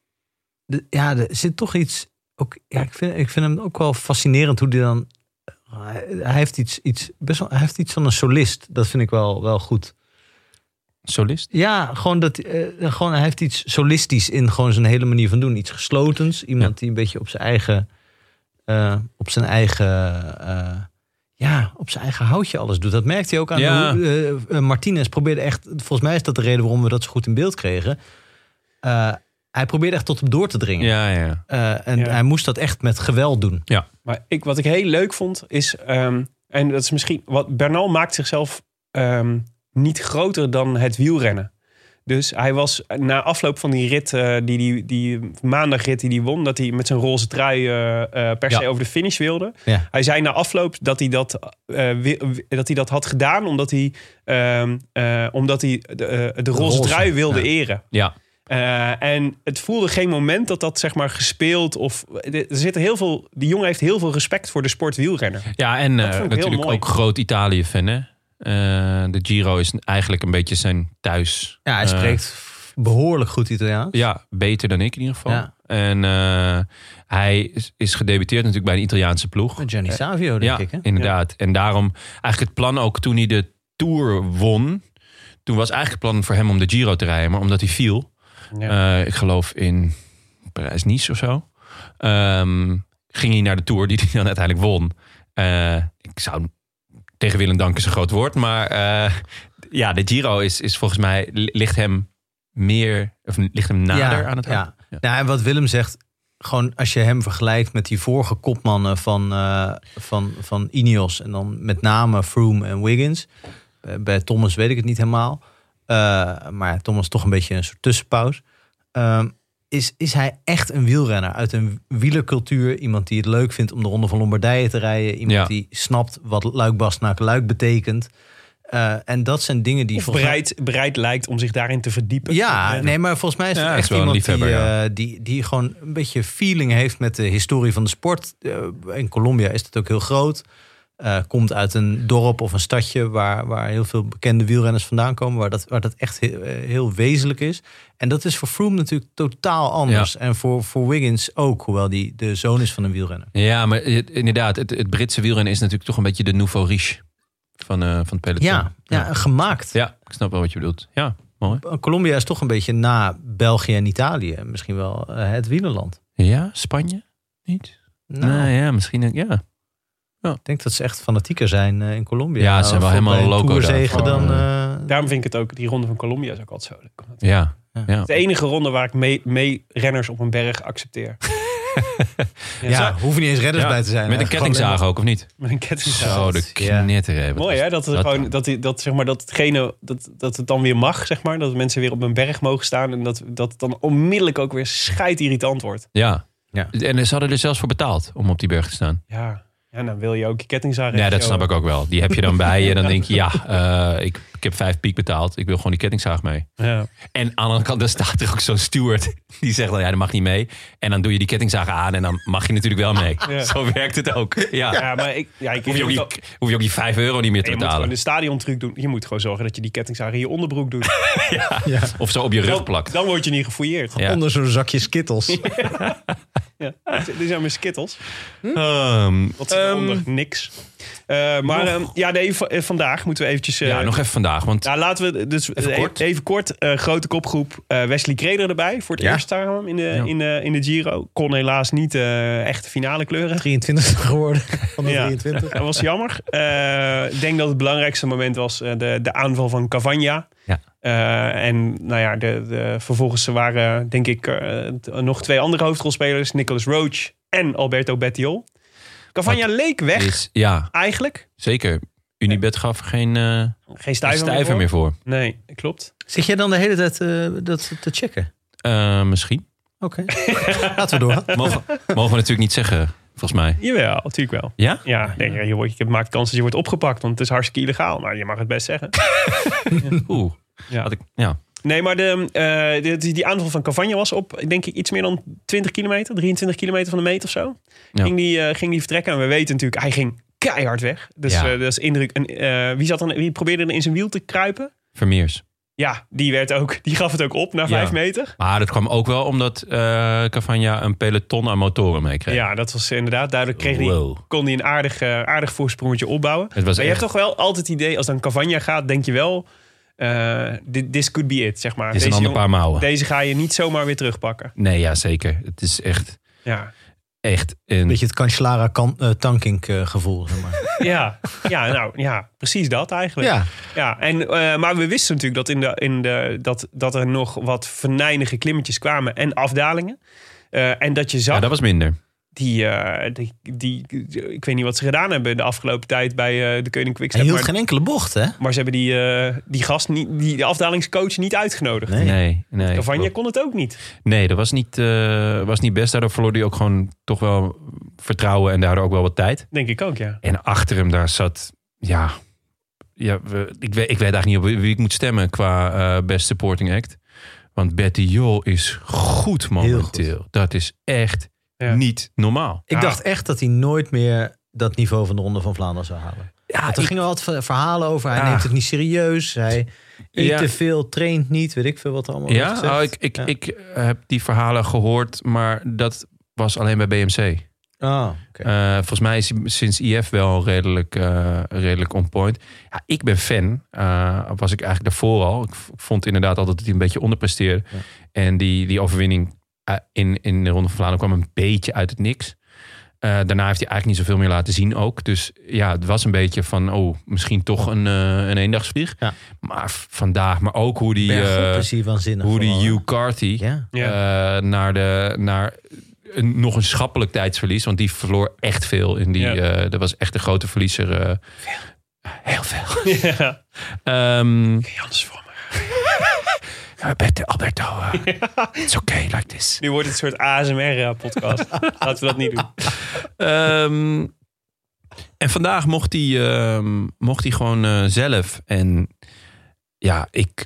Speaker 2: de- ja, er zit toch iets... Ook, ja, ik, vind, ik vind hem ook wel fascinerend hoe die dan... Hij hij heeft iets, iets, best wel, hij heeft iets van een solist. Dat vind ik wel, wel goed.
Speaker 1: solist.
Speaker 2: Ja, gewoon dat, eh, gewoon, hij heeft iets solistisch in gewoon zijn hele manier van doen. Iets geslotens. Iemand die een beetje op zijn eigen, eh, op zijn eigen, eh, ja, op zijn eigen houtje alles doet. Dat merkte hij ook aan.
Speaker 1: Ja.
Speaker 2: Hoe, eh, eh, Martinez probeerde echt, volgens mij is dat de reden waarom we dat zo goed in beeld kregen. Eh, hij probeerde echt tot hem door te dringen.
Speaker 1: Ja, ja, ja.
Speaker 2: Eh, en
Speaker 6: Ja.
Speaker 2: hij moest dat echt met geweld doen.
Speaker 6: Maar ik, wat ik heel leuk vond is, ehm, en dat is misschien, wat Bernal maakt zichzelf ehm, niet groter dan het wielrennen. Dus hij was na afloop van die rit, eh, die, die, die maandagrit die hij won, dat hij met zijn roze trui eh, eh, per
Speaker 2: Ja.
Speaker 6: se over de finish wilde.
Speaker 2: Ja.
Speaker 6: Hij zei na afloop dat hij dat, eh, wi- wi- dat, hij dat had gedaan omdat hij, ehm, eh, omdat hij de, eh, de roze,
Speaker 2: roze,
Speaker 6: trui wilde
Speaker 2: ja.
Speaker 6: eren.
Speaker 1: Ja,
Speaker 6: Eh, en het voelde geen moment dat dat zeg maar gespeeld of er zit heel veel. Die jongen heeft heel veel respect voor de sport wielrennen.
Speaker 1: ja en
Speaker 6: Dat
Speaker 1: eh,
Speaker 6: vond ik heel
Speaker 1: natuurlijk
Speaker 6: mooi.
Speaker 1: ook groot Italië-fan, hè? Eh, de Giro is eigenlijk een beetje zijn thuis.
Speaker 2: Ja, hij
Speaker 1: Eh,
Speaker 2: spreekt behoorlijk goed Italiaans.
Speaker 1: Ja, beter dan ik in ieder geval.
Speaker 2: Ja.
Speaker 1: En eh, hij is, is gedebuteerd natuurlijk bij een Italiaanse ploeg.
Speaker 2: Met Gianni Savio, denk
Speaker 1: Eh, Ja,
Speaker 2: ik. Hè?
Speaker 1: inderdaad. En daarom eigenlijk het plan ook toen hij de Tour won. Toen was eigenlijk het plan voor hem om de Giro te rijden. Maar omdat hij viel, eh, ik geloof in Parijs-Nice of zo. ehm, ging hij naar de Tour die hij dan uiteindelijk won. Eh, ik zou tegen Willem danken is een groot woord. Maar eh, ja, de Giro is, is volgens mij ligt hem meer, of ligt hem nader aan het hart.
Speaker 2: Ja. Nou, en wat Willem zegt, gewoon als je hem vergelijkt met die vorige kopmannen van, eh, van, van Ineos. En dan met name Froome en Wiggins. Eh, bij Thomas weet ik het niet helemaal. Eh, maar Thomas toch een beetje een soort tussenpauze. Ehm, is, is hij echt een wielrenner uit een wielercultuur? Iemand die het leuk vindt om de Ronde van Lombardije te rijden. Iemand
Speaker 1: Ja.
Speaker 2: die snapt wat luik naar luik betekent. Eh, en dat zijn dingen die
Speaker 6: Of
Speaker 2: volgens mij-
Speaker 6: bereid, bereid lijkt om zich daarin te verdiepen.
Speaker 2: ja, nee, maar volgens mij is het
Speaker 1: Ja,
Speaker 2: echt
Speaker 1: is wel een
Speaker 2: iemand die,
Speaker 1: liefhebber, ja.
Speaker 2: eh, die, die gewoon een beetje feeling heeft met de historie van de sport. Eh, in Colombia is dat ook heel groot. Eh, komt uit een dorp of een stadje waar, waar heel veel bekende wielrenners vandaan komen. Waar dat, waar dat echt heel, eh, heel wezenlijk is. En dat is voor Froome natuurlijk totaal anders. En voor, voor Wiggins ook, hoewel die de zoon is van een wielrenner.
Speaker 1: Ja, maar het- inderdaad, het, het Britse wielrennen is natuurlijk toch een beetje de nouveau riche van, eh, van het peloton.
Speaker 2: Ja, ja, gemaakt.
Speaker 1: Ja, ik snap wel wat je bedoelt. Ja, mooi.
Speaker 2: Colombia is toch een beetje na België en Italië. Misschien wel eh, het wielerland.
Speaker 1: Ja, Spanje? Niet?
Speaker 2: Nou,
Speaker 1: Nou ja, misschien. ook- Ja.
Speaker 2: Ik denk dat ze echt fanatieker zijn eh, in Colombia.
Speaker 1: Ja, ze zijn wel
Speaker 2: Voor
Speaker 1: helemaal
Speaker 2: bij een
Speaker 1: loco
Speaker 2: Toerzegen
Speaker 1: daarvoor.
Speaker 2: dan... eh,
Speaker 6: Daarom vind ik het ook, die ronde van Colombia is ook altijd zo leuk. Het
Speaker 1: ja.
Speaker 2: Ja.
Speaker 1: ja.
Speaker 6: is de enige ronde waar ik mee, mee renners op een berg accepteer.
Speaker 2: ja, hoeven niet eens redders
Speaker 1: Ja,
Speaker 2: bij te zijn.
Speaker 1: Met een
Speaker 2: eigenlijk. Gewoon
Speaker 1: kettingzaag ook, of niet?
Speaker 6: Met een kettingzaag.
Speaker 1: Zo, de knetter even.
Speaker 6: Mooi hè, dat, het
Speaker 1: dat-
Speaker 6: gewoon, dat, die- dat, zeg maar, dat, hetgene, dat, dat het dan weer mag, zeg maar. Dat mensen weer op een berg mogen staan. En dat, dat het dan onmiddellijk ook weer scheid irritant wordt.
Speaker 1: Ja.
Speaker 2: Ja.
Speaker 1: En ze hadden er zelfs voor betaald om op die berg te staan.
Speaker 6: Ja, ja dan wil je ook je kettingzaag
Speaker 1: Ja, dat
Speaker 6: regio.
Speaker 1: snap ik ook wel. Die heb je dan bij je. Dan denk je, ja, eh, ik, ik heb vijf piek betaald. Ik wil gewoon die kettingzaag mee.
Speaker 6: Ja.
Speaker 1: En aan de andere kant, daar staat er ook zo'n steward. Die zegt dan, ja, dat mag niet mee. En dan doe je die kettingzaag aan en dan mag je natuurlijk wel mee.
Speaker 6: Ja.
Speaker 1: Zo werkt het ook. Ja.
Speaker 6: Ja, maar ik, ja, ik
Speaker 1: Hoef, je ook die, hoef je ook die vijf euro niet meer te
Speaker 6: je moet gewoon
Speaker 1: betalen.
Speaker 6: een stadiontruc doen. Je moet gewoon zorgen dat je die kettingzaag in je onderbroek doet.
Speaker 1: Of zo op je rug
Speaker 6: Dan,
Speaker 1: plakt.
Speaker 6: dan word je niet gefouilleerd.
Speaker 1: Ja.
Speaker 2: Onder zo'n zakje skittels.
Speaker 6: Ja. Dit zijn mijn skittles.
Speaker 1: Ehm,
Speaker 6: Wat zit eronder? Niks. Eh, maar ehm, ja, nee, v- eh, vandaag moeten we eventjes... eh,
Speaker 1: ja, nog even vandaag. Want
Speaker 6: Nou, laten we dus even
Speaker 1: kort.
Speaker 6: kort, even kort eh, grote kopgroep. eh, Wesley Kreder erbij voor het
Speaker 1: Ja.
Speaker 6: eerst daarom in de, in, de, in de Giro. Kon helaas niet eh, echt de finale kleuren.
Speaker 2: 23 geworden van de
Speaker 6: Ja.
Speaker 2: 23.
Speaker 6: Dat was jammer. Eh, Ik denk dat het belangrijkste moment was eh, de, de aanval van Cavagna.
Speaker 1: Ja.
Speaker 6: Eh, en nou ja, de, de, vervolgens waren denk ik eh, t- nog twee andere hoofdrolspelers. Nicolas Roach en Alberto Bettiol. Cavagna leek weg
Speaker 1: is, ja,
Speaker 6: eigenlijk.
Speaker 1: zeker. Unibet gaf er geen eh,
Speaker 6: Geen
Speaker 1: geen
Speaker 6: stijver,
Speaker 1: stijver meer voor.
Speaker 6: Nee, klopt.
Speaker 2: Zit jij dan de hele tijd eh, dat te checken?
Speaker 1: Eh, misschien.
Speaker 2: Oké. Laten we door.
Speaker 1: Mogen, mogen we natuurlijk niet zeggen, volgens mij.
Speaker 6: Jawel, natuurlijk wel.
Speaker 1: Ja?
Speaker 6: Ja, nee, je, wordt, je maakt kans dat je wordt opgepakt, want het is hartstikke illegaal. Maar je mag het best zeggen.
Speaker 1: Oeh.
Speaker 6: Ja.
Speaker 1: Had ik, ja.
Speaker 6: Nee, maar de, eh, de- die, die aanval van Cavagna was op, denk ik, iets meer dan 20 kilometer, 23 kilometer van de meet of zo.
Speaker 1: Ja.
Speaker 6: Ging, die, eh, ging die vertrekken en we weten natuurlijk, hij ging keihard weg. Dus
Speaker 1: Ja.
Speaker 6: eh, dat is indruk. En, eh, wie, zat dan, wie probeerde er in zijn wiel te kruipen?
Speaker 1: Vermeers.
Speaker 6: Ja, die, werd ook, die gaf het ook op na
Speaker 1: Ja.
Speaker 6: 5 meter.
Speaker 1: Maar dat kwam ook wel omdat eh Cavagna een peloton aan motoren meekreeg.
Speaker 6: Ja, dat was inderdaad duidelijk. Kreeg die,
Speaker 1: Wow.
Speaker 6: kon hij een aardig, eh, aardig voorsprongetje opbouwen.
Speaker 1: Het was
Speaker 6: maar je
Speaker 1: echt-
Speaker 6: hebt toch wel altijd het idee, als dan Cavagna gaat, denk je wel... eh, thi- this could be it, zeg maar.
Speaker 1: Dit is een
Speaker 6: Deze
Speaker 1: ander
Speaker 6: jong-
Speaker 1: paar mouwen.
Speaker 6: Deze ga je niet zomaar weer terugpakken.
Speaker 1: Nee, ja, zeker. Het is echt,
Speaker 6: Ja,
Speaker 1: echt een...
Speaker 2: Beetje het Cancellara kan, eh, tanking eh, gevoel. Zeg maar.
Speaker 6: ja, ja nou ja, precies dat eigenlijk.
Speaker 2: ja.
Speaker 6: Ja, en, eh, maar we wisten natuurlijk dat, in de, in de, dat, dat er nog wat venijnige klimmetjes kwamen en afdalingen. Eh, en dat je zag
Speaker 1: Ja, dat was minder.
Speaker 6: die, eh, die, die, ik weet niet wat ze gedaan hebben de afgelopen tijd bij eh, de Koning
Speaker 2: Hij
Speaker 6: Quickstep.
Speaker 2: hield
Speaker 6: maar-
Speaker 2: geen enkele bocht, hè?
Speaker 6: Maar ze hebben die, eh, die gast, niet, die de afdalingscoach niet uitgenodigd.
Speaker 2: Nee.
Speaker 1: Nee, nee.
Speaker 6: Cavagna kon het ook niet.
Speaker 1: Nee, dat was niet, eh, was niet best. Daardoor verloor hij ook gewoon toch wel vertrouwen en daardoor ook wel wat tijd.
Speaker 6: Denk ik ook, ja.
Speaker 1: En achter hem daar zat, ja... ja we- ik, weet, ik weet eigenlijk niet op wie wie ik moet stemmen qua eh, Best Supporting Act. Want Betty Jol is goed momenteel. Dat is echt
Speaker 6: Ja.
Speaker 1: niet normaal.
Speaker 2: Ik
Speaker 6: Ja.
Speaker 2: dacht echt dat hij nooit meer dat niveau van de Ronde van Vlaanderen zou halen.
Speaker 1: Ja,
Speaker 2: Want Ah, er gingen wel wat ver- verhalen over. Hij
Speaker 1: Ja.
Speaker 2: neemt het niet serieus. Hij eet
Speaker 1: Ah. Ja.
Speaker 2: te veel, traint niet. Weet ik veel wat er allemaal wordt gezegd.
Speaker 1: Ja, oh, ik, ik,
Speaker 2: Ja.
Speaker 1: ik heb die verhalen gehoord, maar dat was alleen bij BMC.
Speaker 2: Ah, oké.
Speaker 1: Eh, volgens mij is hij sinds IF wel redelijk, eh, redelijk on point. Ja, ik ben fan. eh, was ik eigenlijk daarvoor al. Ik v- vond inderdaad altijd dat hij een beetje onderpresteerde.
Speaker 2: Ja.
Speaker 1: En die, die overwinning eh, in, in de Ronde van Vlaanderen kwam een beetje uit het niks. Eh, daarna heeft hij eigenlijk niet zoveel meer laten zien ook. Dus ja, het was een beetje van, oh, misschien toch een, eh, een eendagsvlieg.
Speaker 2: Ja.
Speaker 1: Maar v- vandaag, maar ook hoe die,
Speaker 2: Bergop
Speaker 1: eh,
Speaker 2: is hier waanzinnig.
Speaker 1: hoe die
Speaker 2: gewoon.
Speaker 1: Hugh Carthy
Speaker 2: Ja.
Speaker 6: Ja.
Speaker 1: eh, naar, de, naar een, nog een schappelijk tijdsverlies. Want die verloor echt veel. In die,
Speaker 6: Ja.
Speaker 1: eh, dat was echt de grote verliezer. eh. Heel veel.
Speaker 6: ja.
Speaker 1: Ehm
Speaker 6: Janus voor me.
Speaker 1: Alberto, Alberto eh, it's okay like this.
Speaker 6: Nu wordt het een soort ASMR-podcast. eh, Laten we dat niet doen.
Speaker 1: Ehm, en vandaag mocht hij, ehm, mocht hij gewoon eh, zelf. En ja, ik,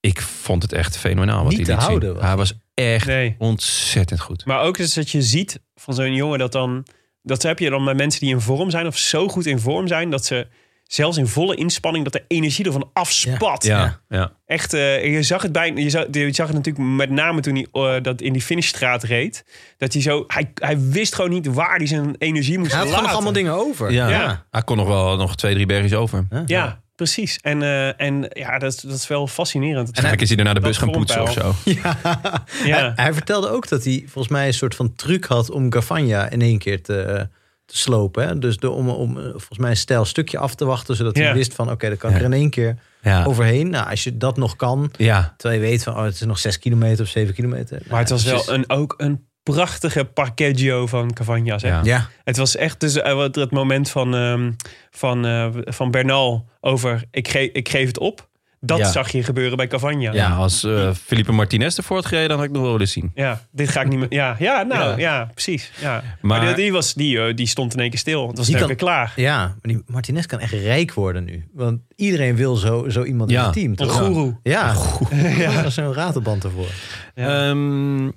Speaker 1: ik vond het echt fenomenaal wat hij
Speaker 2: Niet te
Speaker 1: liet zien.
Speaker 2: houden was
Speaker 1: Hij was echt
Speaker 6: Nee.
Speaker 1: ontzettend goed.
Speaker 6: Maar ook dus dat je ziet van zo'n jongen dat dan... Dat heb je dan bij mensen die in vorm zijn of zo goed in vorm zijn... dat ze zelfs in volle inspanning dat de energie ervan afspat.
Speaker 1: Ja, ja.
Speaker 6: Echt, eh, je, zag het bijna, je, zag, je zag het natuurlijk met name toen hij eh, dat in die finishstraat reed. Dat hij zo... Hij, hij wist gewoon niet waar hij zijn energie moest
Speaker 2: Hij had
Speaker 6: laten.
Speaker 2: gewoon nog allemaal dingen over.
Speaker 1: Ja.
Speaker 6: Ja.
Speaker 1: Hij kon nog wel nog twee, drie bergjes over. En
Speaker 6: Ja, precies. En, eh, en ja, dat, is- dat is wel fascinerend.
Speaker 1: eigenlijk is hij daarna de
Speaker 6: dat
Speaker 1: bus gaan poetsen of zo.
Speaker 6: vormpijl.
Speaker 2: Hij,
Speaker 6: ja.
Speaker 2: hij vertelde ook dat hij volgens mij een soort van truc had om Gavanja in één keer te, eh, te slopen. Hè? Dus de, om, om eh, volgens mij een stijl stukje af te wachten, zodat
Speaker 6: Ja.
Speaker 2: hij wist van oké, dan kan ik er in één keer
Speaker 1: Ja.
Speaker 2: overheen. Nou, als je dat nog kan,
Speaker 1: Oh. Ja.
Speaker 2: terwijl je weet van oh, het is nog zes kilometer of zeven kilometer. Nou,
Speaker 6: Maar het was
Speaker 1: precies.
Speaker 6: wel een, ook een prachtige parkeggio van Cavagna. Zeg.
Speaker 1: Ja.
Speaker 2: ja,
Speaker 6: Het was echt dus, eh, wat- het moment van, ehm, van, eh, van Bernal over ik, ge- ik geef het op. Dat
Speaker 1: Ja.
Speaker 6: zag je gebeuren bij Cavagna.
Speaker 1: Ja, als eh Felipe Martinez ervoor had gereden, dan had ik nog wel willen zien.
Speaker 6: Ja, dit ga ik niet meer. Ja, ja nou ja, precies. Ja. Maar,
Speaker 1: Maar-
Speaker 6: die, die was, die, eh, die stond in één keer stil. Het was
Speaker 2: Die
Speaker 6: in één
Speaker 2: kan-
Speaker 6: keer klaar.
Speaker 2: ja, maar die Martinez kan echt rijk worden nu. Want iedereen wil zo, zo iemand
Speaker 1: Ja.
Speaker 2: in het team.
Speaker 6: Een
Speaker 2: Toch?
Speaker 6: goeroe.
Speaker 2: Ja, ja. er is een ratelband ervoor.
Speaker 6: Ja.
Speaker 1: Ehm,
Speaker 6: Ja,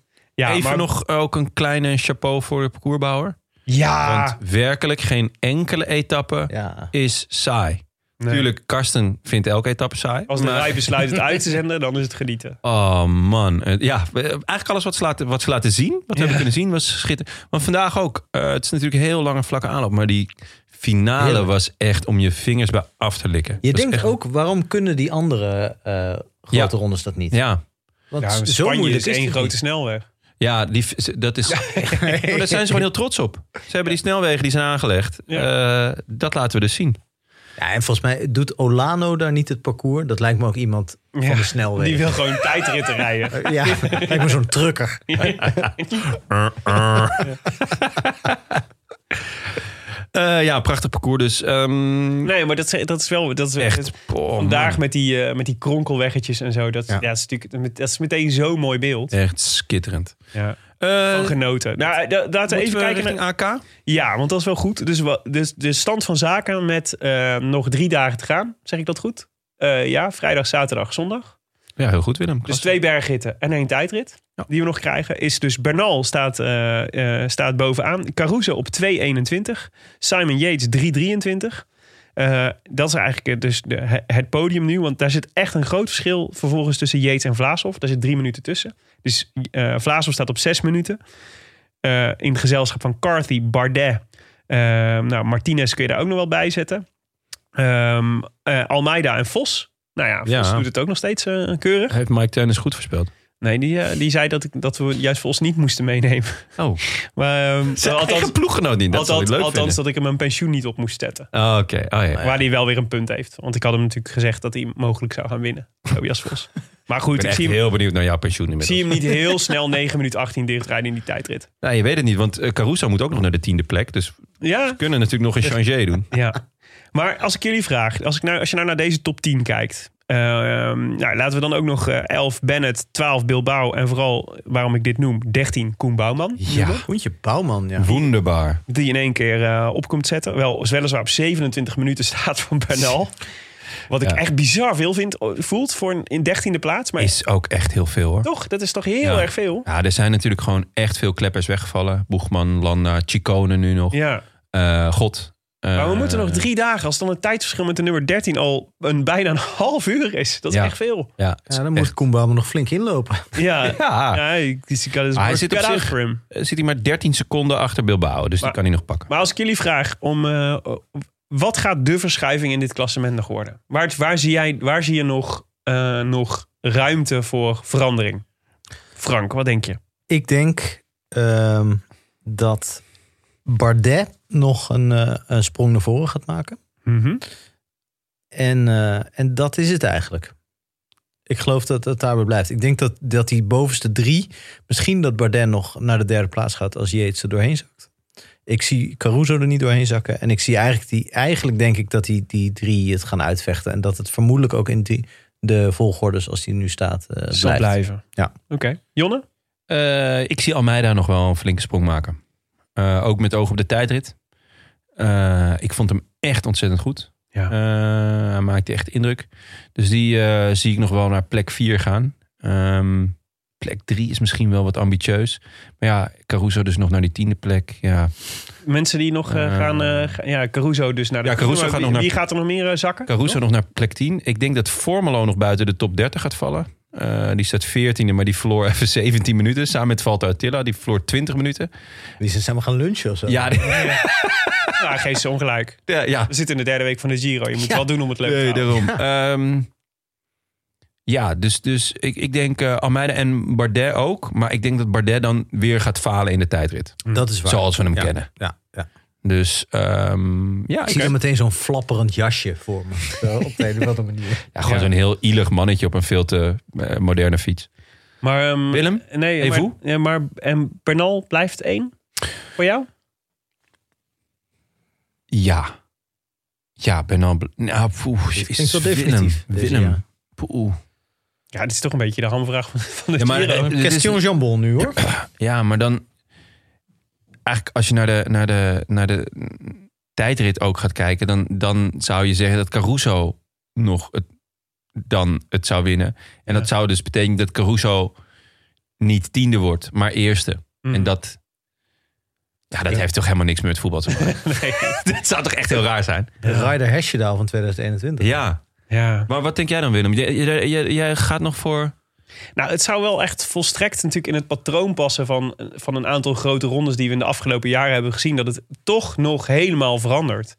Speaker 1: even
Speaker 6: maar-
Speaker 1: nog ook een kleine chapeau voor de parcoursbouwer.
Speaker 6: Ja,
Speaker 1: Want werkelijk geen enkele etappe
Speaker 2: Ja.
Speaker 1: is saai.
Speaker 6: Nee.
Speaker 1: Tuurlijk, Karsten vindt elke etappe saai.
Speaker 6: Als de
Speaker 1: maar-
Speaker 6: rij besluit het uit te zenden, dan is het genieten.
Speaker 1: Oh man. Eh, Ja, we- eigenlijk alles wat ze laten, wat ze laten zien, wat we hebben kunnen zien, was schitterend. Want vandaag ook, eh, het is natuurlijk een heel lange vlakke aanloop, maar die finale
Speaker 2: Heerlijk.
Speaker 1: was echt om je vingers bij af te likken.
Speaker 2: Je
Speaker 1: Dat is
Speaker 2: denkt
Speaker 1: echt-
Speaker 2: ook, waarom kunnen die andere eh, grote
Speaker 1: Ja.
Speaker 2: rondes dat niet?
Speaker 1: Ja.
Speaker 2: Want
Speaker 6: Ja,
Speaker 2: zo
Speaker 6: Spanje
Speaker 2: moeilijk
Speaker 6: is
Speaker 2: is
Speaker 6: één
Speaker 2: het
Speaker 6: grote
Speaker 2: niet.
Speaker 6: snelweg.
Speaker 1: Ja, die, dat is. Maar daar zijn ze gewoon heel trots op. Ze hebben die snelwegen die zijn aangelegd. Eh, dat laten we dus zien.
Speaker 2: Ja, en volgens mij doet Olano daar niet het parcours. Dat lijkt me ook iemand van de snelweg.
Speaker 6: Die wil gewoon tijdritten rijden.
Speaker 2: Ja, lijkt me zo'n trucker.
Speaker 1: Eh, ja, prachtig parcours dus. Ehm,
Speaker 6: Nee, maar dat, is- dat is wel... Dat is,
Speaker 1: Echt. Oh,
Speaker 6: Vandaag
Speaker 1: man.
Speaker 6: met die, eh, met die kronkelweggetjes en zo. Dat, ja. dat, is, natuurlijk, dat is meteen zo'n mooi beeld.
Speaker 1: Echt skitterend.
Speaker 6: Ja.
Speaker 1: Eh,
Speaker 6: Van genoten. Nou, da- laten we
Speaker 1: moeten
Speaker 6: even
Speaker 1: we
Speaker 6: kijken naar...
Speaker 1: richting AK.
Speaker 6: Ja, want dat is wel goed. Dus, wa- dus de stand van zaken met eh, nog drie dagen te gaan. Zeg ik dat goed? Eh, ja, vrijdag, zaterdag, zondag.
Speaker 1: Ja, heel goed Willem.
Speaker 6: Dus twee bergritten en één tijdrit.
Speaker 1: Ja.
Speaker 6: Die we nog krijgen. Is dus Bernal staat, eh, eh, staat bovenaan. Caruso op 2.21. Simon Yates 3.23. Eh, dat is eigenlijk eh, dus de, he- het podium nu. Want daar zit echt een groot verschil vervolgens tussen Yates en Vlaashoff. Daar zit drie minuten tussen. Dus eh Vlaashoff staat op zes minuten. Eh, in het gezelschap van Carthy, Bardet. eh, nou, Martinez kun je daar ook nog wel bij zetten. Ehm, eh, Almeida en Vos. Nou ja, Vos
Speaker 1: Ja.
Speaker 6: doet het ook nog steeds eh, keurig.
Speaker 1: Heeft Mike Teunis goed voorspeld.
Speaker 6: Nee, die, eh, die zei dat, ik, dat we juist Vos niet moesten meenemen.
Speaker 1: Oh.
Speaker 6: Maar ehm, althans,
Speaker 1: Eigen ploeggenoot niet. Dat zou ik
Speaker 6: althans,
Speaker 1: leuk
Speaker 6: althans
Speaker 1: vinden.
Speaker 6: dat ik hem een pensioen niet op moest zetten.
Speaker 1: Oh, Oké. Oh, ja.
Speaker 6: Waar hij wel weer een punt heeft. Want ik had hem natuurlijk gezegd dat hij mogelijk zou gaan winnen. Tobias Vos. Maar
Speaker 1: Ik
Speaker 6: goed,
Speaker 1: ben
Speaker 6: ik
Speaker 1: echt
Speaker 6: zie hem,
Speaker 1: heel benieuwd naar jouw pensioen
Speaker 6: ik
Speaker 1: inmiddels.
Speaker 6: zie hem niet heel snel 9 minuten 18 dichtrijden in die tijdrit.
Speaker 1: Nou, je weet het niet, want eh, Caruso moet ook nog naar de tiende plek. Dus we
Speaker 6: Ja,
Speaker 1: kunnen natuurlijk nog een changer doen.
Speaker 6: ja. Maar als ik jullie vraag, als, ik nou, als je nou naar deze top 10 kijkt. eh, ehm, nou, laten we dan ook nog eh, 11 Bennett, 12 Bilbao en vooral, waarom ik dit noem, 13 Koen Bouwman. noemen.
Speaker 2: Hoentje Bouwman, ja.
Speaker 1: Wonderbaar.
Speaker 6: Die in één keer eh, op komt zetten. Wel, weliswaar op 27 minuten staat van Bernal. Wat ik
Speaker 1: Ja.
Speaker 6: echt bizar veel vind, voelt voor een in 13e plaats. Maar
Speaker 1: Is ook echt heel veel hoor.
Speaker 6: Toch, dat is toch heel
Speaker 1: Ja.
Speaker 6: erg veel.
Speaker 1: Ja, er zijn natuurlijk gewoon echt veel kleppers weggevallen. Boegman, Landa, Chicone nu nog.
Speaker 6: Ja,
Speaker 1: Eh, God. Eh,
Speaker 6: maar we moeten nog drie dagen. Als dan het tijdsverschil met de nummer 13 al een, bijna een half uur is. Dat is
Speaker 1: Ja.
Speaker 6: echt veel.
Speaker 1: Ja, het is
Speaker 2: Ja, dan moet
Speaker 1: echt-
Speaker 2: Koen Bouwman nog flink inlopen.
Speaker 6: Ja,
Speaker 1: Ja.
Speaker 6: ja ik- ik zie- ik-
Speaker 1: Ah, hij
Speaker 6: ik-
Speaker 1: zit
Speaker 6: ik-
Speaker 1: op
Speaker 6: ik-
Speaker 1: zich.
Speaker 6: voor hem.
Speaker 1: eh, zit hij maar 13 seconden achter Bilbao. Dus
Speaker 6: Maar-
Speaker 1: die kan hij nog pakken.
Speaker 6: Maar als ik jullie vraag om... eh, wat gaat de verschuiving in dit klassement nog worden? Waar, waar, zie, jij, waar zie je nog, eh, nog ruimte voor verandering? Frank, wat denk je?
Speaker 2: Ik denk ehm, dat Bardet nog een, eh, een sprong naar voren gaat maken.
Speaker 6: Mhm.
Speaker 2: En, eh, en dat is het eigenlijk. Ik geloof dat het daarbij blijft. Ik denk dat, dat die bovenste drie... misschien dat Bardet nog naar de derde plaats gaat... als Yates er doorheen zakt. Ik zie Caruso er niet doorheen zakken. En ik zie eigenlijk, die, eigenlijk denk ik dat die, die drie het gaan uitvechten. En dat het vermoedelijk ook in die, de volgordes als die nu staat eh,
Speaker 6: Zal
Speaker 2: blijft.
Speaker 6: blijven.
Speaker 2: Ja.
Speaker 6: Oké. Jonne?
Speaker 1: Eh, ik zie Almeida nog wel een flinke sprong maken. Eh, ook met oog op de tijdrit. Eh, ik vond hem echt ontzettend goed.
Speaker 6: Ja.
Speaker 1: Eh, hij maakte echt indruk. Dus die eh, zie ik nog wel naar plek 4 gaan. Ehm, plek 3 is misschien wel wat ambitieus. Maar ja, Caruso dus nog naar die tiende plek. Ja,
Speaker 6: Mensen die nog eh,
Speaker 1: Eh.
Speaker 6: gaan, eh, ga- Ja, Caruso dus naar de...
Speaker 1: Ja, Caruso
Speaker 6: Maar
Speaker 1: gaat
Speaker 6: wie,
Speaker 1: nog naar-
Speaker 6: Wie gaat er nog meer eh, zakken?
Speaker 1: Caruso nog naar plek 10. Ik denk dat Formelo nog buiten de top 30 gaat vallen. Eh, die staat 14e, maar die verloor even 17 minuten. Samen met Valta Attila, die verloor 20 minuten.
Speaker 2: Die zijn samen gaan lunchen of zo.
Speaker 1: Ja, die-
Speaker 6: Nou, geef ze ongelijk.
Speaker 1: ja, ja.
Speaker 6: We zitten in de derde week van de Giro. Je moet het wel doen om het leuk te
Speaker 1: Nee,
Speaker 6: houden.
Speaker 1: daarom. Ehm, ja, dus, dus ik, ik denk eh, Almeida en Bardet ook. Maar ik denk dat Bardet dan weer gaat falen in de tijdrit.
Speaker 2: Dat is waar.
Speaker 1: Zoals we hem
Speaker 2: Ja,
Speaker 1: kennen.
Speaker 2: Ja, ja.
Speaker 1: Dus ehm, ja,
Speaker 2: Ik
Speaker 1: ik
Speaker 2: zie er meteen zo'n flapperend jasje voor me. Zo, op de een of andere manier.
Speaker 1: ja, gewoon zo'n heel ielig mannetje op een veel te eh, moderne fiets.
Speaker 6: Maar, ehm,
Speaker 1: Willem?
Speaker 6: Nee,
Speaker 1: Evo?
Speaker 6: maar, ja, maar en Bernal blijft één voor jou?
Speaker 1: Ja. Ja, Bernal. Bl- Nou, poeh,
Speaker 2: klinkt
Speaker 1: is
Speaker 2: wel definitief,
Speaker 1: Willem.
Speaker 2: deze,
Speaker 1: Willem.
Speaker 2: ja.
Speaker 1: Poeh.
Speaker 6: Ja, dit is toch een beetje de hamvraag van, van de
Speaker 1: Ja, maar,
Speaker 6: Giro.
Speaker 1: eh, dit is-
Speaker 2: Question jambon nu hoor.
Speaker 1: Ja, maar dan... Eigenlijk als je naar de, naar de, naar de tijdrit ook gaat kijken... Dan, dan zou je zeggen dat Caruso nog het, dan het zou winnen. En dat zou dus betekenen dat Caruso niet tiende wordt, maar eerste.
Speaker 6: Mm.
Speaker 1: En dat... Hmm. Ja, dat heeft toch helemaal niks meer met voetbal te maken. dat zou toch echt heel raar zijn?
Speaker 2: Ryder Hesjedal van 2021.
Speaker 1: Ja.
Speaker 6: Ja.
Speaker 1: Maar wat denk jij dan, Willem? Jij, jij- jij- jij gaat nog voor...
Speaker 6: Nou, het zou wel echt volstrekt natuurlijk in het patroon passen van, van een aantal grote rondes die we in de afgelopen jaren hebben gezien. Dat het toch nog helemaal verandert.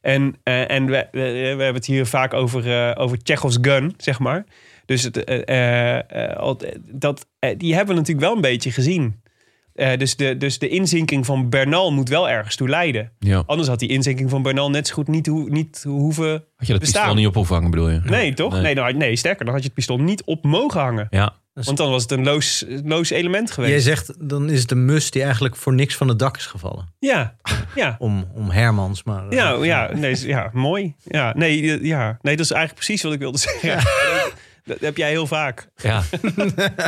Speaker 6: En, eh, en we, we, we hebben het hier vaak over, eh, over Chekhov's gun, zeg maar. Dus het, eh, eh, eh, al- dat, eh, die hebben we natuurlijk wel een beetje gezien. Eh, dus, de, dus de inzinking van Bernal moet wel ergens toe leiden.
Speaker 1: Ja.
Speaker 6: Anders had die inzinking van Bernal net zo goed niet, hoe- niet hoeven...
Speaker 1: Had je dat
Speaker 6: Bestaan.
Speaker 1: pistool niet op hoeven hangen, bedoel je?
Speaker 6: Nee, toch?
Speaker 1: Nee.
Speaker 6: Nee. nou, nee, sterker, dan had je het pistool niet op mogen hangen.
Speaker 1: Ja.
Speaker 6: Want dan was het een loos, loos element
Speaker 2: Jij
Speaker 6: geweest.
Speaker 2: zegt, dan is het een mus die eigenlijk voor niks van het dak is gevallen.
Speaker 6: Ja, ja.
Speaker 2: Om, om Hermans, maar... eh,
Speaker 6: Ja, Oh, ja, nee, is- ja, mooi. Ja, nee, eh, ja, nee, dat is eigenlijk precies wat ik wilde zeggen. Dat, dat heb jij heel vaak.
Speaker 1: Ja.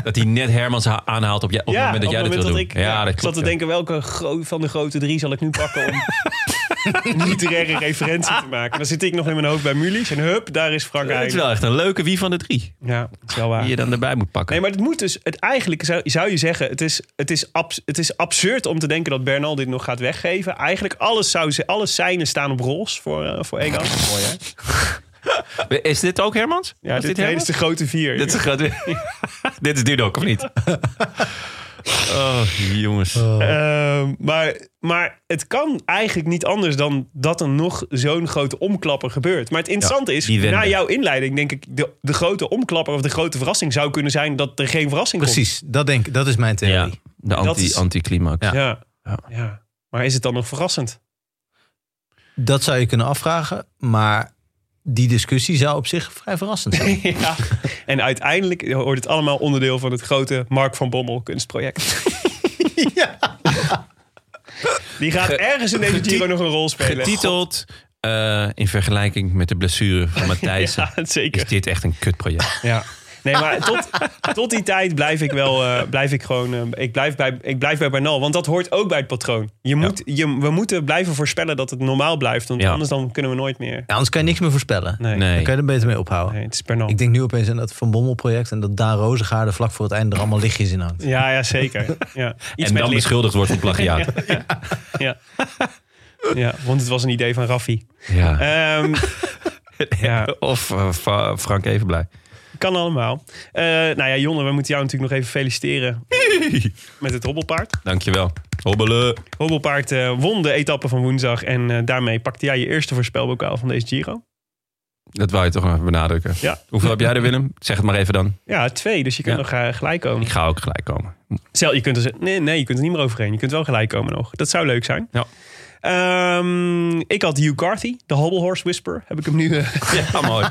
Speaker 1: dat hij net Hermans ha- aanhaalt op, jij, op
Speaker 6: ja,
Speaker 1: het moment dat jij dat wil doen.
Speaker 6: ik ja,
Speaker 1: dat
Speaker 6: ik zat
Speaker 1: klopt.
Speaker 6: te
Speaker 1: ja.
Speaker 6: denken welke gro- van de grote drie zal ik nu pakken om een literaire referentie te maken. Dan zit ik nog in mijn hoofd bij Mulies en hup, daar is Frank
Speaker 1: Het is
Speaker 6: eigenlijk.
Speaker 1: wel echt een leuke wie van de drie.
Speaker 6: Ja, dat is wel waar.
Speaker 1: Die je dan erbij moet pakken.
Speaker 6: Nee, maar het moet dus. Het, eigenlijk zou, zou je zeggen: het is, het, is abs- het is absurd om te denken dat Bernal dit nog gaat weggeven. Eigenlijk alles zou ze, alles zijnen staan op rols voor, eh, voor Egan. Mooi, hè?
Speaker 1: Is dit ook Hermans?
Speaker 6: Ja,
Speaker 1: is
Speaker 6: dit, nee, dit is de grote vier.
Speaker 1: Dit is, een grote- dit is Dudok, of niet? oh, jongens.
Speaker 6: Ehm, maar, maar het kan eigenlijk niet anders dan dat er nog zo'n grote omklapper gebeurt. Maar het interessante
Speaker 1: Ja,
Speaker 6: is,
Speaker 1: die wende.
Speaker 6: na jouw inleiding denk ik... De, de grote omklapper of de grote verrassing zou kunnen zijn dat er geen verrassing
Speaker 2: Precies, dat, denk, ik- dat is mijn
Speaker 1: ja,
Speaker 2: theorie.
Speaker 1: de
Speaker 6: Dat
Speaker 1: anti,
Speaker 6: is-
Speaker 1: anticlimax.
Speaker 6: komt. Ja.
Speaker 1: Ja.
Speaker 6: Ja. ja. Maar is het dan nog verrassend?
Speaker 2: Dat zou je kunnen afvragen, maar die discussie zou op zich vrij verrassend zijn.
Speaker 6: ja. En uiteindelijk hoort het allemaal onderdeel van het grote Mark van Bommel kunstproject. Die gaat ergens in deze Giro nog een rol spelen.
Speaker 1: Getiteld eh, in vergelijking met de blessure van Matthijssen.
Speaker 6: Ja, zeker.
Speaker 1: Is dit echt een kutproject?
Speaker 6: Ja. Nee, maar tot, tot die tijd blijf ik wel, eh, blijf ik gewoon, eh, ik, blijf bij, ik blijf bij Bernal. Want dat hoort ook bij het patroon. Je moet, je, we moeten blijven voorspellen dat het normaal blijft. Want
Speaker 1: Ja.
Speaker 6: anders dan kunnen we nooit meer.
Speaker 2: Ja, anders kan je niks meer voorspellen.
Speaker 6: Nee, nee.
Speaker 2: Dan
Speaker 1: Nee.
Speaker 2: kan je er beter mee ophouden.
Speaker 6: het is Bernal.
Speaker 2: Ik denk nu opeens aan dat Van Bommel project... en dat Daan Rozengaarde vlak voor het einde er allemaal lichtjes in hangt.
Speaker 6: Ja, ja, zeker. Ja. Iets
Speaker 1: en
Speaker 6: met
Speaker 1: dan
Speaker 6: licht.
Speaker 1: beschuldigd wordt van plagiaat.
Speaker 6: Ja. ja, want het was een idee van Raffi.
Speaker 1: ja.
Speaker 6: Ehm, ja.
Speaker 1: Of eh, Fra- Frank Evenblij.
Speaker 6: Kan allemaal. Eh, nou ja, Jonne, we moeten jou natuurlijk nog even feliciteren met het hobbelpaard.
Speaker 1: Dankjewel. Hobbelen.
Speaker 6: Hobbelpaard eh, won de etappe van woensdag en eh, daarmee pakte jij je eerste voorspelbokaal van deze Giro.
Speaker 1: Dat wou je toch nog even benadrukken.
Speaker 6: Ja.
Speaker 1: Hoeveel heb jij er, Willem? Zeg het maar even dan.
Speaker 6: Ja, twee, dus je kunt
Speaker 1: Ja.
Speaker 6: nog eh, gelijk
Speaker 1: Ik
Speaker 6: komen.
Speaker 1: ga ook gelijk komen.
Speaker 6: Stel, je kunt er, nee, nee, je kunt er niet meer overheen. Je kunt wel gelijk komen nog. Dat zou leuk zijn.
Speaker 1: Ja.
Speaker 6: Ehm, ik had Hugh Carthy, de hobbelhorse whisper, heb ik hem nu eh,
Speaker 1: Ja, mooi.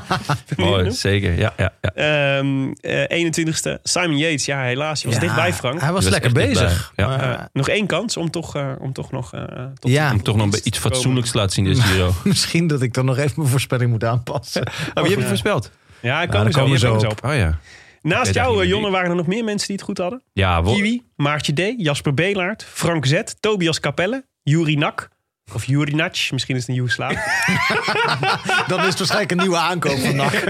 Speaker 1: mooi, zeker. Ja, ja, ja.
Speaker 6: Ehm, eh, 21ste. Simon Yates, ja, helaas. Je was
Speaker 2: Ja,
Speaker 6: dichtbij, Frank.
Speaker 2: Hij was,
Speaker 1: was
Speaker 2: lekker
Speaker 1: echt
Speaker 2: bezig.
Speaker 1: dichtbij, ja.
Speaker 2: maar-
Speaker 6: Eh, nog één kans om toch, eh, om toch nog... eh, tot
Speaker 2: ja,
Speaker 1: Om toch nog iets fatsoenlijks te laten zien deze Giro.
Speaker 2: eh, misschien dat ik dan nog even mijn voorspelling moet aanpassen.
Speaker 1: Oh, je hebt het voorspeld.
Speaker 6: Ja,
Speaker 2: Nou,
Speaker 6: ik kom
Speaker 2: daar
Speaker 6: zo,
Speaker 2: komen
Speaker 6: je
Speaker 2: we
Speaker 6: bent
Speaker 2: zo
Speaker 6: zo op.
Speaker 1: Oh ja.
Speaker 6: Naast
Speaker 1: weet eigenlijk
Speaker 6: jou,
Speaker 1: niet
Speaker 6: eh,
Speaker 1: wie-
Speaker 6: Jonne, waren er nog meer mensen die het goed hadden.
Speaker 1: Ja, wo-
Speaker 6: Kiwi, Maartje D, Jasper Belaert, Frank Z, Tobias Capelle, Juri Nak. Of Juri Natsch, misschien is het een Joeslaaf.
Speaker 2: Dan is het waarschijnlijk een nieuwe aankoop vandaag.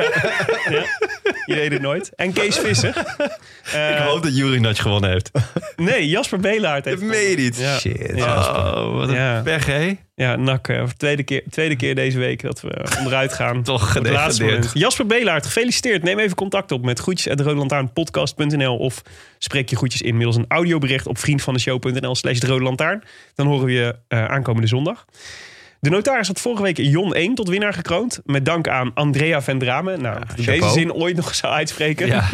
Speaker 6: Je weet het nooit. En Kees Visser. Eh,
Speaker 1: Ik hoop dat Jury Natch gewonnen heeft.
Speaker 6: Nee, Jasper Belaert heeft...
Speaker 1: meen je niet.
Speaker 6: Ja.
Speaker 2: Shit.
Speaker 6: Ja.
Speaker 1: Oh, wat een
Speaker 6: Ja.
Speaker 1: pech, hè?
Speaker 6: Ja, Nak, eh, voor de tweede keer, tweede keer deze week dat we eh, onderuit gaan.
Speaker 1: Toch
Speaker 6: Op het
Speaker 1: gedegradeerd.
Speaker 6: laatste moment. Jasper Belaert, gefeliciteerd. Neem even contact op met groetjes.roodlantaarnpodcast.nl of spreek je groetjes in middels een audiobericht op vriendvandeshow.nl slash de Rode Lantaarn. Dan horen we je eh, aankomende zondag. De notaris had vorige week Jon 1 tot winnaar gekroond. Met dank aan Andrea van Dramen. Nou, die deze
Speaker 2: chapeau.
Speaker 6: zin ooit nog zou uitspreken.
Speaker 1: Ja.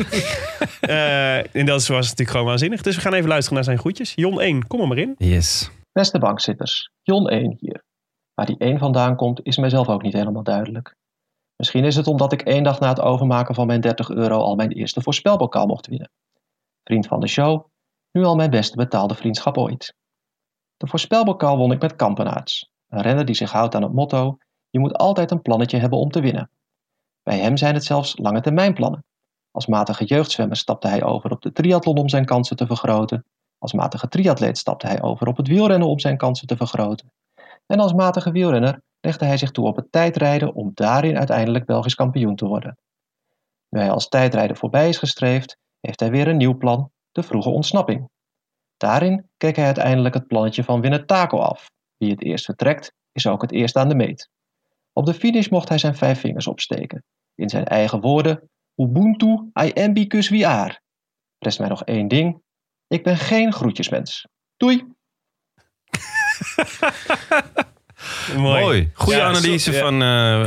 Speaker 6: Eh, en dat was natuurlijk gewoon waanzinnig. Dus we gaan even luisteren naar zijn groetjes. Jon 1, kom er maar in.
Speaker 1: Yes.
Speaker 7: Beste bankzitters, Jon 1 hier. Waar die 1 vandaan komt, is mijzelf ook niet helemaal duidelijk. Misschien is het omdat ik één dag na het overmaken van mijn 30 euro al mijn eerste voorspelbokaal mocht winnen. Vriend van de show, nu al mijn beste betaalde vriendschap ooit. De voorspelbokaal won ik met Kampenaerts, een renner die zich houdt aan het motto: je moet altijd een plannetje hebben om te winnen. Bij hem zijn het zelfs lange termijnplannen. Als matige jeugdzwemmer stapte hij over op de triathlon om zijn kansen te vergroten. Als matige triatleet stapte hij over op het wielrennen om zijn kansen te vergroten. En als matige wielrenner legde hij zich toe op het tijdrijden om daarin uiteindelijk Belgisch kampioen te worden. Nu hij als tijdrijder voorbij is gestreefd, heeft hij weer een nieuw plan, de vroege ontsnapping. Daarin keek hij uiteindelijk het plannetje van Winnetako af. Wie het eerst vertrekt, is ook het eerst aan de meet. Op de finish mocht hij zijn vijf vingers opsteken. In zijn eigen woorden, Ubuntu I ambicus we are. Rest mij nog één ding. Ik ben geen groetjesmens. Doei!
Speaker 1: Mooi. Goede
Speaker 6: Ja,
Speaker 1: analyse
Speaker 6: zo- ja.
Speaker 1: van,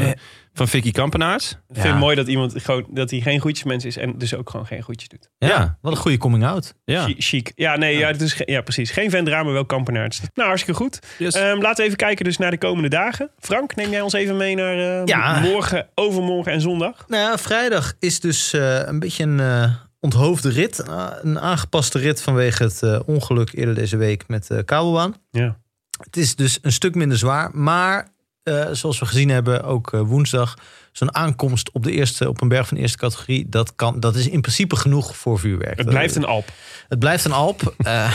Speaker 1: eh, van Vicky Kampenaerts.
Speaker 6: Ik vind het mooi dat iemand gewoon, dat hij geen goedjesmens is en dus ook gewoon geen goedjes doet.
Speaker 1: Ja.
Speaker 2: Wat een goede coming out.
Speaker 1: Ja.
Speaker 6: Chi- Chic. Ja, nee, ja. het is ge- ja, precies. Geen Vendra, maar wel Kampenaerts. Nou, hartstikke goed.
Speaker 1: Yes.
Speaker 6: Ehm, laten we even kijken dus naar de komende dagen. Frank, neem jij ons even mee naar eh,
Speaker 2: Ja.
Speaker 6: morgen, overmorgen en zondag?
Speaker 2: Nou, ja, vrijdag is dus eh, een beetje een eh, onthoofde rit. Een a- een aangepaste rit vanwege het eh, ongeluk eerder deze week met de kabelbaan.
Speaker 6: Ja.
Speaker 2: Het is dus een stuk minder zwaar. Maar eh, zoals we gezien hebben, ook eh, woensdag, zo'n aankomst op, de eerste, op een berg van de eerste categorie, dat, kan, dat is in principe genoeg voor vuurwerk.
Speaker 6: Het blijft een alp.
Speaker 2: Het blijft een alp. eh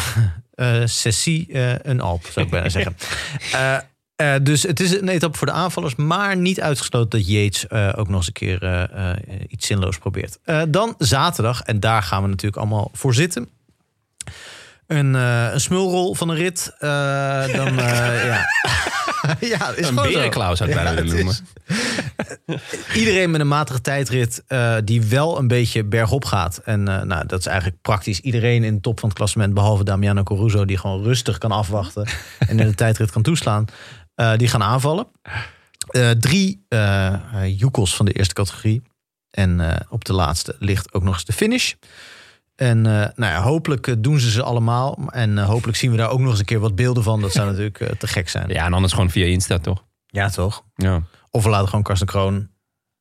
Speaker 2: eh, sessie eh, een alp, zou ik bijna zeggen. Eh, eh, dus het is een etappe voor de aanvallers. Maar niet uitgesloten dat Yates eh, ook nog eens een keer eh, eh, iets zinloos probeert. Eh, dan zaterdag, en daar gaan we natuurlijk allemaal voor zitten. Een, eh, een smulrol van een rit. Eh, dan, eh, ja. ja, is
Speaker 1: Een
Speaker 2: gewoon zo.
Speaker 1: berenklauw zou ik bijna
Speaker 2: Ja,
Speaker 1: willen
Speaker 2: het
Speaker 1: noemen.
Speaker 2: is- iedereen met een matige tijdrit eh, die wel een beetje bergop gaat. En eh, nou, dat is eigenlijk praktisch iedereen in de top van het klassement, behalve Damiano Caruso, die gewoon rustig kan afwachten en in de tijdrit kan toeslaan. eh, die gaan aanvallen. Eh, drie eh eh, joekels van de eerste categorie. En eh, op de laatste ligt ook nog eens de finish. En eh, nou ja, hopelijk eh, doen ze ze allemaal. En eh, hopelijk zien we daar ook nog eens een keer wat beelden van. Dat zou natuurlijk eh, te gek zijn.
Speaker 1: Ja, en anders gewoon via Insta, toch?
Speaker 2: ja toch?
Speaker 1: Ja.
Speaker 2: Of we laten gewoon Karsten Kroon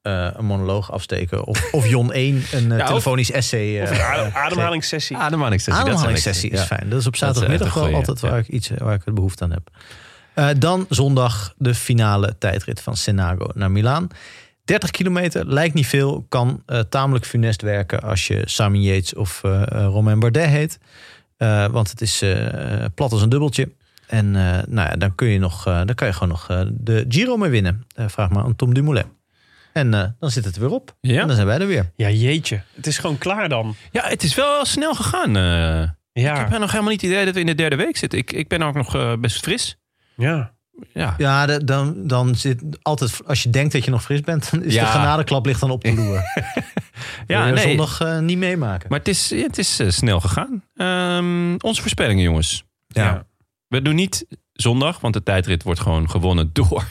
Speaker 2: eh, een monoloog afsteken. Of, of Jon 1 een eh,
Speaker 1: of-
Speaker 2: telefonisch essay.
Speaker 6: Of
Speaker 2: eh,
Speaker 6: een ade- ademhalingssessie.
Speaker 1: Ademhalingssessie. dat zou
Speaker 2: Ademhalingssessie
Speaker 1: niks
Speaker 2: is
Speaker 1: zijn.
Speaker 2: fijn. Dat is op
Speaker 1: Dat is
Speaker 2: zaterdagmiddag
Speaker 1: echt een
Speaker 2: wel
Speaker 1: goeie,
Speaker 2: altijd waar, ik iets, waar ik behoefte aan heb. Eh, dan zondag de finale tijdrit van Senago naar Milaan. 30 kilometer lijkt niet veel. Kan eh, tamelijk funest werken als je Sami Yates of eh eh, Romain Bardet heet. Eh, want het is eh, plat als een dubbeltje. En eh, nou ja, dan kun je, nog, eh, dan kan je gewoon nog eh, de Giro mee winnen. Eh, vraag maar aan Tom Dumoulin. En eh, dan zit het er weer op.
Speaker 1: Ja.
Speaker 2: En dan zijn wij er weer.
Speaker 6: Ja, jeetje. Het is gewoon klaar dan.
Speaker 1: Ja. ja, het is wel snel gegaan. eh. Ik
Speaker 6: Ja.
Speaker 2: Ah.
Speaker 1: heb nog helemaal niet het idee dat we in de derde week zitten. Ik, ik ben ook nog eh, best fris.
Speaker 6: ja.
Speaker 1: Ja.
Speaker 2: Ja, de- dan, dan zit altijd, als je denkt dat je nog fris bent, dan is
Speaker 1: Ja.
Speaker 2: de genadeklap ligt dan op de loer.
Speaker 1: Ja, nee.
Speaker 2: zondag eh, niet meemaken.
Speaker 1: Maar het is, ja, het is eh, snel gegaan. Ehm, onze voorspellingen, jongens.
Speaker 2: ja.
Speaker 1: We doen niet zondag, want de tijdrit wordt gewoon gewonnen door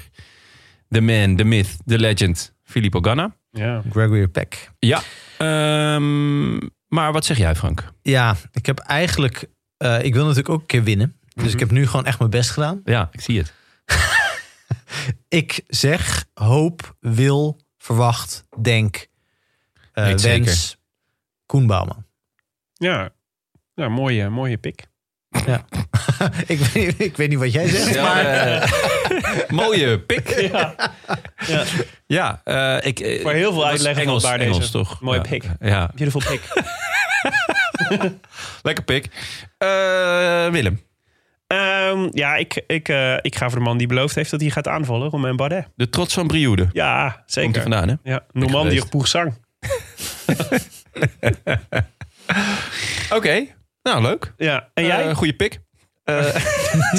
Speaker 1: de man, de myth, de legend, Filippo Ganna.
Speaker 6: Ja.
Speaker 2: Gregory Peck.
Speaker 1: Ja. Ehm, maar wat zeg jij, Frank?
Speaker 2: Ja, ik heb eigenlijk, eh, ik wil natuurlijk ook een keer winnen. Dus ik heb nu gewoon echt mijn best gedaan.
Speaker 1: Ja, ik zie het.
Speaker 2: Ik zeg hoop, wil, verwacht, denk, eh,
Speaker 1: Weet
Speaker 2: wens,
Speaker 1: zeker.
Speaker 2: Koen Bouwman.
Speaker 6: Ja. Ja, mooie, mooie pik.
Speaker 2: ik, weet, ik weet niet wat jij zegt, maar
Speaker 6: eh,
Speaker 1: Mooie pik. Ja,
Speaker 6: Ja.
Speaker 1: eh, ik, eh,
Speaker 6: Maar heel veel
Speaker 1: was
Speaker 6: uitleg van
Speaker 1: Engels,
Speaker 6: waar deze-
Speaker 1: Engels, toch?
Speaker 6: Mooie
Speaker 1: ja.
Speaker 6: pik.
Speaker 1: Ja,
Speaker 6: Beautiful pik.
Speaker 1: lekker pik. Eh, Willem,
Speaker 6: Ehm, ja, ik, ik, eh, ik ga voor de man die beloofd heeft dat hij gaat aanvallen. Romain Bardet.
Speaker 1: de trots van Brioude.
Speaker 6: Ja,
Speaker 1: Komt er
Speaker 6: zeker.
Speaker 1: vandaan, hè?
Speaker 6: Ja, Normandie
Speaker 1: geweest.
Speaker 6: of Poersang.
Speaker 1: Oké, nou leuk.
Speaker 6: Ja. En jij?
Speaker 1: Eh, goeie pik.
Speaker 6: Dank-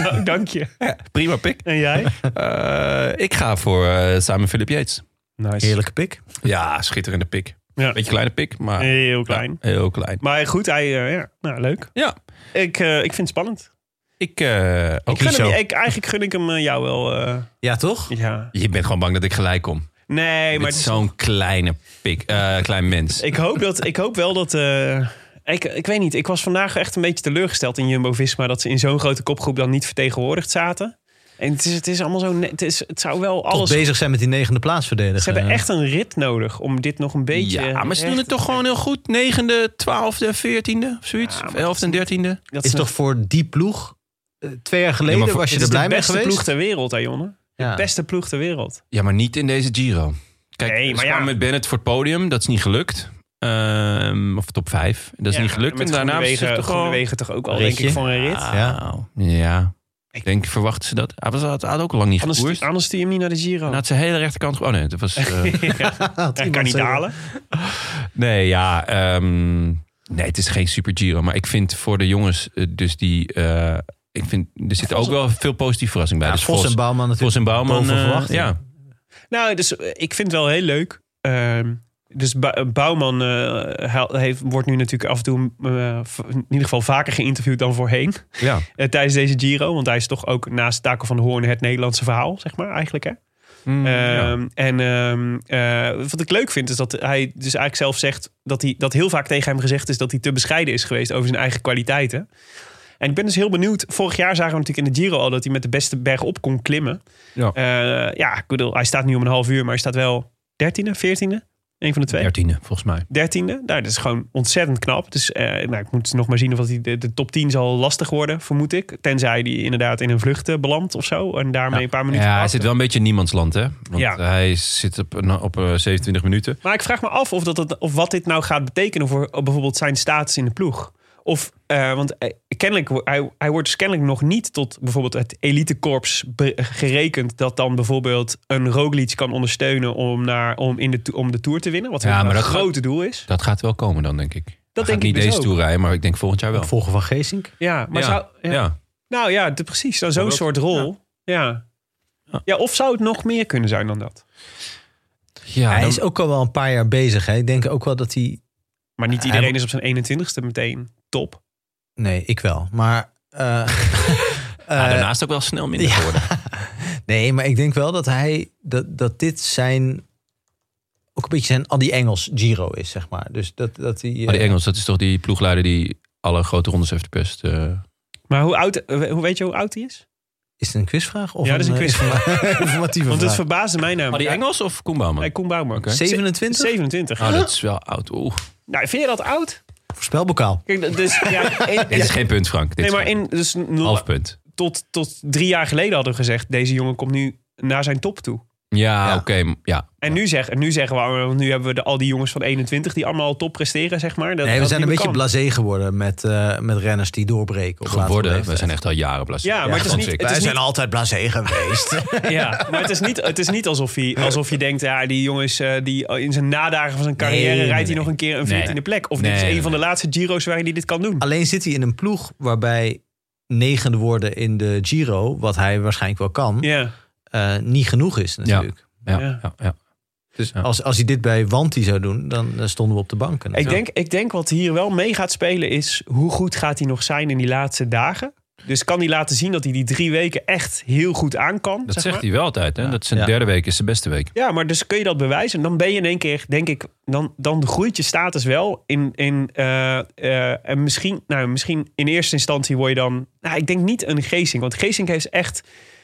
Speaker 6: Eh, Dank je.
Speaker 1: Prima pik.
Speaker 6: En jij?
Speaker 1: Eh, ik ga voor eh samen Philip Yates.
Speaker 6: Nice.
Speaker 2: heerlijke pik.
Speaker 1: Ja, schitterende pik.
Speaker 6: Ja.
Speaker 1: Beetje kleine pik, maar
Speaker 6: Heel klein.
Speaker 1: Ja, heel klein.
Speaker 6: Maar goed, hij, eh, ja, nou, leuk.
Speaker 1: Ja.
Speaker 6: Ik, eh, ik vind het spannend.
Speaker 1: Ik, eh, ook
Speaker 6: Ik gun
Speaker 1: niet
Speaker 6: hem,
Speaker 1: zo.
Speaker 6: ik, eigenlijk gun ik hem eh, jou wel. eh,
Speaker 2: Ja, toch?
Speaker 6: ja.
Speaker 1: Je bent gewoon bang dat ik gelijk kom.
Speaker 6: Nee, maar
Speaker 1: Met zo'n kleine pik, eh, klein mens.
Speaker 6: ik, hoop dat, ik hoop wel dat... eh, ik, ik weet niet, ik was vandaag echt een beetje teleurgesteld in Jumbo-Visma... dat ze in zo'n grote kopgroep dan niet vertegenwoordigd zaten. En het is, het is allemaal zo... net- Het, is, het zou wel
Speaker 2: Toch
Speaker 6: alles...
Speaker 2: bezig zijn met die negende plaats verdedigen.
Speaker 6: Ze hebben echt een rit nodig om dit nog een beetje...
Speaker 1: Eh. ja, maar ze doen het toch gewoon heel goed. Negende, twaalfde, veertiende of zoiets.
Speaker 6: Ja,
Speaker 1: of
Speaker 6: maar
Speaker 1: elfde en dertiende.
Speaker 6: Dat
Speaker 2: is
Speaker 6: ze-
Speaker 2: toch voor die ploeg... eh, Twee jaar geleden
Speaker 1: maar voor-
Speaker 2: was je
Speaker 6: het
Speaker 2: er
Speaker 6: is
Speaker 2: blij
Speaker 6: de
Speaker 2: mee
Speaker 6: beste
Speaker 2: geweest.
Speaker 6: ploeg ter wereld, hè, jongen.
Speaker 2: Ja.
Speaker 6: Beste ploeg ter wereld.
Speaker 1: Ja, maar niet in deze Giro. Kijk,
Speaker 6: Nee,
Speaker 1: ze
Speaker 6: maar ja.
Speaker 1: kwamen met Bennett voor het podium. Dat is niet gelukt. Ehm, of top vijf. Dat is
Speaker 6: Ja,
Speaker 1: niet gelukt.
Speaker 6: met
Speaker 1: En daarna hebben ze
Speaker 6: Groenewegen-
Speaker 1: toch gewoon...
Speaker 6: Groenewegen toch ook al,
Speaker 2: Ritje.
Speaker 6: denk ik, van een rit.
Speaker 1: Ja. ja. Ik denk, verwachten ze dat? Hij was- had, had ook al lang niet
Speaker 6: Anders,
Speaker 1: gekoerst. Nou,
Speaker 6: anders stuur je hem niet naar de Giro.
Speaker 1: En had zijn hele rechterkant... ge- Oh nee, dat was... eh,
Speaker 6: ja,
Speaker 2: Had
Speaker 6: dat kan
Speaker 2: iemand
Speaker 6: niet
Speaker 2: zeggen.
Speaker 6: halen.
Speaker 1: nee, ja. ehm, Nee, het is geen super Giro. Maar ik vind voor de jongens, eh, dus die. eh, ik vind, er zit ook wel veel positieve verrassing bij.
Speaker 2: Ja,
Speaker 1: dus
Speaker 2: Vos en Bouwman natuurlijk
Speaker 1: Vos en Bouwman.
Speaker 2: boven
Speaker 1: eh,
Speaker 2: verwachting.
Speaker 1: ja,
Speaker 6: Nou, dus eh, ik vind het wel heel leuk. Ehm, dus Ba- Bouwman eh, hij heeft, wordt nu natuurlijk af en toe eh, v- in ieder geval vaker geïnterviewd dan voorheen.
Speaker 1: ja.
Speaker 6: eh, tijdens deze Giro. Want hij is toch ook naast Taco van de Hoorn het Nederlandse verhaal, zeg maar, eigenlijk. Hè?
Speaker 1: Mm, ja.
Speaker 6: Ehm, En ehm, eh, wat ik leuk vind is dat hij dus eigenlijk zelf zegt dat hij dat heel vaak tegen hem gezegd is dat hij te bescheiden is geweest over zijn eigen kwaliteiten. En ik ben dus heel benieuwd. Vorig jaar zagen we natuurlijk in de Giro al dat hij met de beste berg op kon klimmen.
Speaker 1: Ja.
Speaker 6: Eh, ja, ik bedoel, hij staat nu om een half uur, maar hij staat wel dertiende, veertiende. Een van de twee.
Speaker 1: Dertiende, volgens mij.
Speaker 6: Dertiende. Nou, dat is gewoon ontzettend knap. Dus eh, nou, ik moet nog maar zien of dat hij de, de top 10 zal lastig worden, vermoed ik. Tenzij hij inderdaad in een vlucht eh, belandt of zo. En daarmee een paar minuten.
Speaker 1: Ja, hij
Speaker 6: achter.
Speaker 1: zit wel een beetje in niemandsland, hè? Want
Speaker 6: Ja.
Speaker 1: hij zit op, een- op eh, 27 minuten.
Speaker 6: Maar ik vraag me af of, dat, het- of wat dit nou gaat betekenen voor eh, bijvoorbeeld zijn status in de ploeg. Of, eh, want eh, kennelijk, wo- hij, hij wordt dus kennelijk nog niet tot bijvoorbeeld het elitekorps be- gerekend. Dat dan bijvoorbeeld een Roglic kan ondersteunen om, naar, om, in de, to- om de Tour te winnen. Wat
Speaker 1: Ja,
Speaker 6: een
Speaker 1: maar dat
Speaker 6: grote doel is.
Speaker 1: Dat gaat wel komen dan, denk ik. Hij
Speaker 6: denk
Speaker 1: gaat
Speaker 6: ik
Speaker 1: niet
Speaker 6: dus
Speaker 1: deze
Speaker 6: ook.
Speaker 1: toer rijden, maar ik denk volgend jaar wel.
Speaker 2: Volgen van Geesink.
Speaker 6: Ja, maar
Speaker 1: ja.
Speaker 6: zou...
Speaker 1: ja.
Speaker 6: Nou ja, de- precies. dan Zo'n
Speaker 1: dat-
Speaker 6: soort rol. Ja. ja. of zou het nog meer kunnen zijn dan dat?
Speaker 1: Ja,
Speaker 2: hij
Speaker 1: dan-
Speaker 2: is ook al wel een paar jaar bezig. Hè. Ik denk ook wel dat hij...
Speaker 6: Maar niet
Speaker 2: Hij
Speaker 6: iedereen
Speaker 2: mo-
Speaker 6: is op zijn 21ste meteen top.
Speaker 2: Nee, ik wel. Maar... eh,
Speaker 1: ja,
Speaker 2: eh,
Speaker 1: Ah, daarnaast ook wel snel minder
Speaker 2: ja.
Speaker 1: geworden.
Speaker 2: Nee, maar ik denk wel dat hij dat, dat dit zijn ook een beetje zijn Adi Engels Giro is, zeg maar. Dus dat, dat hij.
Speaker 1: Maar die
Speaker 2: eh,
Speaker 1: Engels, dat is toch die ploegleider die alle grote rondes heeft verpest. eh.
Speaker 6: Maar hoe oud, eh, hoe weet je hoe oud hij is?
Speaker 2: Is het een quizvraag? Of
Speaker 6: Ja, dat is een
Speaker 2: eh,
Speaker 6: quizvraag.
Speaker 2: informa- informatieve
Speaker 6: Want het
Speaker 2: vraag?
Speaker 6: verbaasde mij namelijk.
Speaker 1: Maar die Engels of Koen Bouwman?
Speaker 6: Nee, Koen Bouwman.
Speaker 1: Oké.
Speaker 6: Ze-
Speaker 2: 27?
Speaker 6: 27.
Speaker 1: Oh, dat is wel oud. Oeh.
Speaker 6: Nou, vind je dat oud?
Speaker 2: Voorspelbokaal.
Speaker 6: Kijk, dat- dus, ja, in-
Speaker 1: Dit is geen punt, Frank. Dit
Speaker 6: nee, maar
Speaker 1: is geen
Speaker 6: in, dus n-
Speaker 1: half punt.
Speaker 6: tot, tot drie jaar geleden hadden we gezegd... deze jongen komt nu naar zijn top toe.
Speaker 1: Ja, oké. m- Ja.
Speaker 6: En nu, zeg, en nu zeggen we, oh, want nu hebben we de, al die jongens van 21... die allemaal al top presteren, zeg maar. Dat,
Speaker 2: Nee, we
Speaker 6: dat
Speaker 2: zijn een
Speaker 6: niet
Speaker 2: beetje
Speaker 6: meer kan.
Speaker 2: blasé geworden met, eh, met renners die doorbreken. Op latere
Speaker 1: Geworden.
Speaker 2: leeftijd.
Speaker 1: We zijn echt al jaren blasé.
Speaker 6: Ja, maar het is niet-
Speaker 1: Frank.
Speaker 6: het
Speaker 2: Wij
Speaker 6: is
Speaker 2: zijn
Speaker 6: niet-
Speaker 2: altijd blasé geweest.
Speaker 6: Ja, maar het is niet, het is niet alsof, hij, alsof je denkt... ja, die jongens eh, die in zijn nadagen van zijn carrière...
Speaker 2: Nee, nee,
Speaker 6: rijdt hij
Speaker 2: nee.
Speaker 6: nog een keer een
Speaker 1: Nee.
Speaker 6: 14e plek. Of
Speaker 1: Nee,
Speaker 6: dit is
Speaker 1: nee,
Speaker 6: een van de laatste Giro's waarin hij dit kan doen.
Speaker 2: Alleen zit hij in een ploeg waarbij negende worden in de Giro, wat hij waarschijnlijk wel kan,
Speaker 6: Ja,
Speaker 2: eh, niet genoeg is natuurlijk.
Speaker 1: Ja,
Speaker 6: Ja.
Speaker 1: ja, ja.
Speaker 2: Dus
Speaker 1: Ja.
Speaker 2: als, als hij dit bij Wanti zou doen, dan eh, stonden we op de banken.
Speaker 6: Ik, denk, ik denk wat hier wel mee gaat spelen is... hoe goed gaat hij nog zijn in die laatste dagen? Dus kan hij laten zien dat hij die drie weken echt heel goed aan kan?
Speaker 1: Dat
Speaker 6: zeg
Speaker 1: zegt
Speaker 6: maar?
Speaker 1: hij wel altijd. Hè? Dat zijn
Speaker 2: Ja.
Speaker 1: derde week is zijn beste week.
Speaker 6: Ja, maar dus kun je dat bewijzen? Dan ben je in één keer, denk ik... dan, dan groeit je status wel in... in eh, eh, en misschien, nou, misschien in eerste instantie word je dan... Nou, ik denk niet een Geesink. Want Geesink heeft, echt,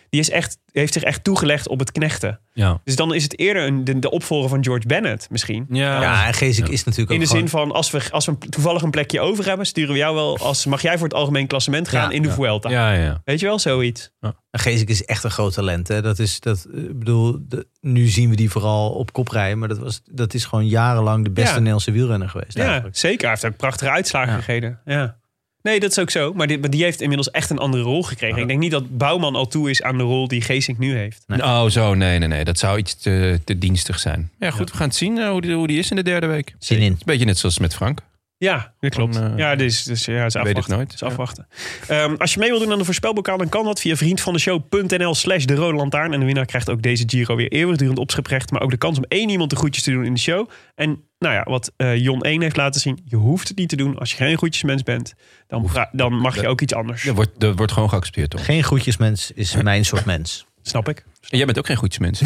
Speaker 6: die is echt, heeft zich echt toegelegd op het knechten.
Speaker 1: Ja.
Speaker 6: Dus dan is het eerder een, de, de opvolger van George Bennett misschien.
Speaker 1: Ja.
Speaker 2: Ja, en Geesink
Speaker 1: Ja.
Speaker 2: is natuurlijk
Speaker 6: In de
Speaker 2: ook gewoon-
Speaker 6: zin van, als we, als we toevallig een plekje over hebben, sturen we jou wel als. Mag jij voor het algemeen klassement gaan
Speaker 2: Ja,
Speaker 6: in de
Speaker 2: ja.
Speaker 6: Vuelta?
Speaker 1: Ja, ja, ja.
Speaker 6: Weet je wel, zoiets.
Speaker 2: En Geesink is echt een groot talent. Hè? Dat is, dat, eh, ik bedoel, de- nu zien we die vooral op kop rijden. Maar dat, was, dat is gewoon jarenlang de beste
Speaker 6: Ja.
Speaker 2: Nederlandse wielrenner geweest.
Speaker 6: Ja,
Speaker 2: eigenlijk.
Speaker 6: zeker. Hij heeft ook prachtige uitslagen gegeven. Ja. Nee, dat is ook zo. Maar die, maar die heeft inmiddels echt een andere rol gekregen. Ik denk niet dat Bouwman al toe is aan de rol die Geesink nu heeft.
Speaker 1: Oh, zo. Nee, nee, nee. Dat zou iets te, te dienstig zijn. Ja, goed. We gaan het zien eh, hoe, die, hoe die is in de derde week.
Speaker 2: Zin in.
Speaker 1: Het is een beetje net zoals met Frank.
Speaker 6: Ja, dat klopt.
Speaker 1: Dan, eh,
Speaker 6: ja, dus, dus ja, is
Speaker 1: weet
Speaker 6: afwachten.
Speaker 1: het nooit.
Speaker 6: Is afwachten. Ehm, als je mee wilt doen aan de voorspelbokaal, dan kan dat via vriendvandeshow.nl slash de rode lantaarn. En de winnaar krijgt ook deze Giro weer eeuwigdurend opscheprecht. Maar ook de kans om één iemand de groetjes te doen in de show. En nou ja, wat eh, Jon 1 heeft laten zien, je hoeft het niet te doen. Als je geen groetjesmens bent, dan, pra- dan mag je ook iets anders.
Speaker 1: Dat wordt, dat wordt gewoon geaccepteerd, toch?
Speaker 2: Geen groetjesmens is mijn soort mens.
Speaker 6: Snap ik.
Speaker 1: En jij bent ook geen goeds mens.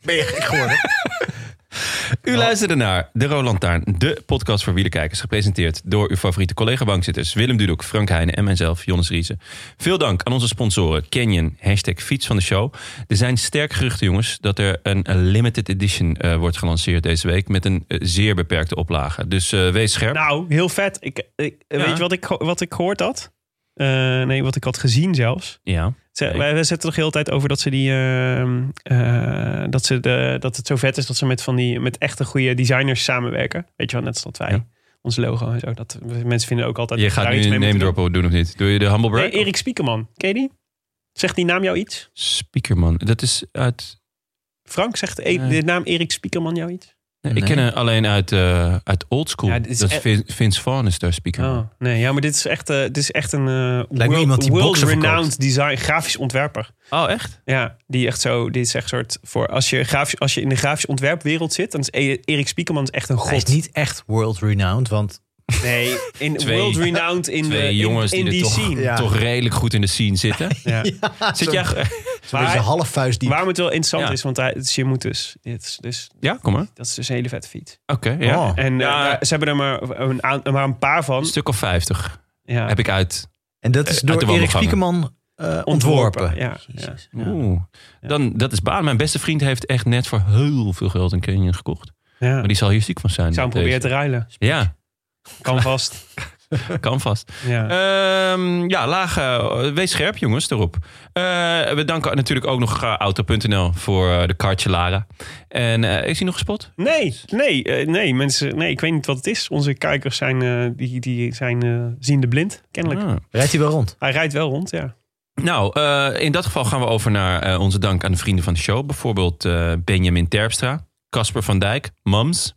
Speaker 2: Ben je gek geworden?
Speaker 1: U luisterde naar De Roland Taarn, de podcast voor wielerkijkers. Gepresenteerd door uw favoriete collega-bankzitters Willem Dudok, Frank Heijnen en mijzelf, Jonas Riese. Veel dank aan onze sponsoren Canyon, hashtag fiets van de show. Er zijn sterk geruchten, jongens, dat er een limited edition eh, wordt gelanceerd deze week. Met een eh, zeer beperkte oplage. Dus eh, wees scherp.
Speaker 6: Nou, heel vet. Ik, ik- eh,
Speaker 1: Ja.
Speaker 6: Weet je wat ik, ge- wat ik gehoord had? Eh, nee, wat ik had gezien zelfs.
Speaker 1: ja.
Speaker 6: Ze,
Speaker 1: Nee.
Speaker 6: wij, wij zetten toch de hele tijd over dat ze die. ehm, eh, dat, ze de, dat het zo vet is dat ze met, van die, met echte goede designers samenwerken. Weet je wel, net zoals dat wij.
Speaker 1: Ja.
Speaker 6: Ons logo en zo. Dat, mensen vinden ook altijd.
Speaker 1: Je
Speaker 6: dat we
Speaker 1: gaat
Speaker 6: daar
Speaker 1: nu
Speaker 6: iets mee
Speaker 1: een name
Speaker 6: moeten
Speaker 1: drop doen of niet? Doe je de Humble
Speaker 6: doen.
Speaker 1: Break?
Speaker 6: Nee, Erik Spiekerman. Ken je die? Zegt die naam jou iets?
Speaker 1: Speakerman. Oh, Dat is uit...
Speaker 6: Frank, zegt e-
Speaker 1: Nee.
Speaker 6: de naam Erik Spiekerman jou iets?
Speaker 1: Nee, Ik ken haar alleen uit, eh uit Old School.
Speaker 6: Ja, dit is
Speaker 1: dat is
Speaker 6: echt-
Speaker 1: Vin- Vince Vaughn is daar speaker.
Speaker 6: Oh, nee, ja, maar dit is echt, eh, dit is echt een
Speaker 2: me iemand die boksen
Speaker 6: world-renowned
Speaker 2: verkoopt.
Speaker 6: design, grafisch ontwerper.
Speaker 1: Oh, echt?
Speaker 6: Ja, die echt zo, dit is echt soort voor als je, grafisch, als je in de grafisch ontwerpwereld zit, dan is E- Erik Spiekerman echt een god.
Speaker 8: Hij is niet echt world renowned, want
Speaker 6: Nee, in
Speaker 1: Twee-
Speaker 6: world-renowned in, de
Speaker 1: Twee jongens
Speaker 6: in, in
Speaker 1: die
Speaker 6: die
Speaker 1: er toch,
Speaker 6: scene.
Speaker 8: Ja.
Speaker 1: toch redelijk goed in de scene zitten.
Speaker 6: Ja.
Speaker 1: Zit jij...
Speaker 8: zo'n beetje
Speaker 6: Maar-
Speaker 8: half vuist diep.
Speaker 6: Waarom het wel interessant
Speaker 1: Ja.
Speaker 6: is, want hij, het is- je moet dus, dit is dus,
Speaker 1: Ja, kom maar.
Speaker 6: dat is dus een hele vette fiets.
Speaker 1: Oké, ja.
Speaker 8: Oh.
Speaker 6: En eh,
Speaker 1: Ja.
Speaker 6: ze hebben er maar een, aan- maar een paar van.
Speaker 1: Een stuk of 50
Speaker 6: Ja.
Speaker 1: heb ik uit.
Speaker 8: En dat is
Speaker 1: Eh, uit
Speaker 8: door
Speaker 1: de
Speaker 8: Erik
Speaker 1: wandelgangen.
Speaker 8: Spiekerman eh, ontworpen.
Speaker 6: Ja, ja.
Speaker 1: Oeh. Dan, dat is baan. Mijn beste vriend heeft echt net voor heel veel geld een Canyon gekocht.
Speaker 6: ja.
Speaker 1: Maar die zal hier ziek van zijn.
Speaker 6: Ik zou hem
Speaker 1: met
Speaker 6: proberen
Speaker 1: deze.
Speaker 6: te ruilen.
Speaker 1: Ja,
Speaker 6: Kan vast.
Speaker 1: kan vast.
Speaker 6: Ja.
Speaker 1: Ehm, ja, laag. eh, wees scherp, jongens, erop. Eh, we danken natuurlijk ook nog eh, Auto.nl voor eh, de kaartje Lara. En eh, is hij nog gespot?
Speaker 6: Nee, nee, eh, nee, mensen, nee, ik weet niet wat het is. Onze kijkers zijn, eh, die, die zijn eh, ziende blind, kennelijk.
Speaker 1: Ah.
Speaker 8: Rijdt hij wel rond?
Speaker 6: Hij rijdt wel rond, ja.
Speaker 1: Nou, eh, in dat geval gaan we over naar eh, onze dank aan de vrienden van de show. Bijvoorbeeld eh, Benjamin Terpstra, Casper van Dijk, Mams.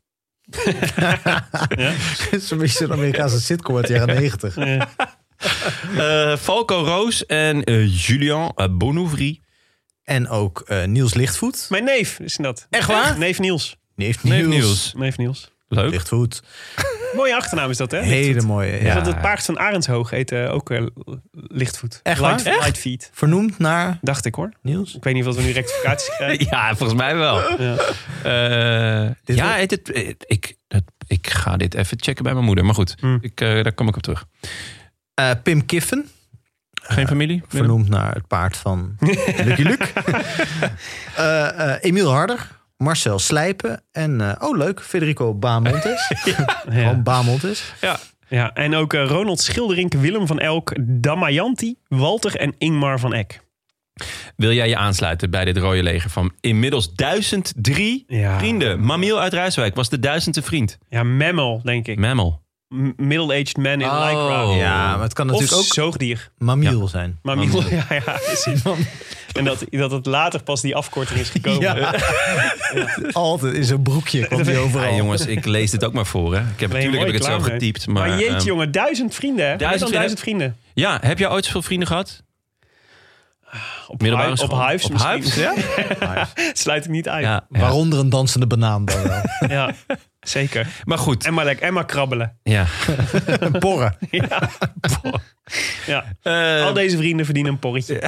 Speaker 8: Het is een beetje zo'n Amerikaanse sitcom uit de jaren 90.
Speaker 1: eh, Falco Roos en eh, Julian eh, Bonouvry.
Speaker 8: En ook eh, Niels Lichtvoet.
Speaker 6: Mijn neef is dat.
Speaker 1: Echt waar?
Speaker 6: Neef Niels.
Speaker 8: Neef
Speaker 1: Nee, nieuws.
Speaker 6: Neef Niels.
Speaker 1: Leuk.
Speaker 8: Lichtvoet.
Speaker 6: Mooie achternaam is dat, hè?
Speaker 8: Hele mooie.
Speaker 6: Ja.
Speaker 8: Ja.
Speaker 6: Want het paard van Arendshoog heette ook eh, Lichtvoet.
Speaker 8: Echt waar?
Speaker 6: Light-
Speaker 8: Echt?
Speaker 6: Lightfeet,
Speaker 8: Vernoemd naar
Speaker 6: dacht ik hoor.
Speaker 8: Niels.
Speaker 6: Ik weet niet of we nu rectificaties krijgen.
Speaker 1: Ja, volgens mij wel.
Speaker 6: Ja.
Speaker 1: Eh,
Speaker 8: Dit
Speaker 1: ja,
Speaker 8: wel-
Speaker 1: het, het- het- ik, het- ik ga dit even checken bij mijn moeder. Maar goed,
Speaker 6: Hmm.
Speaker 1: ik, eh, daar kom ik op terug.
Speaker 8: Eh, Pim Kiffen.
Speaker 1: Geen familie?
Speaker 8: Vernoemd naar het paard van Lucky Luke. Eh, eh, Emiel Harder. Marcel Slijpen. En, eh, oh leuk, Federico Baamontes. Gewoon Baamontes.
Speaker 6: Ja, en ook eh, Ronald Schilderink, Willem van Elk, Damayanti, Walter en Ingmar van Eck.
Speaker 1: Wil jij je aansluiten bij dit rode leger van inmiddels 1003
Speaker 6: Ja.
Speaker 1: vrienden? Mamiel uit Rijswijk was de duizendste vriend.
Speaker 6: Ja, Memmel, denk ik.
Speaker 1: Mammal.
Speaker 6: M- Middle-aged man in
Speaker 1: Oh.
Speaker 6: Lycra.
Speaker 8: Ja, maar het kan
Speaker 6: Of
Speaker 8: natuurlijk ook
Speaker 6: zoogdier.
Speaker 8: Mamiel zijn.
Speaker 6: Maar Miel, ja, ja, precies. En dat, dat het later pas die afkorting is gekomen. Eh,
Speaker 8: Ja. Altijd in zo'n broekje kwam die overal.
Speaker 1: Ja, Ah, jongens, ik lees dit ook maar voor. Hè. Ik heb,
Speaker 6: Ben je
Speaker 1: natuurlijk heb
Speaker 6: mooi
Speaker 1: ik het zo
Speaker 6: klaar mee.
Speaker 1: getypt. Maar,
Speaker 6: Maar, jeetje,
Speaker 1: ehm,
Speaker 6: jongen, duizend vrienden. hè? Meer
Speaker 1: Duizend
Speaker 6: dan duizend vrienden.
Speaker 1: Ja, heb jij ooit zoveel vrienden gehad?
Speaker 6: Op,
Speaker 1: Middelbare
Speaker 6: Hive- op
Speaker 1: school.
Speaker 6: Hives
Speaker 1: Op
Speaker 6: misschien.
Speaker 1: Hives,
Speaker 6: Sluit ik niet uit. Ja,
Speaker 1: Ja, ja.
Speaker 8: Waaronder een dansende banaan dan wel.
Speaker 6: zeker.
Speaker 1: Maar goed,
Speaker 6: En maar, lekker- en maar krabbelen.
Speaker 1: ja.
Speaker 8: Een porren.
Speaker 6: Ja.
Speaker 1: Eh,
Speaker 6: Al deze vrienden verdienen een porretje.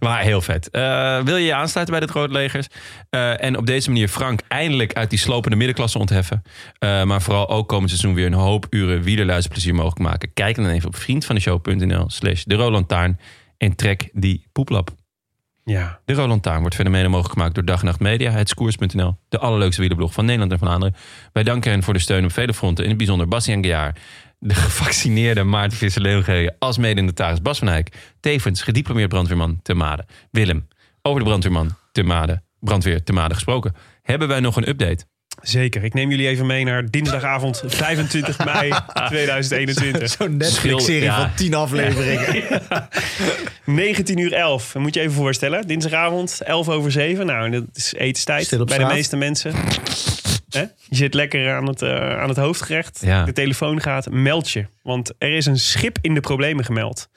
Speaker 1: Maar heel vet. Eh, wil je je aansluiten bij dit Rood Legers? Eh, en op deze manier Frank eindelijk uit die slopende middenklasse ontheffen. Eh, maar vooral ook komend seizoen weer een hoop uren wielerluisterplezier mogelijk maken. Kijk dan even op vriendvandeshow.nl slash de Roland Taarn en trek die poeplap.
Speaker 6: Ja.
Speaker 1: De Roland Taarn wordt verder mede mogelijk gemaakt door Dag en Nacht Media, het Koers.nl, de allerleukste wielerblog van Nederland en van anderen. Wij danken hen voor de steun op vele fronten, in het bijzonder Bastiaan Gejaar, de gevaccineerde Maarten Visser Leeuwgee, als mede notaris Bas van Eyck, tevens gediplomeerd brandweerman te Maden. Willem, over de brandweerman te Maden, brandweer te Maden gesproken. Hebben wij nog een update?
Speaker 6: Zeker. Ik neem jullie even mee naar dinsdagavond 25 mei 2021.
Speaker 8: Zo'n Netflix-serie
Speaker 1: Schil- ja.
Speaker 8: van tien afleveringen.
Speaker 6: 19 uur 11. Moet je even voorstellen. Dinsdagavond, 11 over 7. Nou, dat is etenstijd
Speaker 8: Stil op
Speaker 6: bij de
Speaker 8: straat.
Speaker 6: meeste mensen. Hè? Je zit lekker aan het, eh, aan het hoofdgerecht.
Speaker 1: Ja.
Speaker 6: De telefoon gaat, meld je. Want er is een schip in de problemen gemeld.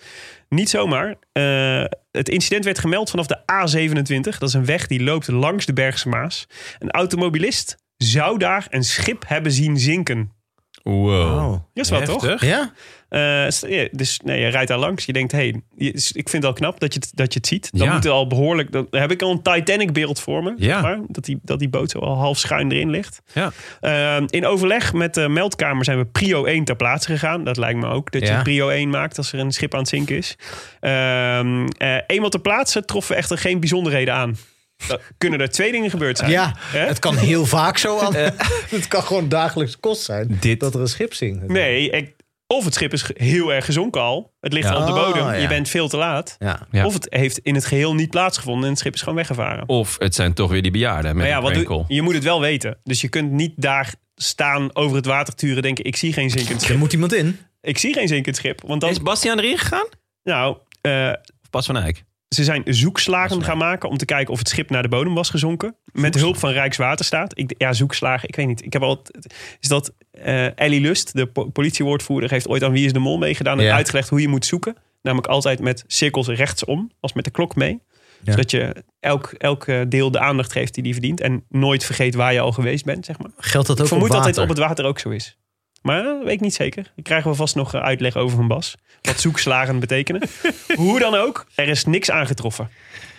Speaker 6: Niet zomaar. Eh, het incident werd gemeld vanaf de A27. Dat is een weg die loopt langs de Bergse Maas. Een automobilist zou daar een schip hebben zien zinken.
Speaker 1: Wow.
Speaker 8: Oh.
Speaker 6: Dat is wel toch?
Speaker 8: Ja?
Speaker 6: Eh, s- ja, dus nee, je rijdt daar langs. Je denkt, hey, je- s- ik vind het al knap dat je het, dat je het ziet. Dan
Speaker 1: Ja.
Speaker 6: moet er al behoorlijk. Dan heb ik al een Titanic-beeld voor me.
Speaker 1: Ja.
Speaker 6: zeg maar, dat, die, dat die boot zo al half schuin erin ligt.
Speaker 1: Ja.
Speaker 6: Eh, in overleg met de meldkamer zijn we prio 1 ter plaatse gegaan. Dat lijkt me ook. Dat
Speaker 8: Ja.
Speaker 6: je prio 1 maakt als er een schip aan het zinken is. Ehm, eh, eenmaal ter plaatse troffen we echter geen bijzonderheden aan. Dan kunnen er twee dingen gebeurd zijn.
Speaker 8: Ja,
Speaker 6: Hè?
Speaker 8: het kan heel vaak zo. Aan. het kan gewoon dagelijks kost zijn
Speaker 1: Dit-
Speaker 8: dat er een schip zingt.
Speaker 6: Nee, ik- of het schip is ge- heel erg gezonken al. Het ligt
Speaker 1: Ja.
Speaker 6: al op de bodem.
Speaker 8: Ah, ja.
Speaker 6: Je bent veel te laat.
Speaker 8: Ja.
Speaker 1: Ja.
Speaker 6: Of het heeft in het geheel niet plaatsgevonden en het schip is gewoon weggevaren.
Speaker 1: Of het zijn toch weer die bejaarden met
Speaker 6: Maar
Speaker 1: ja,
Speaker 6: Nou ja,
Speaker 1: een
Speaker 6: wat
Speaker 1: prank
Speaker 6: doe,
Speaker 1: call.
Speaker 6: je moet het wel weten. Dus je kunt niet daar staan over het water turen denken... ik zie geen zinkend
Speaker 8: Er
Speaker 6: schip.
Speaker 8: moet iemand in.
Speaker 6: Ik zie geen zinkend schip. Want dan,
Speaker 1: Is Bastiaan erin gegaan?
Speaker 6: nou, eh,
Speaker 1: Of Bas van Eyck?
Speaker 6: ze zijn zoekslagen gaan maken om te kijken of het schip naar de bodem was gezonken. Met hulp van Rijkswaterstaat. Ik, ja, zoekslagen, ik weet niet. Ik heb al, is dat eh Ellie Lust, de po- politiewoordvoerder, heeft ooit aan Wie is de Mol meegedaan en
Speaker 2: Ja.
Speaker 6: uitgelegd hoe je moet zoeken. Namelijk altijd met cirkels rechtsom, als met de klok mee.
Speaker 2: Ja.
Speaker 6: Zodat je elk, elk eh, deel de aandacht geeft die die verdient. En nooit vergeet waar je al geweest bent, zeg maar.
Speaker 2: Geldt dat ook
Speaker 6: Ik vermoed
Speaker 2: op
Speaker 6: dat
Speaker 2: water?
Speaker 6: dit op het water ook zo is. Maar eh, weet ik niet zeker. Daar krijgen we vast nog eh, uitleg over van Bas. Wat zoekslagen betekenen. Hoe dan ook, er is niks aangetroffen.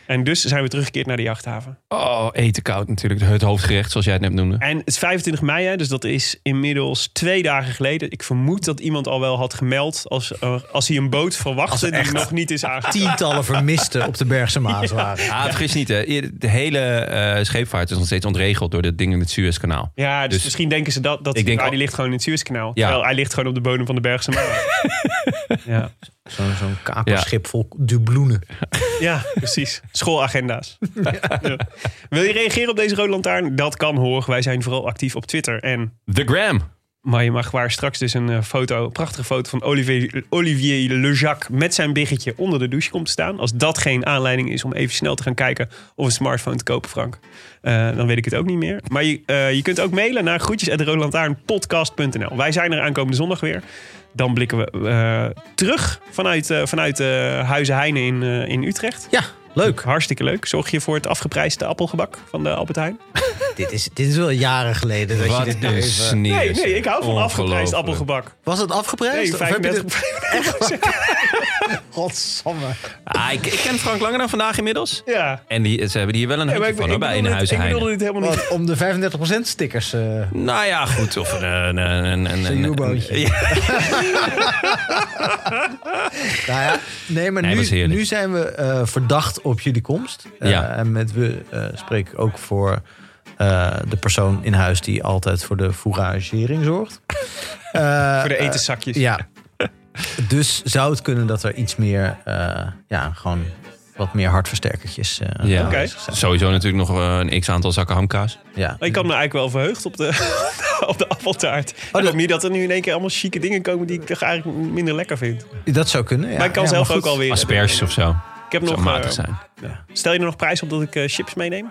Speaker 6: En dus zijn we teruggekeerd naar de jachthaven.
Speaker 1: Oh, eten koud natuurlijk. Het hoofdgerecht, zoals jij het net noemde.
Speaker 6: En het is 25 mei, hè, dus dat is inmiddels twee dagen geleden. Ik vermoed dat iemand al wel had gemeld als, eh, als hij een boot
Speaker 2: Als
Speaker 6: verwachtte
Speaker 2: er
Speaker 6: die
Speaker 2: echt
Speaker 6: nog niet is aangetroffen.
Speaker 2: Tientallen vermisten op de Bergse Maas waren.
Speaker 1: Ah, vergis niet, hè. De hele eh, scheepvaart is nog steeds ontregeld door de dingen in het Suezkanaal.
Speaker 6: Ja, dus,
Speaker 1: Dus-
Speaker 6: misschien denken ze dat, dat
Speaker 1: Ik denk
Speaker 6: ah,
Speaker 1: al-
Speaker 6: die ligt gewoon in het Suezkanaal.
Speaker 1: Ja.
Speaker 6: Terwijl hij ligt gewoon op de bodem van de Bergse Maas. ja.
Speaker 2: Zo'n zo'n kakelschip vol dubloenen.
Speaker 6: Ja, precies. Schoolagenda's. Ja. Wil je reageren op deze rode lantaarn? Dat kan hoor. Wij zijn vooral actief op Twitter. En
Speaker 1: The Gram.
Speaker 6: maar je mag waar straks dus een eh, foto, een prachtige foto van Olivier, Olivier Lejac met zijn biggetje onder de douche komt te staan. Als dat geen aanleiding is om even snel te gaan kijken of een smartphone te kopen, Frank, eh, dan weet ik het ook niet meer. Maar je, eh, je kunt ook mailen naar groetjes.roodlantaarnpodcast.nl. Wij zijn er aankomende zondag weer. Dan blikken we eh, terug vanuit, eh, vanuit eh, Huizen Heine in, eh, in Utrecht.
Speaker 2: Ja, leuk.
Speaker 6: Hartstikke leuk. Zorg je voor het afgeprijsde appelgebak van de Albert Heijn?
Speaker 2: Dit is, dit is wel jaren geleden dat
Speaker 1: Wat
Speaker 2: je dit nou
Speaker 1: een
Speaker 2: even-
Speaker 1: sneer.
Speaker 6: Nee, nee, ik
Speaker 2: eh,
Speaker 6: hou van afgeprijsd
Speaker 1: Ongelooflijk.
Speaker 6: appelgebak.
Speaker 2: Was het afgeprijsd?
Speaker 6: Nee,
Speaker 2: Of heb je
Speaker 6: 35
Speaker 2: dit- Godsamme.
Speaker 1: Ah, ik, ik ken Frank langer dan vandaag inmiddels.
Speaker 6: Ja.
Speaker 1: En die, ze hebben hier wel een
Speaker 6: Nee, maar
Speaker 1: handje
Speaker 6: ik,
Speaker 1: van
Speaker 6: ik
Speaker 1: hoor, bij in
Speaker 6: bedoelde dit-
Speaker 1: huizen
Speaker 6: ik
Speaker 1: Heine.
Speaker 6: bedoelde dit helemaal niet.
Speaker 2: Wat, om de 35% stickers. eh,
Speaker 1: Nou ja, goed. Of een... een, een, een, een,
Speaker 2: Zo'n
Speaker 1: een-
Speaker 2: U-bootje.
Speaker 1: Ja.
Speaker 2: Nou ja, nee, maar
Speaker 1: Nee, was
Speaker 2: nu,
Speaker 1: heerlijk.
Speaker 2: nu zijn we eh, verdacht op jullie komst. Eh,
Speaker 1: Ja.
Speaker 2: En met we eh, spreek ik ook voor eh, de persoon in huis die altijd voor de fouragering zorgt. Eh,
Speaker 6: Voor de etenszakjes.
Speaker 2: ja. Dus zou het kunnen dat er iets meer, eh, ja, gewoon wat meer hartversterkertjes. eh,
Speaker 1: Ja.
Speaker 2: aanwezig
Speaker 6: Oké.
Speaker 2: zijn.
Speaker 1: Sowieso natuurlijk nog eh, een x-aantal zakken hamkaas.
Speaker 2: Ja.
Speaker 6: Ik had me eigenlijk wel verheugd op de, op de appeltaart. Oh,
Speaker 2: dat-
Speaker 6: niet dat er nu in één keer allemaal chique dingen komen die ik toch eigenlijk minder lekker vind.
Speaker 2: Dat zou kunnen. Ja.
Speaker 6: maar ik kan
Speaker 2: Ja,
Speaker 6: zelf
Speaker 2: goed.
Speaker 6: ook alweer.
Speaker 1: Asperges of zo.
Speaker 6: Ik heb
Speaker 1: Zou
Speaker 6: nog.
Speaker 1: matig
Speaker 6: eh,
Speaker 1: zijn.
Speaker 6: stel je er nog prijs op dat ik eh, chips meeneem?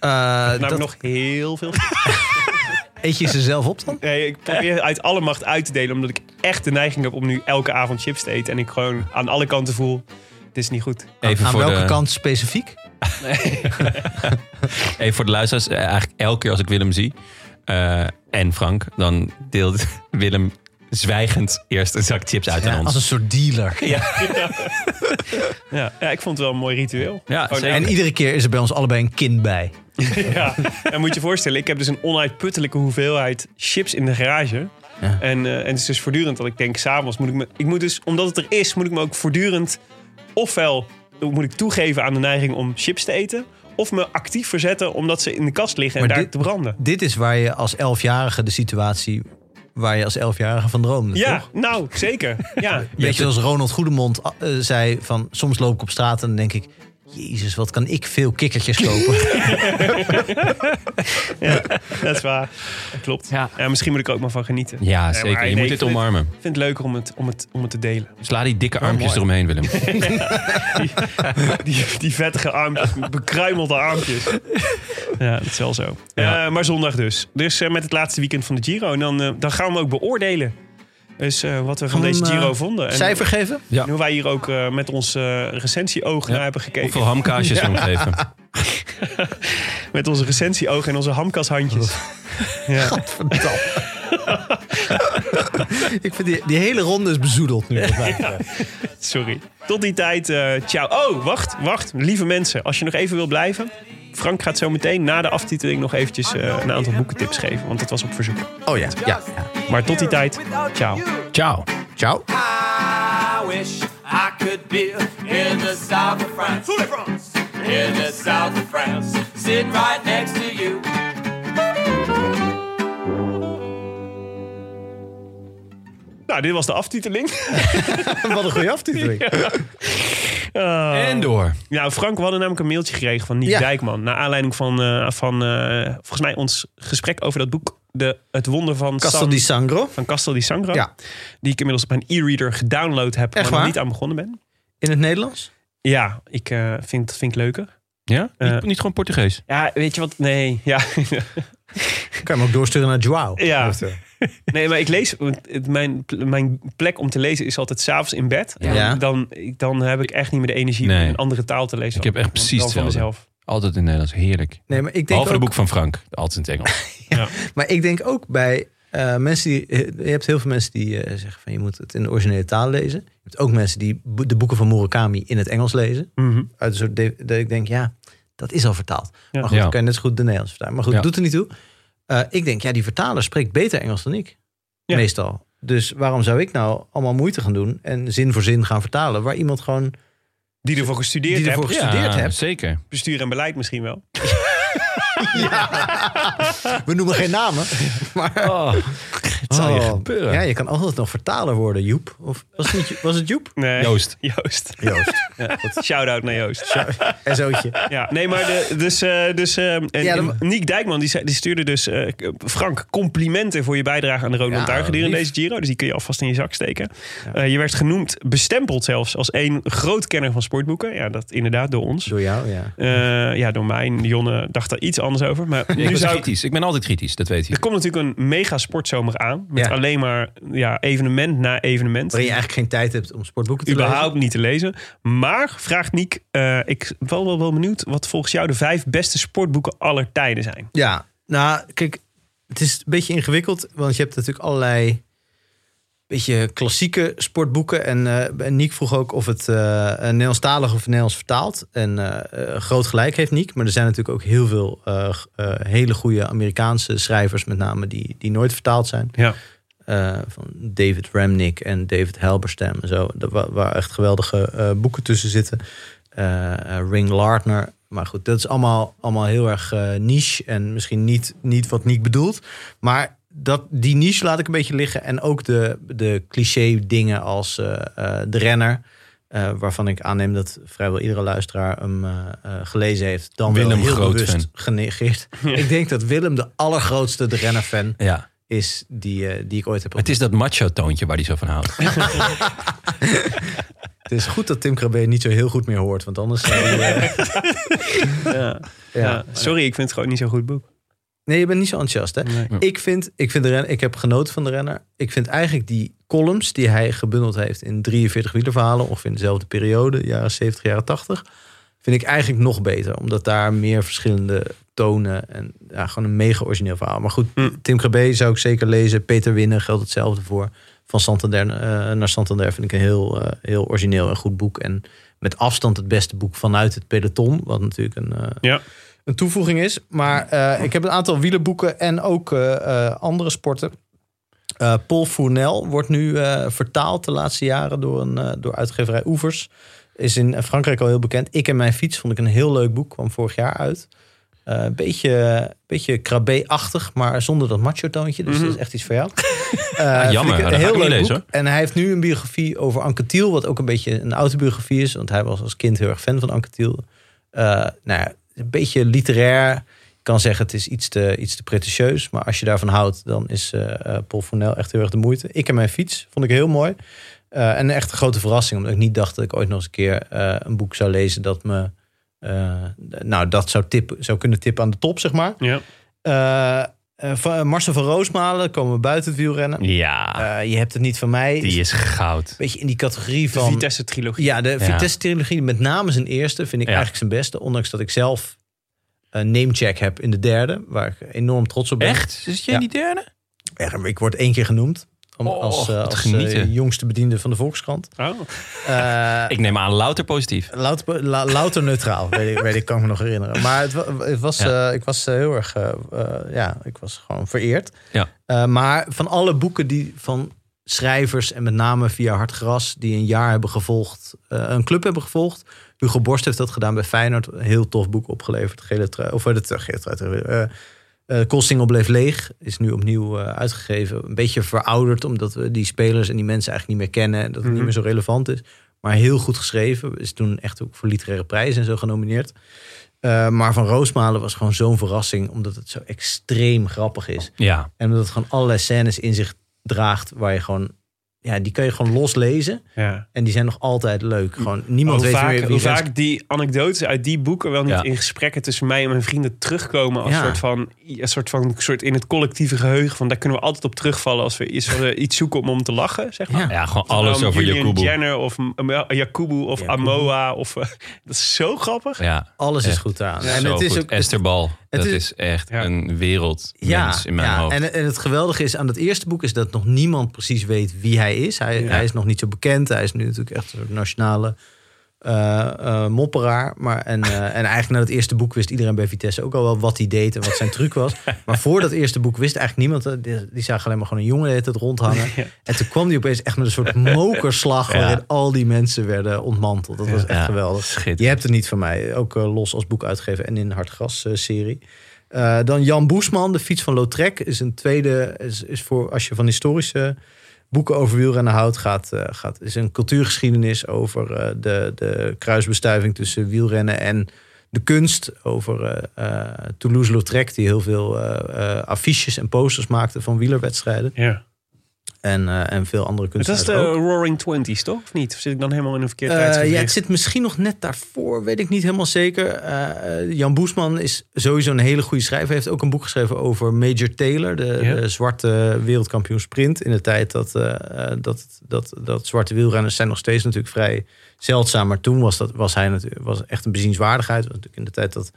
Speaker 2: Eh,
Speaker 6: Nou,
Speaker 2: dat,
Speaker 6: nog heel veel.
Speaker 2: Eet je ze zelf op dan?
Speaker 6: Nee, ik probeer uit alle macht uit te delen. Omdat ik echt de neiging heb om nu elke avond chips te eten. En ik gewoon aan alle kanten voel: dit is niet goed.
Speaker 1: Even
Speaker 2: Aan
Speaker 1: voor
Speaker 2: welke
Speaker 1: de-
Speaker 2: kant specifiek?
Speaker 1: Even voor de luisteraars, eh, eigenlijk elke keer als ik Willem zie eh, en Frank, dan deelt Willem zwijgend eerst een zak chips uit
Speaker 2: Ja,
Speaker 1: aan
Speaker 2: als
Speaker 1: ons.
Speaker 2: een soort dealer.
Speaker 6: Ja, ja, ik vond het wel een mooi ritueel.
Speaker 1: Ja,
Speaker 6: Gewoon
Speaker 1: zeker.
Speaker 2: En iedere keer is er bij ons allebei een kind bij.
Speaker 6: Ja, en moet je voorstellen, ik heb dus een onuitputtelijke hoeveelheid chips in de garage.
Speaker 2: Ja.
Speaker 6: En, eh, en het is dus voortdurend dat ik denk, s'avonds moet ik me... Ik moet dus, omdat het er is, moet ik me ook voortdurend... Ofwel moet ik toegeven aan de neiging om chips te eten... Of me actief verzetten omdat ze in de kast liggen en
Speaker 2: Maar
Speaker 6: daar
Speaker 2: dit-
Speaker 6: te branden.
Speaker 2: Dit is waar je als elfjarige de situatie waar je als elfjarige van droomde.
Speaker 6: Ja,
Speaker 2: toch?
Speaker 6: nou, zeker. Ja.
Speaker 2: Weet je, zoals Ronald Goedemond eh, zei van soms loop ik op straat en dan denk ik. Jezus, wat kan ik veel kikkertjes kopen?
Speaker 6: Dat is waar. Dat klopt. Ja.
Speaker 3: Ja.
Speaker 6: misschien moet ik er ook maar van genieten.
Speaker 1: Ja,
Speaker 6: Nee,
Speaker 1: zeker.
Speaker 6: maar
Speaker 1: Je
Speaker 6: nee,
Speaker 1: moet dit
Speaker 6: ik vind-
Speaker 1: omarmen.
Speaker 6: Ik vind het leuker om het, om het, om het te delen.
Speaker 1: Sla die
Speaker 6: Oh,
Speaker 1: dikke armpjes eromheen, Willem.
Speaker 6: Die, die vettige armpjes, bekruimelde armpjes. Ja, dat is wel zo.
Speaker 1: Ja.
Speaker 6: Eh, maar zondag dus. Dus eh, met het laatste weekend van de Giro. En dan, eh, dan gaan we hem ook beoordelen. Dus eh, wat we van
Speaker 2: Gewoon,
Speaker 6: deze
Speaker 2: eh,
Speaker 6: Giro vonden. En
Speaker 2: Cijfer geven?
Speaker 6: en hoe wij hier ook eh, met ons eh recensieoog naar hebben gekeken.
Speaker 1: Hoeveel hamkaasjes we hem geven.
Speaker 6: Met onze recensieoog en onze hamkashandjes. Ja.
Speaker 2: Gadverdamme. ik vind die, die hele ronde is bezoedeld nu. wat mij betreft.
Speaker 6: Sorry. Tot die tijd, eh ciao. Oh, wacht, wacht. Lieve mensen, als je nog even wil blijven. Frank gaat zo meteen na de aftiteling nog eventjes eh, een aantal boekentips geven. Want dat was op verzoek.
Speaker 2: Oh ja, ja.
Speaker 6: Maar tot die tijd, ciao.
Speaker 1: Ciao.
Speaker 2: Ciao.
Speaker 5: I wish I could be in the south of France. In the south of France. Sitting right next to you.
Speaker 6: Nou, dit was de aftiteling.
Speaker 2: Wat een goede aftiteling.
Speaker 1: En door.
Speaker 6: Nou, Frank, we hadden namelijk een mailtje gekregen van Niek
Speaker 2: Ja.
Speaker 6: Dijkman. Naar aanleiding van, eh, van eh, volgens mij, ons gesprek over dat boek. De, het wonder van
Speaker 2: Castel
Speaker 6: San-
Speaker 2: di Sangro.
Speaker 6: van Castel di Sangro.
Speaker 2: Ja.
Speaker 6: Die ik inmiddels op mijn e-reader gedownload
Speaker 2: Echt
Speaker 6: heb, maar nog
Speaker 2: waar?
Speaker 6: niet aan begonnen ben.
Speaker 2: In het Nederlands?
Speaker 6: Ja, ik eh, vind, vind ik leuker.
Speaker 1: Ja?
Speaker 6: Eh.
Speaker 1: niet, niet gewoon Portugees.
Speaker 6: Ja, weet je wat? Nee, ja.
Speaker 2: Kan je hem ook doorsturen naar Joao?
Speaker 6: Ja.
Speaker 2: Of, eh,
Speaker 6: nee maar ik lees... want het- Mijn, mijn plek om te lezen is altijd s'avonds in bed. En
Speaker 2: Ja.
Speaker 6: Dan, ik- dan heb ik echt niet meer de energie om
Speaker 1: Nee.
Speaker 6: een andere taal te lezen.
Speaker 1: Ik heb echt
Speaker 6: Dan-
Speaker 1: precies
Speaker 6: dan voor
Speaker 1: hetzelfde.
Speaker 6: mezelf.
Speaker 1: Altijd in Nederlands. Heerlijk.
Speaker 2: Nee, maar ik denk
Speaker 1: Behalve
Speaker 2: ook,
Speaker 1: het boek van Frank. Altijd in het Engels.
Speaker 2: Maar ik denk ook bij eh, mensen die... Je hebt heel veel mensen die eh, zeggen van je moet het in de originele taal lezen. Je hebt ook mensen die bo- de boeken van Murakami in het Engels lezen.
Speaker 6: Mhm.
Speaker 2: Uit een soort de- dat ik denk, ja, dat is al vertaald. Maar goed,
Speaker 1: Ja.
Speaker 2: dan kan je net zo goed de Nederlands vertalen. Maar goed,
Speaker 1: Ja.
Speaker 2: doet er niet toe. Eh, ik denk, ja, die vertaler spreekt beter Engels dan ik.
Speaker 6: Ja.
Speaker 2: Meestal. Dus waarom zou ik nou allemaal moeite gaan doen en zin voor zin gaan vertalen? Waar iemand gewoon
Speaker 6: Die ervoor gestudeerd
Speaker 2: die ervoor
Speaker 6: hebt.
Speaker 2: gestudeerd
Speaker 1: ja,
Speaker 2: hebt.
Speaker 1: Zeker.
Speaker 6: Bestuur en beleid misschien wel.
Speaker 2: We noemen geen namen. Maar Oh.
Speaker 1: Oh, het zal je gebeuren.
Speaker 2: Ja, je kan altijd nog vertaler worden, Joep. Of was het, niet, was het Joep?
Speaker 6: Nee.
Speaker 1: Joost.
Speaker 6: Joost.
Speaker 2: Joost.
Speaker 6: Shout-out naar Joost.
Speaker 2: En zootje.
Speaker 6: Ja, nee, maar de, dus, eh, dus eh, en,
Speaker 2: Ja,
Speaker 6: en
Speaker 2: dan-
Speaker 6: Niek Dijkman die, zei- die stuurde dus eh, Frank complimenten voor je bijdrage aan de Rode
Speaker 2: Ja,
Speaker 6: Lantaarn gedurende
Speaker 2: lief.
Speaker 6: deze Giro. Dus die kun je alvast in je zak steken. Eh, je werd genoemd, bestempeld zelfs als één groot kenner van sportboeken. Ja, dat inderdaad door ons.
Speaker 2: Door jou, ja.
Speaker 6: Eh, ja, door mij. Jonne dacht daar iets anders over. Maar
Speaker 1: Ja, ik
Speaker 6: nu
Speaker 1: was
Speaker 6: zou ik
Speaker 1: kritisch. Ik ben altijd kritisch, dat weet je.
Speaker 6: er komt natuurlijk een mega sportzomer aan. Met
Speaker 2: Ja.
Speaker 6: alleen maar ja, evenement na evenement.
Speaker 2: Waarin je eigenlijk geen tijd hebt om sportboeken te
Speaker 6: überhaupt niet te lezen. Maar, vraagt Niek, eh, ik ben wel, wel, wel benieuwd wat volgens jou de vijf beste sportboeken aller tijden zijn.
Speaker 2: lezen. Ja, nou, kijk, het is een beetje ingewikkeld. Want je hebt natuurlijk allerlei beetje klassieke sportboeken. En eh, en Niek vroeg ook of het eh Nederlandstalig of Nederlands vertaald. En eh, eh, groot gelijk heeft Niek. Maar er zijn natuurlijk ook heel veel eh, g- eh, hele goede Amerikaanse schrijvers... met name die, die nooit vertaald zijn.
Speaker 6: Ja.
Speaker 2: eh, van David Remnick en David Halberstam en zo. Dat wa- Waar, echt geweldige eh, boeken tussen zitten. Eh, eh, Ring Lardner. Maar goed, dat is allemaal, allemaal heel erg eh, niche. En misschien niet, niet wat Niek bedoelt. Maar dat, die niche laat ik een beetje liggen. En ook de, de cliché dingen als eh, eh, de renner. eh, waarvan ik aanneem dat vrijwel iedere luisteraar hem eh, eh, gelezen heeft. Dan wel
Speaker 1: Willem
Speaker 2: heel
Speaker 1: groot
Speaker 2: bewust
Speaker 1: fan.
Speaker 2: genegeerd. Ik denk dat Willem de allergrootste de renner-fan
Speaker 1: Ja. Maar
Speaker 2: is die, eh, die ik ooit heb
Speaker 1: het is dat macho-toontje waar hij zo van houdt.
Speaker 2: Het is goed dat Tim Krabbe niet zo heel goed meer hoort, want anders zou hij, eh,
Speaker 6: Ja.
Speaker 2: ja.
Speaker 6: Ja. Sorry, ik vind het gewoon niet zo'n goed boek.
Speaker 2: Nee, je bent niet zo enthousiast, hè?
Speaker 6: Nee.
Speaker 2: Ik vind, ik vind de renner, ik heb genoten van de renner. Ik vind eigenlijk die columns die hij gebundeld heeft in 43 wielerverhalen, ongeveer in dezelfde periode, jaren 70, jaren 80, vind ik eigenlijk nog beter, omdat daar meer verschillende tonen en ja, gewoon een mega origineel verhaal. Maar goed,
Speaker 6: Hm.
Speaker 2: Tim Krabbe zou ik zeker lezen. Peter Winnen geldt hetzelfde voor. Van Santander eh, naar Santander vind ik een heel, eh, heel origineel en goed boek. En met afstand het beste boek vanuit het peloton. Wat natuurlijk een, eh,
Speaker 6: Ja.
Speaker 2: een toevoeging is. Maar eh, ik heb een aantal wielerboeken en ook eh, eh, andere sporten. Eh, Paul Fournel wordt nu eh, vertaald de laatste jaren door, een, eh, door uitgeverij Oevers. Is in Frankrijk al heel bekend. Ik en mijn fiets vond ik een heel leuk boek. Kwam vorig jaar uit. Eh, beetje, beetje krabbe-achtig, maar zonder dat macho-toontje. Dus dat is echt iets voor jou. Eh, vind
Speaker 1: Mhm. Ah, jammer.
Speaker 2: ik
Speaker 1: Dat
Speaker 2: Een
Speaker 1: ga ik
Speaker 2: heel
Speaker 1: niet
Speaker 2: leuk
Speaker 1: lezen,
Speaker 2: boek. En hij heeft nu een biografie over Anke Thiel. Wat ook een beetje een autobiografie is. Want hij was als kind heel erg fan van Anke Thiel. Eh, nou ja, een beetje literair. Ik kan zeggen het is iets te, iets te pretentieus. Maar als je daarvan houdt, dan is eh, eh, Paul Fournel echt heel erg de moeite. Ik en mijn fiets vond ik heel mooi. Eh, en echt een grote verrassing. Omdat ik niet dacht dat ik ooit nog eens een keer eh, een boek zou lezen dat me... eh, d- nou, dat zou, tip, zou kunnen tippen aan de top, zeg maar.
Speaker 6: Ja.
Speaker 2: Eh, eh, van- Marcel van Roosmalen komen we buiten het wielrennen.
Speaker 1: Ja,
Speaker 2: Eh, je hebt het niet van mij. Een
Speaker 1: is goud.
Speaker 2: beetje in die categorie
Speaker 6: De
Speaker 2: van...
Speaker 6: Vitesse-trilogie.
Speaker 2: Ja, de
Speaker 1: Ja.
Speaker 2: Vitesse-trilogie, met name zijn eerste, vind ik
Speaker 1: Ja.
Speaker 2: eigenlijk zijn beste. Ondanks dat ik zelf een namecheck heb in de derde, waar ik enorm trots op ben.
Speaker 1: Echt? Zit jij
Speaker 2: Ja.
Speaker 1: in die derde?
Speaker 2: Echt, maar Ik word één keer genoemd. Om,
Speaker 1: Oh,
Speaker 2: als eh,
Speaker 1: wat
Speaker 2: als
Speaker 1: genieten.
Speaker 2: eh, jongste bediende van de Volkskrant.
Speaker 6: Oh.
Speaker 2: Eh,
Speaker 1: Ik neem aan louter positief.
Speaker 2: Louter, la- louter neutraal, weet ik, weet ik, kan ik me nog herinneren. Maar het, wa- het was,
Speaker 1: Ja.
Speaker 2: eh, ik was eh, heel erg, eh, eh, ja, ik was gewoon vereerd.
Speaker 1: Ja.
Speaker 2: Eh, maar van alle boeken die van schrijvers en met name via Hard Gras, die een jaar hebben gevolgd, eh, een club hebben gevolgd. Hugo Borst heeft dat gedaan bij Feyenoord. Een heel tof boek opgeleverd. Gele trui, of eh, de gele trui. eh, eh Kostingel bleef leeg. Is nu opnieuw eh, uitgegeven. Een beetje verouderd, omdat we die spelers en die mensen eigenlijk niet meer kennen. En dat het niet meer zo relevant is. Maar heel goed geschreven. Is toen echt ook voor literaire prijzen en zo genomineerd. Eh, maar Van Roosmalen was gewoon zo'n verrassing. Omdat het zo extreem grappig is.
Speaker 1: Ja.
Speaker 2: En omdat het gewoon allerlei scènes in zich draagt. Waar je gewoon ja, die kun je gewoon loslezen.
Speaker 6: Ja.
Speaker 2: En die zijn nog altijd leuk. Gewoon, niemand
Speaker 6: hoe
Speaker 2: weet
Speaker 6: vaak,
Speaker 2: meer wie
Speaker 6: hoe
Speaker 2: Renske-
Speaker 6: vaak die anekdotes uit die boeken wel niet
Speaker 2: Ja.
Speaker 6: in gesprekken tussen mij en mijn vrienden terugkomen als
Speaker 2: Ja.
Speaker 6: soort van een soort van soort in het collectieve geheugen van daar kunnen we altijd op terugvallen als we iets, als we iets zoeken om om te lachen zeg maar.
Speaker 1: Ja, gewoon alles
Speaker 6: Om
Speaker 1: over
Speaker 6: Julian
Speaker 1: Jakubu.
Speaker 6: Jenner of M- M- Jakubu of Amoa of eh, dat is zo grappig.
Speaker 1: Ja,
Speaker 2: Alles is
Speaker 1: echt
Speaker 2: goed aan.
Speaker 1: En het is ook, Esther Bal,
Speaker 2: het
Speaker 1: dat
Speaker 2: is-
Speaker 1: is, echt een wereldmens in mijn
Speaker 2: ja.
Speaker 1: hoofd.
Speaker 2: En, en het geweldige is aan dat eerste boek is dat nog niemand precies weet wie hij is. Hij, hij is nog niet zo bekend. Hij is nu natuurlijk echt een soort nationale eh, eh, mopperaar. Maar, en, eh, en eigenlijk na het eerste boek wist iedereen bij Vitesse ook al wel wat hij deed en wat zijn truc was. Maar voor dat eerste boek wist eigenlijk niemand. eh, Die, die zag alleen maar gewoon een jongen de hele tijd rondhangen. En toen kwam hij opeens echt met een soort mokerslag
Speaker 1: Ja.
Speaker 2: waarin al die mensen werden ontmanteld. Dat was echt
Speaker 1: Ja,
Speaker 2: geweldig.
Speaker 1: schitterend.
Speaker 2: Je hebt het niet van mij. Ook eh, los als boek uitgegeven en in Hartgras eh, serie. Eh, dan Jan Boesman, De Fiets van Lautrec. Is een tweede, is, is voor als je van historische boeken over wielrennen houdt, gaat, eh, gaat, is een cultuurgeschiedenis over eh, de, de kruisbestuiving tussen wielrennen en de kunst. Over eh, eh, Toulouse-Lautrec, die heel veel eh, eh, affiches en posters maakte van wielerwedstrijden.
Speaker 6: Ja.
Speaker 2: En, eh, en veel andere
Speaker 6: Het was
Speaker 2: kunstenaars
Speaker 6: de
Speaker 2: ook.
Speaker 6: Roaring Twenties toch of niet? Of zit ik dan helemaal in een verkeerd
Speaker 2: Eh, ja, het
Speaker 6: tijdsgevricht?
Speaker 2: zit misschien nog net daarvoor, weet ik niet helemaal zeker. Eh, eh, Jan Boesman is sowieso een hele goede schrijver. Hij heeft ook een boek geschreven over Major Taylor, de,
Speaker 6: Ja.
Speaker 2: de zwarte wereldkampioen sprint. In de tijd dat, eh, eh, dat, dat, dat zwarte wielrenners zijn nog steeds natuurlijk vrij zeldzaam. Maar toen was, dat, was hij natuurlijk was echt een bezienswaardigheid. Was natuurlijk in de tijd dat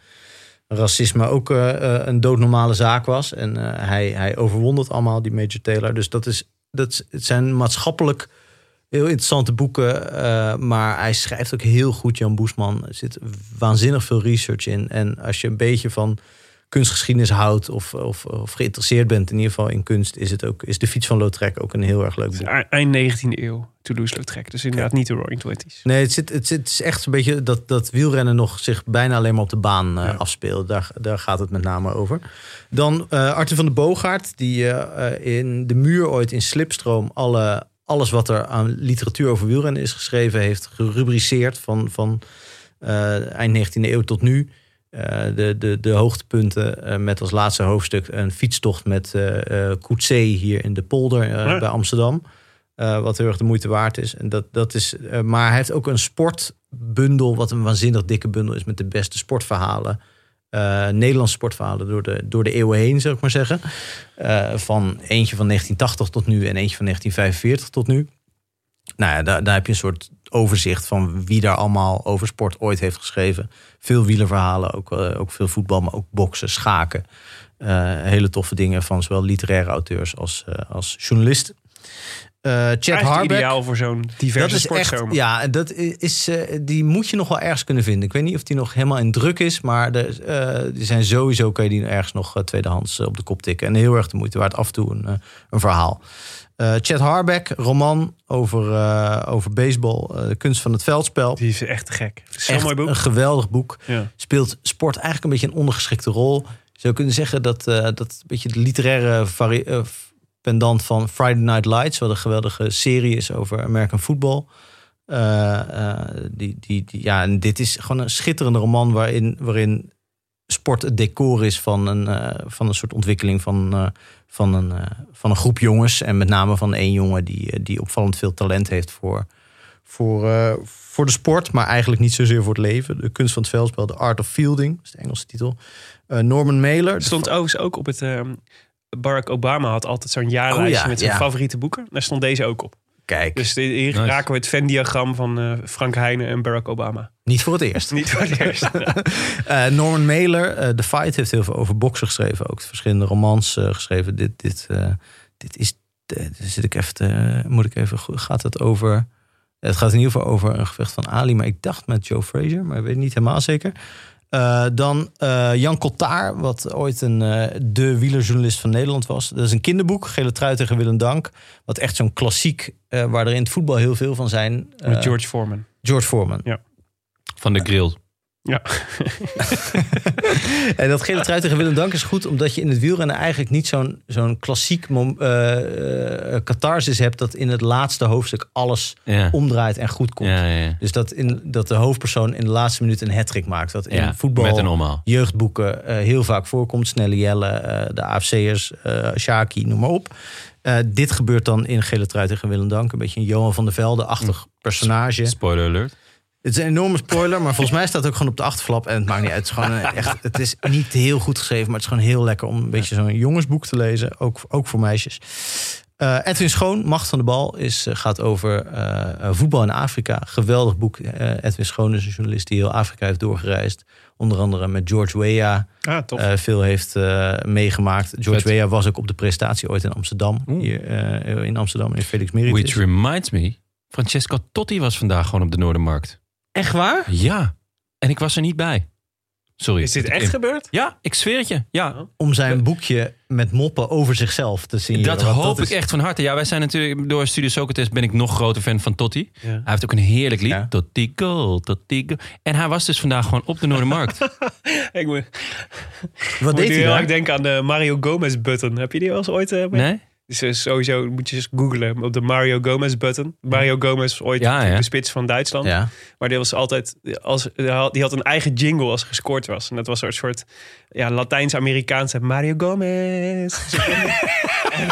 Speaker 2: racisme ook eh, eh, een doodnormale zaak was. En eh, hij, hij overwon dat allemaal, die Major Taylor. Dus dat, is, dat is- het zijn maatschappelijk heel interessante boeken. eh, maar hij schrijft ook heel goed, Jan Boesman. Er zit waanzinnig veel research in. En als je een beetje van kunstgeschiedenis houdt of, of, of geïnteresseerd bent, in ieder geval in kunst, is, het ook, is De Fiets van Lautrec ook een heel erg leuk boek.
Speaker 6: E- Eind 19e eeuw, Toulouse-Lautrec. Dus inderdaad niet de Roaring Twenties.
Speaker 2: Nee, het, zit, het, zit, het is echt een beetje dat, dat wielrennen nog zich bijna alleen maar op de baan eh, afspeelt. Daar, daar gaat het met name over. Dan eh Arthur van de Boogaard, die eh, eh, in de muur ooit in Slipstroom alle, alles wat er aan literatuur over wielrennen is geschreven heeft gerubriceerd van, van eh, eind 19e eeuw tot nu. Eh, de, de, de hoogtepunten eh, met als laatste hoofdstuk een fietstocht met eh eh, Coetzee hier in de polder eh,
Speaker 6: Ja.
Speaker 2: bij Amsterdam. Eh, wat heel erg de moeite waard is. En dat, dat is eh, maar hij heeft ook een sportbundel, wat een waanzinnig dikke bundel is met de beste sportverhalen. eh, Nederlandse sportverhalen door de, door de eeuwen heen, zou ik maar zeggen. Eh, van eentje van 1980 tot nu en eentje van 1945 tot nu. Nou ja, daar, daar heb je een soort overzicht van wie daar allemaal over sport ooit heeft geschreven. Veel wielerverhalen, ook, eh, ook veel voetbal, maar ook boksen, schaken. Eh, hele toffe dingen van zowel literaire auteurs als, eh, als journalisten. Eh, Chad
Speaker 6: Eigenlijk
Speaker 2: Harbeck.
Speaker 6: ideaal voor zo'n diverse sportzomer.
Speaker 2: Echt, ja, dat i- is, eh, die moet je nog wel ergens kunnen vinden. Ik weet niet of die nog helemaal in druk is, maar er, eh, er zijn sowieso kan je die ergens nog eh, tweedehands eh, op de kop tikken. En heel erg de moeite waard af en toe een, eh, een verhaal. Eh Chad Harbeck, roman over, eh, over baseball, eh, de kunst van het veldspel.
Speaker 6: Die is echt te gek. Zo'n
Speaker 2: Echt
Speaker 6: mooi boek.
Speaker 2: Een geweldig boek.
Speaker 6: Ja.
Speaker 2: Speelt sport eigenlijk een beetje een ondergeschikte rol. Je zou kunnen zeggen dat eh, dat een beetje de literaire vari- eh, pendant van Friday Night Lights, wat een geweldige serie is over American football. Eh, eh, die, die, die, ja, en dit is gewoon een schitterende roman waarin, waarin sport het decor is van een, eh, van een soort ontwikkeling van, eh, van, een, eh, van een groep jongens. En met name van één jongen die, eh, die opvallend veel talent heeft voor, voor, eh, voor de sport, maar eigenlijk niet zozeer voor het leven. De kunst van het veldspel, The Art of Fielding, is de Engelse titel. Eh, Norman Mailer.
Speaker 6: Er stond overigens ook op het... ehm, Barack Obama had altijd zo'n jaarlijstje
Speaker 2: Oh ja,
Speaker 6: met zijn
Speaker 2: ja.
Speaker 6: favoriete boeken. Daar stond deze ook op.
Speaker 2: Kijk,
Speaker 6: Dus die- hier
Speaker 1: Nice.
Speaker 6: raken we het Venn-diagram van eh, Frank Heijnen en Barack Obama.
Speaker 2: niet voor het eerst.
Speaker 6: Niet voor het eerst.
Speaker 2: Eh, Norman Mailer, eh, The Fight, heeft heel veel over boksen geschreven. Ook verschillende romans eh, geschreven. Dit, dit, eh, dit is... eh, zit ik even te- moet ik even... goed- Gaat het over... eh, Het gaat in ieder geval over een gevecht van Ali. Maar ik dacht met Joe Frazier. Maar ik weet het niet helemaal zeker. Eh, dan eh, Jan Kottaar, wat ooit een, eh, de wielerjournalist van Nederland was. Dat is een kinderboek, Gele Trui tegen Willem Dank. Wat echt zo'n klassiek, eh, waar er in het voetbal heel veel van zijn. Eh,
Speaker 6: Met George Foreman.
Speaker 2: George Foreman.
Speaker 1: Van de grill.
Speaker 6: Ja.
Speaker 2: en dat gele trui tegen Willem Dank is goed, omdat je in het wielrennen eigenlijk niet zo'n zo'n klassiek mom, eh, eh, catharsis hebt dat in het laatste hoofdstuk alles
Speaker 1: Ja.
Speaker 2: omdraait en goed komt.
Speaker 1: Ja, ja, ja.
Speaker 2: Dus dat, in, dat de hoofdpersoon in de laatste minuut een hat maakt. Dat in
Speaker 1: Ja,
Speaker 2: voetbal,
Speaker 1: met een omhaal.
Speaker 2: jeugdboeken eh, heel vaak voorkomt. Snelle Jelle, eh, de AFC'ers, eh Shaki, noem maar op. Eh, dit gebeurt dan in Gele Trui tegen Willem Dank. Een beetje een Johan van der
Speaker 1: Mm.
Speaker 2: Velde-achtig personage.
Speaker 1: Spoiler alert.
Speaker 2: Het is een enorme spoiler, maar volgens mij staat het ook gewoon op de achterflap. En het maakt niet uit. Het is, gewoon een- echt, het is niet heel goed geschreven, maar het is gewoon heel lekker om een beetje zo'n jongensboek te lezen. Ook, ook voor meisjes. Eh, Edwin Schoon, Macht van de Bal, is, eh, gaat over eh, eh, voetbal in Afrika. Geweldig boek. Eh, Edwin Schoon is een journalist die heel Afrika heeft doorgereisd. Onder andere met George Weah.
Speaker 6: Ah, tof.
Speaker 2: eh, veel heeft eh, meegemaakt. George
Speaker 1: Vet.
Speaker 2: Weah was ook op de presentatie ooit in Amsterdam.
Speaker 1: Oeh.
Speaker 2: Hier, eh, in Amsterdam, in Felix Meritis.
Speaker 1: Which reminds me, Francesco Totti was vandaag gewoon op de Noordermarkt.
Speaker 2: Echt waar?
Speaker 1: Ja, en ik was er niet bij. Sorry.
Speaker 6: is dit
Speaker 1: dat ik
Speaker 6: echt
Speaker 1: in-
Speaker 6: gebeurd? Oh.
Speaker 1: Ja, ik zweer het je. Ja,
Speaker 2: om zijn boekje met moppen over zichzelf te zien.
Speaker 1: dat hoop ik echt van harte. Ja, wij zijn natuurlijk door Studio Socrates ben ik nog groter fan van Totti. Hij heeft ook een heerlijk lied.
Speaker 2: Ja.
Speaker 1: Totti goal, Totti goal. En hij was dus vandaag gewoon op de Noordermarkt.
Speaker 6: Ik moet,
Speaker 2: Wat
Speaker 6: moet
Speaker 2: deed
Speaker 6: nu
Speaker 2: hij
Speaker 6: heel
Speaker 2: daar?
Speaker 6: erg denken aan de Mario Gomez button. Heb je die wel eens ooit? eh, bij-
Speaker 1: nee?
Speaker 6: Dus eh, sowieso moet je eens googlen op de Mario Gomez button. Mario Gomez was ooit
Speaker 1: Ja, ja.
Speaker 6: de spits van Duitsland.
Speaker 2: Ja.
Speaker 6: Maar die was altijd. Als, die had een eigen jingle als er gescoord was. En dat was een soort ja, Latijns-Amerikaanse Mario Gomez. en,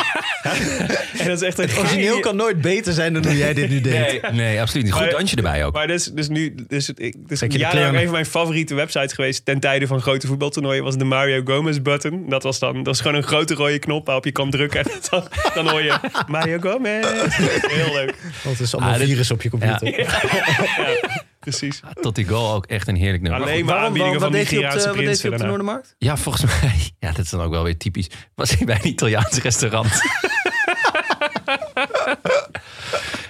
Speaker 6: en dat is echt een
Speaker 2: Origineel kan nooit beter zijn dan hoe jij dit nu
Speaker 1: Nee,
Speaker 2: deed.
Speaker 1: nee, absoluut niet. Goed
Speaker 6: Maar-
Speaker 1: dansje erbij ook.
Speaker 6: Maar dus, dus nu, dus, het- ik, dus
Speaker 2: Zet je de
Speaker 6: jarenlang
Speaker 2: kleren-
Speaker 6: een van mijn favoriete websites geweest ten tijde van grote voetbaltoernooien was de Mario Gomez button. Dat was dan, dat was gewoon een grote rode knop waarop je kan drukken en dan, dan hoor je Mario Gomez. Heel leuk,
Speaker 2: Want het is allemaal
Speaker 1: Ah, dit-
Speaker 2: virus op je computer.
Speaker 1: Ja.
Speaker 6: precies.
Speaker 1: Totti goal ook echt een heerlijk nummer.
Speaker 6: Alleen maar
Speaker 2: Waarom, waarom,
Speaker 6: aanbiedingen
Speaker 2: wat
Speaker 6: van
Speaker 2: deed hij op
Speaker 6: Nigeriaanse
Speaker 2: de, wat deed
Speaker 6: prinsen
Speaker 2: hij op de
Speaker 6: daarna.
Speaker 2: Noordermarkt?
Speaker 1: Ja, volgens mij. Ja, dat is dan ook wel weer typisch. Was hij bij een Italiaans restaurant?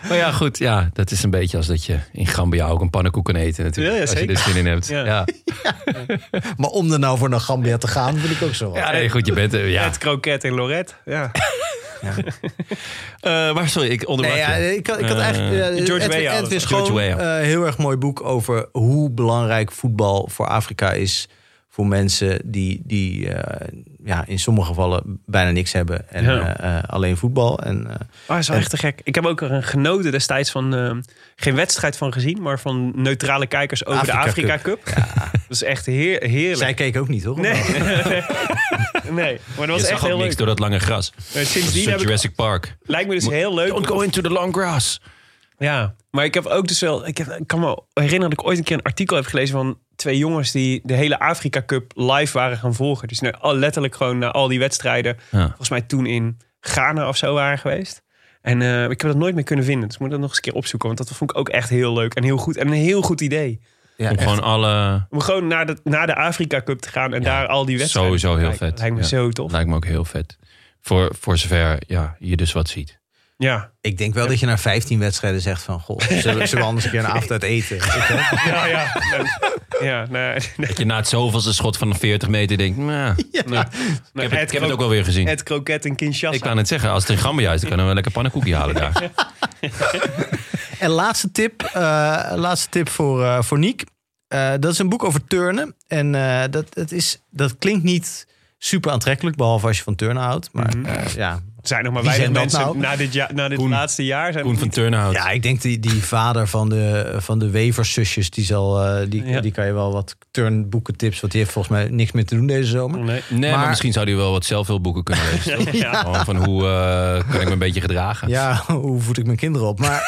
Speaker 1: maar ja, goed. Ja, dat is een beetje als dat je in Gambia ook een pannenkoek kan eten. Natuurlijk,
Speaker 6: Ja, ja,
Speaker 1: als je
Speaker 6: zeker.
Speaker 1: er zin in hebt. Ja,
Speaker 6: Ja.
Speaker 1: ja.
Speaker 2: Maar om er nou voor naar Gambia te gaan, vind ik ook zo. wat.
Speaker 1: nee, goed. Je bent er. Ja.
Speaker 6: Het kroket en Lorette. Ja.
Speaker 1: Eh, maar sorry, ik
Speaker 2: Nee,
Speaker 1: onderbrak
Speaker 2: ja,
Speaker 1: je.
Speaker 2: ik, had- ik had
Speaker 1: Eh,
Speaker 2: eigenlijk... ja,
Speaker 6: George
Speaker 2: Edwin-
Speaker 6: Weah
Speaker 2: Edwin
Speaker 6: was
Speaker 1: het.
Speaker 2: Schoon,
Speaker 1: George Weah.
Speaker 2: eh, heel erg mooi boek over hoe belangrijk voetbal voor Afrika is. Voor mensen die, die eh, ja, in sommige gevallen bijna niks hebben. En
Speaker 6: Ja.
Speaker 2: eh, eh, alleen voetbal. En, eh,
Speaker 6: Maar Ah, is wel echt te gek. Ik heb ook er een genoten destijds van, eh, geen wedstrijd van gezien, maar van neutrale kijkers over de
Speaker 2: Afrika
Speaker 6: Afrika Cup. Dat is echt heer, heerlijk.
Speaker 2: zij keken ook niet, hoor.
Speaker 6: Nee. nee, maar dat
Speaker 1: je
Speaker 6: was
Speaker 1: zag
Speaker 6: echt
Speaker 1: ook
Speaker 6: heel
Speaker 1: niks
Speaker 6: leuk.
Speaker 1: door dat lange gras.
Speaker 6: Eh, Sindsdien
Speaker 1: Zo'n
Speaker 6: heb ik,
Speaker 1: Jurassic Park.
Speaker 6: lijkt me dus heel leuk.
Speaker 1: Don't go into the long grass.
Speaker 6: Ja, maar ik heb ook dus wel. Ik, heb, ik kan me herinneren dat ik ooit een keer een artikel heb gelezen van twee jongens die de hele Afrika Cup live waren gaan volgen. Dus nou, al- letterlijk gewoon naar al die wedstrijden.
Speaker 1: Ja.
Speaker 6: Volgens mij toen in Ghana of zo waren geweest. En eh, ik heb dat nooit meer kunnen vinden. Dus ik moet dat nog eens een keer opzoeken. Want dat vond ik ook echt heel leuk en heel goed. En een heel goed idee.
Speaker 1: Om gewoon alle...
Speaker 6: Om gewoon naar de, naar de Afrika Cup te gaan en
Speaker 1: Ja,
Speaker 6: daar al die wedstrijden.
Speaker 1: sowieso heel
Speaker 6: te kijken.
Speaker 1: vet.
Speaker 6: Lijkt me
Speaker 1: Ja. Nou.
Speaker 6: zo tof.
Speaker 1: Lijkt me ook heel vet. Voor, voor zover ja, je dus wat ziet.
Speaker 6: Ja.
Speaker 2: Ik denk wel dat je na 15 wedstrijden zegt van... Goh, zullen, zullen we anders een keer een avond uit eten? Ik wel.
Speaker 6: Ja, ja. Nee. Ja, nou, nee.
Speaker 1: Dat je na het zoveelste schot van 40 meter denkt... nou,
Speaker 6: Nee,
Speaker 1: ik heb, het,
Speaker 6: nou,
Speaker 1: ik heb het
Speaker 6: Ed Kro-
Speaker 1: ook wel weer gezien.
Speaker 6: Ed Kroket in Kinshasa.
Speaker 1: Ik kan het zeggen, als het in Gambia is, dan kunnen we lekker pannenkoekje halen daar.
Speaker 2: En laatste tip, eh, laatste tip voor, eh voor Niek. Eh, dat is een boek over turnen. En eh, dat, dat, is, dat klinkt niet super aantrekkelijk, behalve als je van turnen houdt. Maar eh, ja.
Speaker 6: Er zijn nog maar
Speaker 2: Wie
Speaker 6: weinig
Speaker 2: zijn dat
Speaker 6: mensen
Speaker 2: nou?
Speaker 6: na dit, jaar, na dit
Speaker 1: Koen.
Speaker 6: laatste jaar. Zijn
Speaker 1: Koen van Turnhout.
Speaker 2: ja, ik denk die, die vader van de, van de weverszusjes, die, zal, eh, die,
Speaker 6: Ja.
Speaker 2: die kan je wel wat turnboeken tips. Want die heeft volgens mij niks meer te doen deze zomer.
Speaker 6: Nee.
Speaker 1: nee, maar,
Speaker 2: maar-
Speaker 1: misschien zou hij wel wat zelf veel boeken kunnen lezen. toch?
Speaker 6: Ja.
Speaker 1: Gewoon van hoe eh, kan ik me een beetje gedragen.
Speaker 2: Ja, hoe voed ik mijn kinderen op? Maar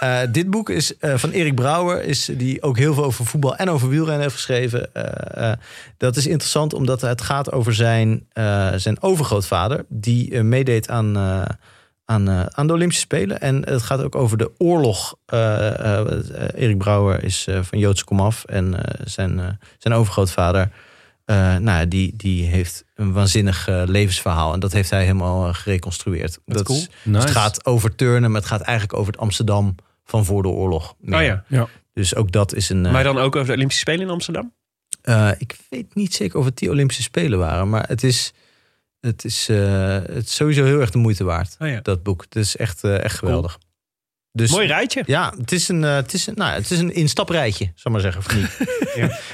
Speaker 2: eh, eh, dit boek is eh, van Erik Brouwer, is, die ook heel veel over voetbal en over wielrennen heeft geschreven. Eh, eh, dat is interessant omdat het gaat over zijn, eh, zijn overgrootvader, die eh, meedeed aan, eh, aan, eh, aan de Olympische Spelen. En het gaat ook over de oorlog. Eh, eh, eh, Erik Brouwer is eh, van Joodse komaf en eh, zijn, eh, zijn overgrootvader. eh, nou, ja, die, die heeft een waanzinnig eh, levensverhaal. En dat heeft hij helemaal eh, gereconstrueerd. Dat,
Speaker 6: cool.
Speaker 2: is-
Speaker 1: Nice.
Speaker 2: dus het gaat over turnen, maar het gaat eigenlijk over het Amsterdam van voor de oorlog. meer.
Speaker 6: Oh ja.
Speaker 2: Dus ook dat is een. eh,
Speaker 6: Maar dan ook over de Olympische Spelen in Amsterdam?
Speaker 2: eh, ik weet niet zeker of het die Olympische Spelen waren, maar het is, het is, eh, het is sowieso heel erg de moeite waard.
Speaker 6: Oh ja.
Speaker 2: Dat boek. Het is echt, eh, echt geweldig. Dus,
Speaker 6: Mooi rijtje.
Speaker 2: Ja, het is een, eh, het is een, nou, het is een instaprijtje, zal ik maar zeggen. Of niet?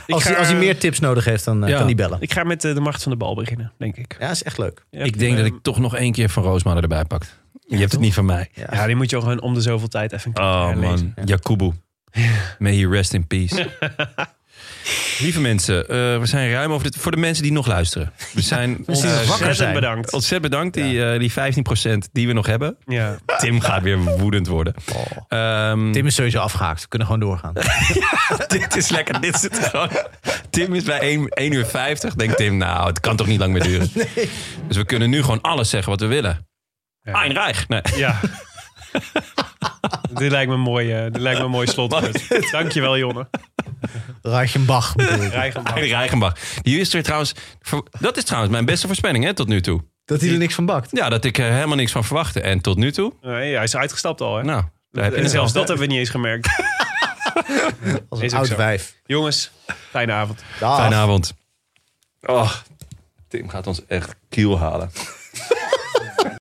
Speaker 2: als,
Speaker 6: ga-
Speaker 2: hij, als hij meer tips nodig heeft, dan eh,
Speaker 1: Ja.
Speaker 2: kan hij bellen.
Speaker 6: Ik ga met eh, de macht van de bal beginnen, denk ik.
Speaker 2: Ja, is echt leuk.
Speaker 6: Ja,
Speaker 1: ik denk dat ik toch nog één keer van Roosmalen erbij pak. Je hebt het niet van mij.
Speaker 6: Ja, die moet je gewoon om de zoveel tijd even een keer
Speaker 1: Oh
Speaker 6: herlezen.
Speaker 1: man, Jakubu. May he rest in peace. Lieve mensen, eh, we zijn ruim over dit. Voor de mensen die nog luisteren. We zijn
Speaker 2: die nog wakker zijn.
Speaker 6: Ontzettend bedankt.
Speaker 1: ontzettend bedankt, die, eh, die 15% die we nog hebben.
Speaker 6: Ja.
Speaker 1: Tim gaat weer woedend worden. Ehm,
Speaker 2: Oh. Tim is sowieso afgehaakt. We kunnen gewoon doorgaan.
Speaker 1: dit is lekker. Dit zit gewoon. Tim is bij 1, 1 uur 50. Denkt Tim, nou, het kan toch niet lang meer duren. Dus we kunnen nu gewoon alles zeggen wat we willen. Ja. Einreich. Nee.
Speaker 6: ja. dit, lijkt me een mooie, dit lijkt me een mooi slotwoord. Dankjewel, Jonne.
Speaker 2: Reichenbach bedoel ik.
Speaker 6: Reichenbach.
Speaker 1: Heinrich Reichenbach. Die is er trouwens. voor- Dat is trouwens mijn beste voorspelling hè, tot nu toe.
Speaker 2: Dat hij er niks van bakt.
Speaker 1: Ja, dat ik er helemaal niks van verwachtte. En tot nu toe,
Speaker 6: Nee, hij is uitgestapt al, hè?
Speaker 1: nou, daar heb je
Speaker 6: en
Speaker 1: het
Speaker 6: zelfs
Speaker 1: al.
Speaker 6: dat hebben we niet eens gemerkt.
Speaker 2: Als
Speaker 6: Is
Speaker 2: een
Speaker 6: ook
Speaker 2: oud
Speaker 6: zo.
Speaker 2: wijf.
Speaker 6: Jongens, fijne avond.
Speaker 2: Dag.
Speaker 1: Fijne avond. Oh, Tim gaat ons echt kiel halen.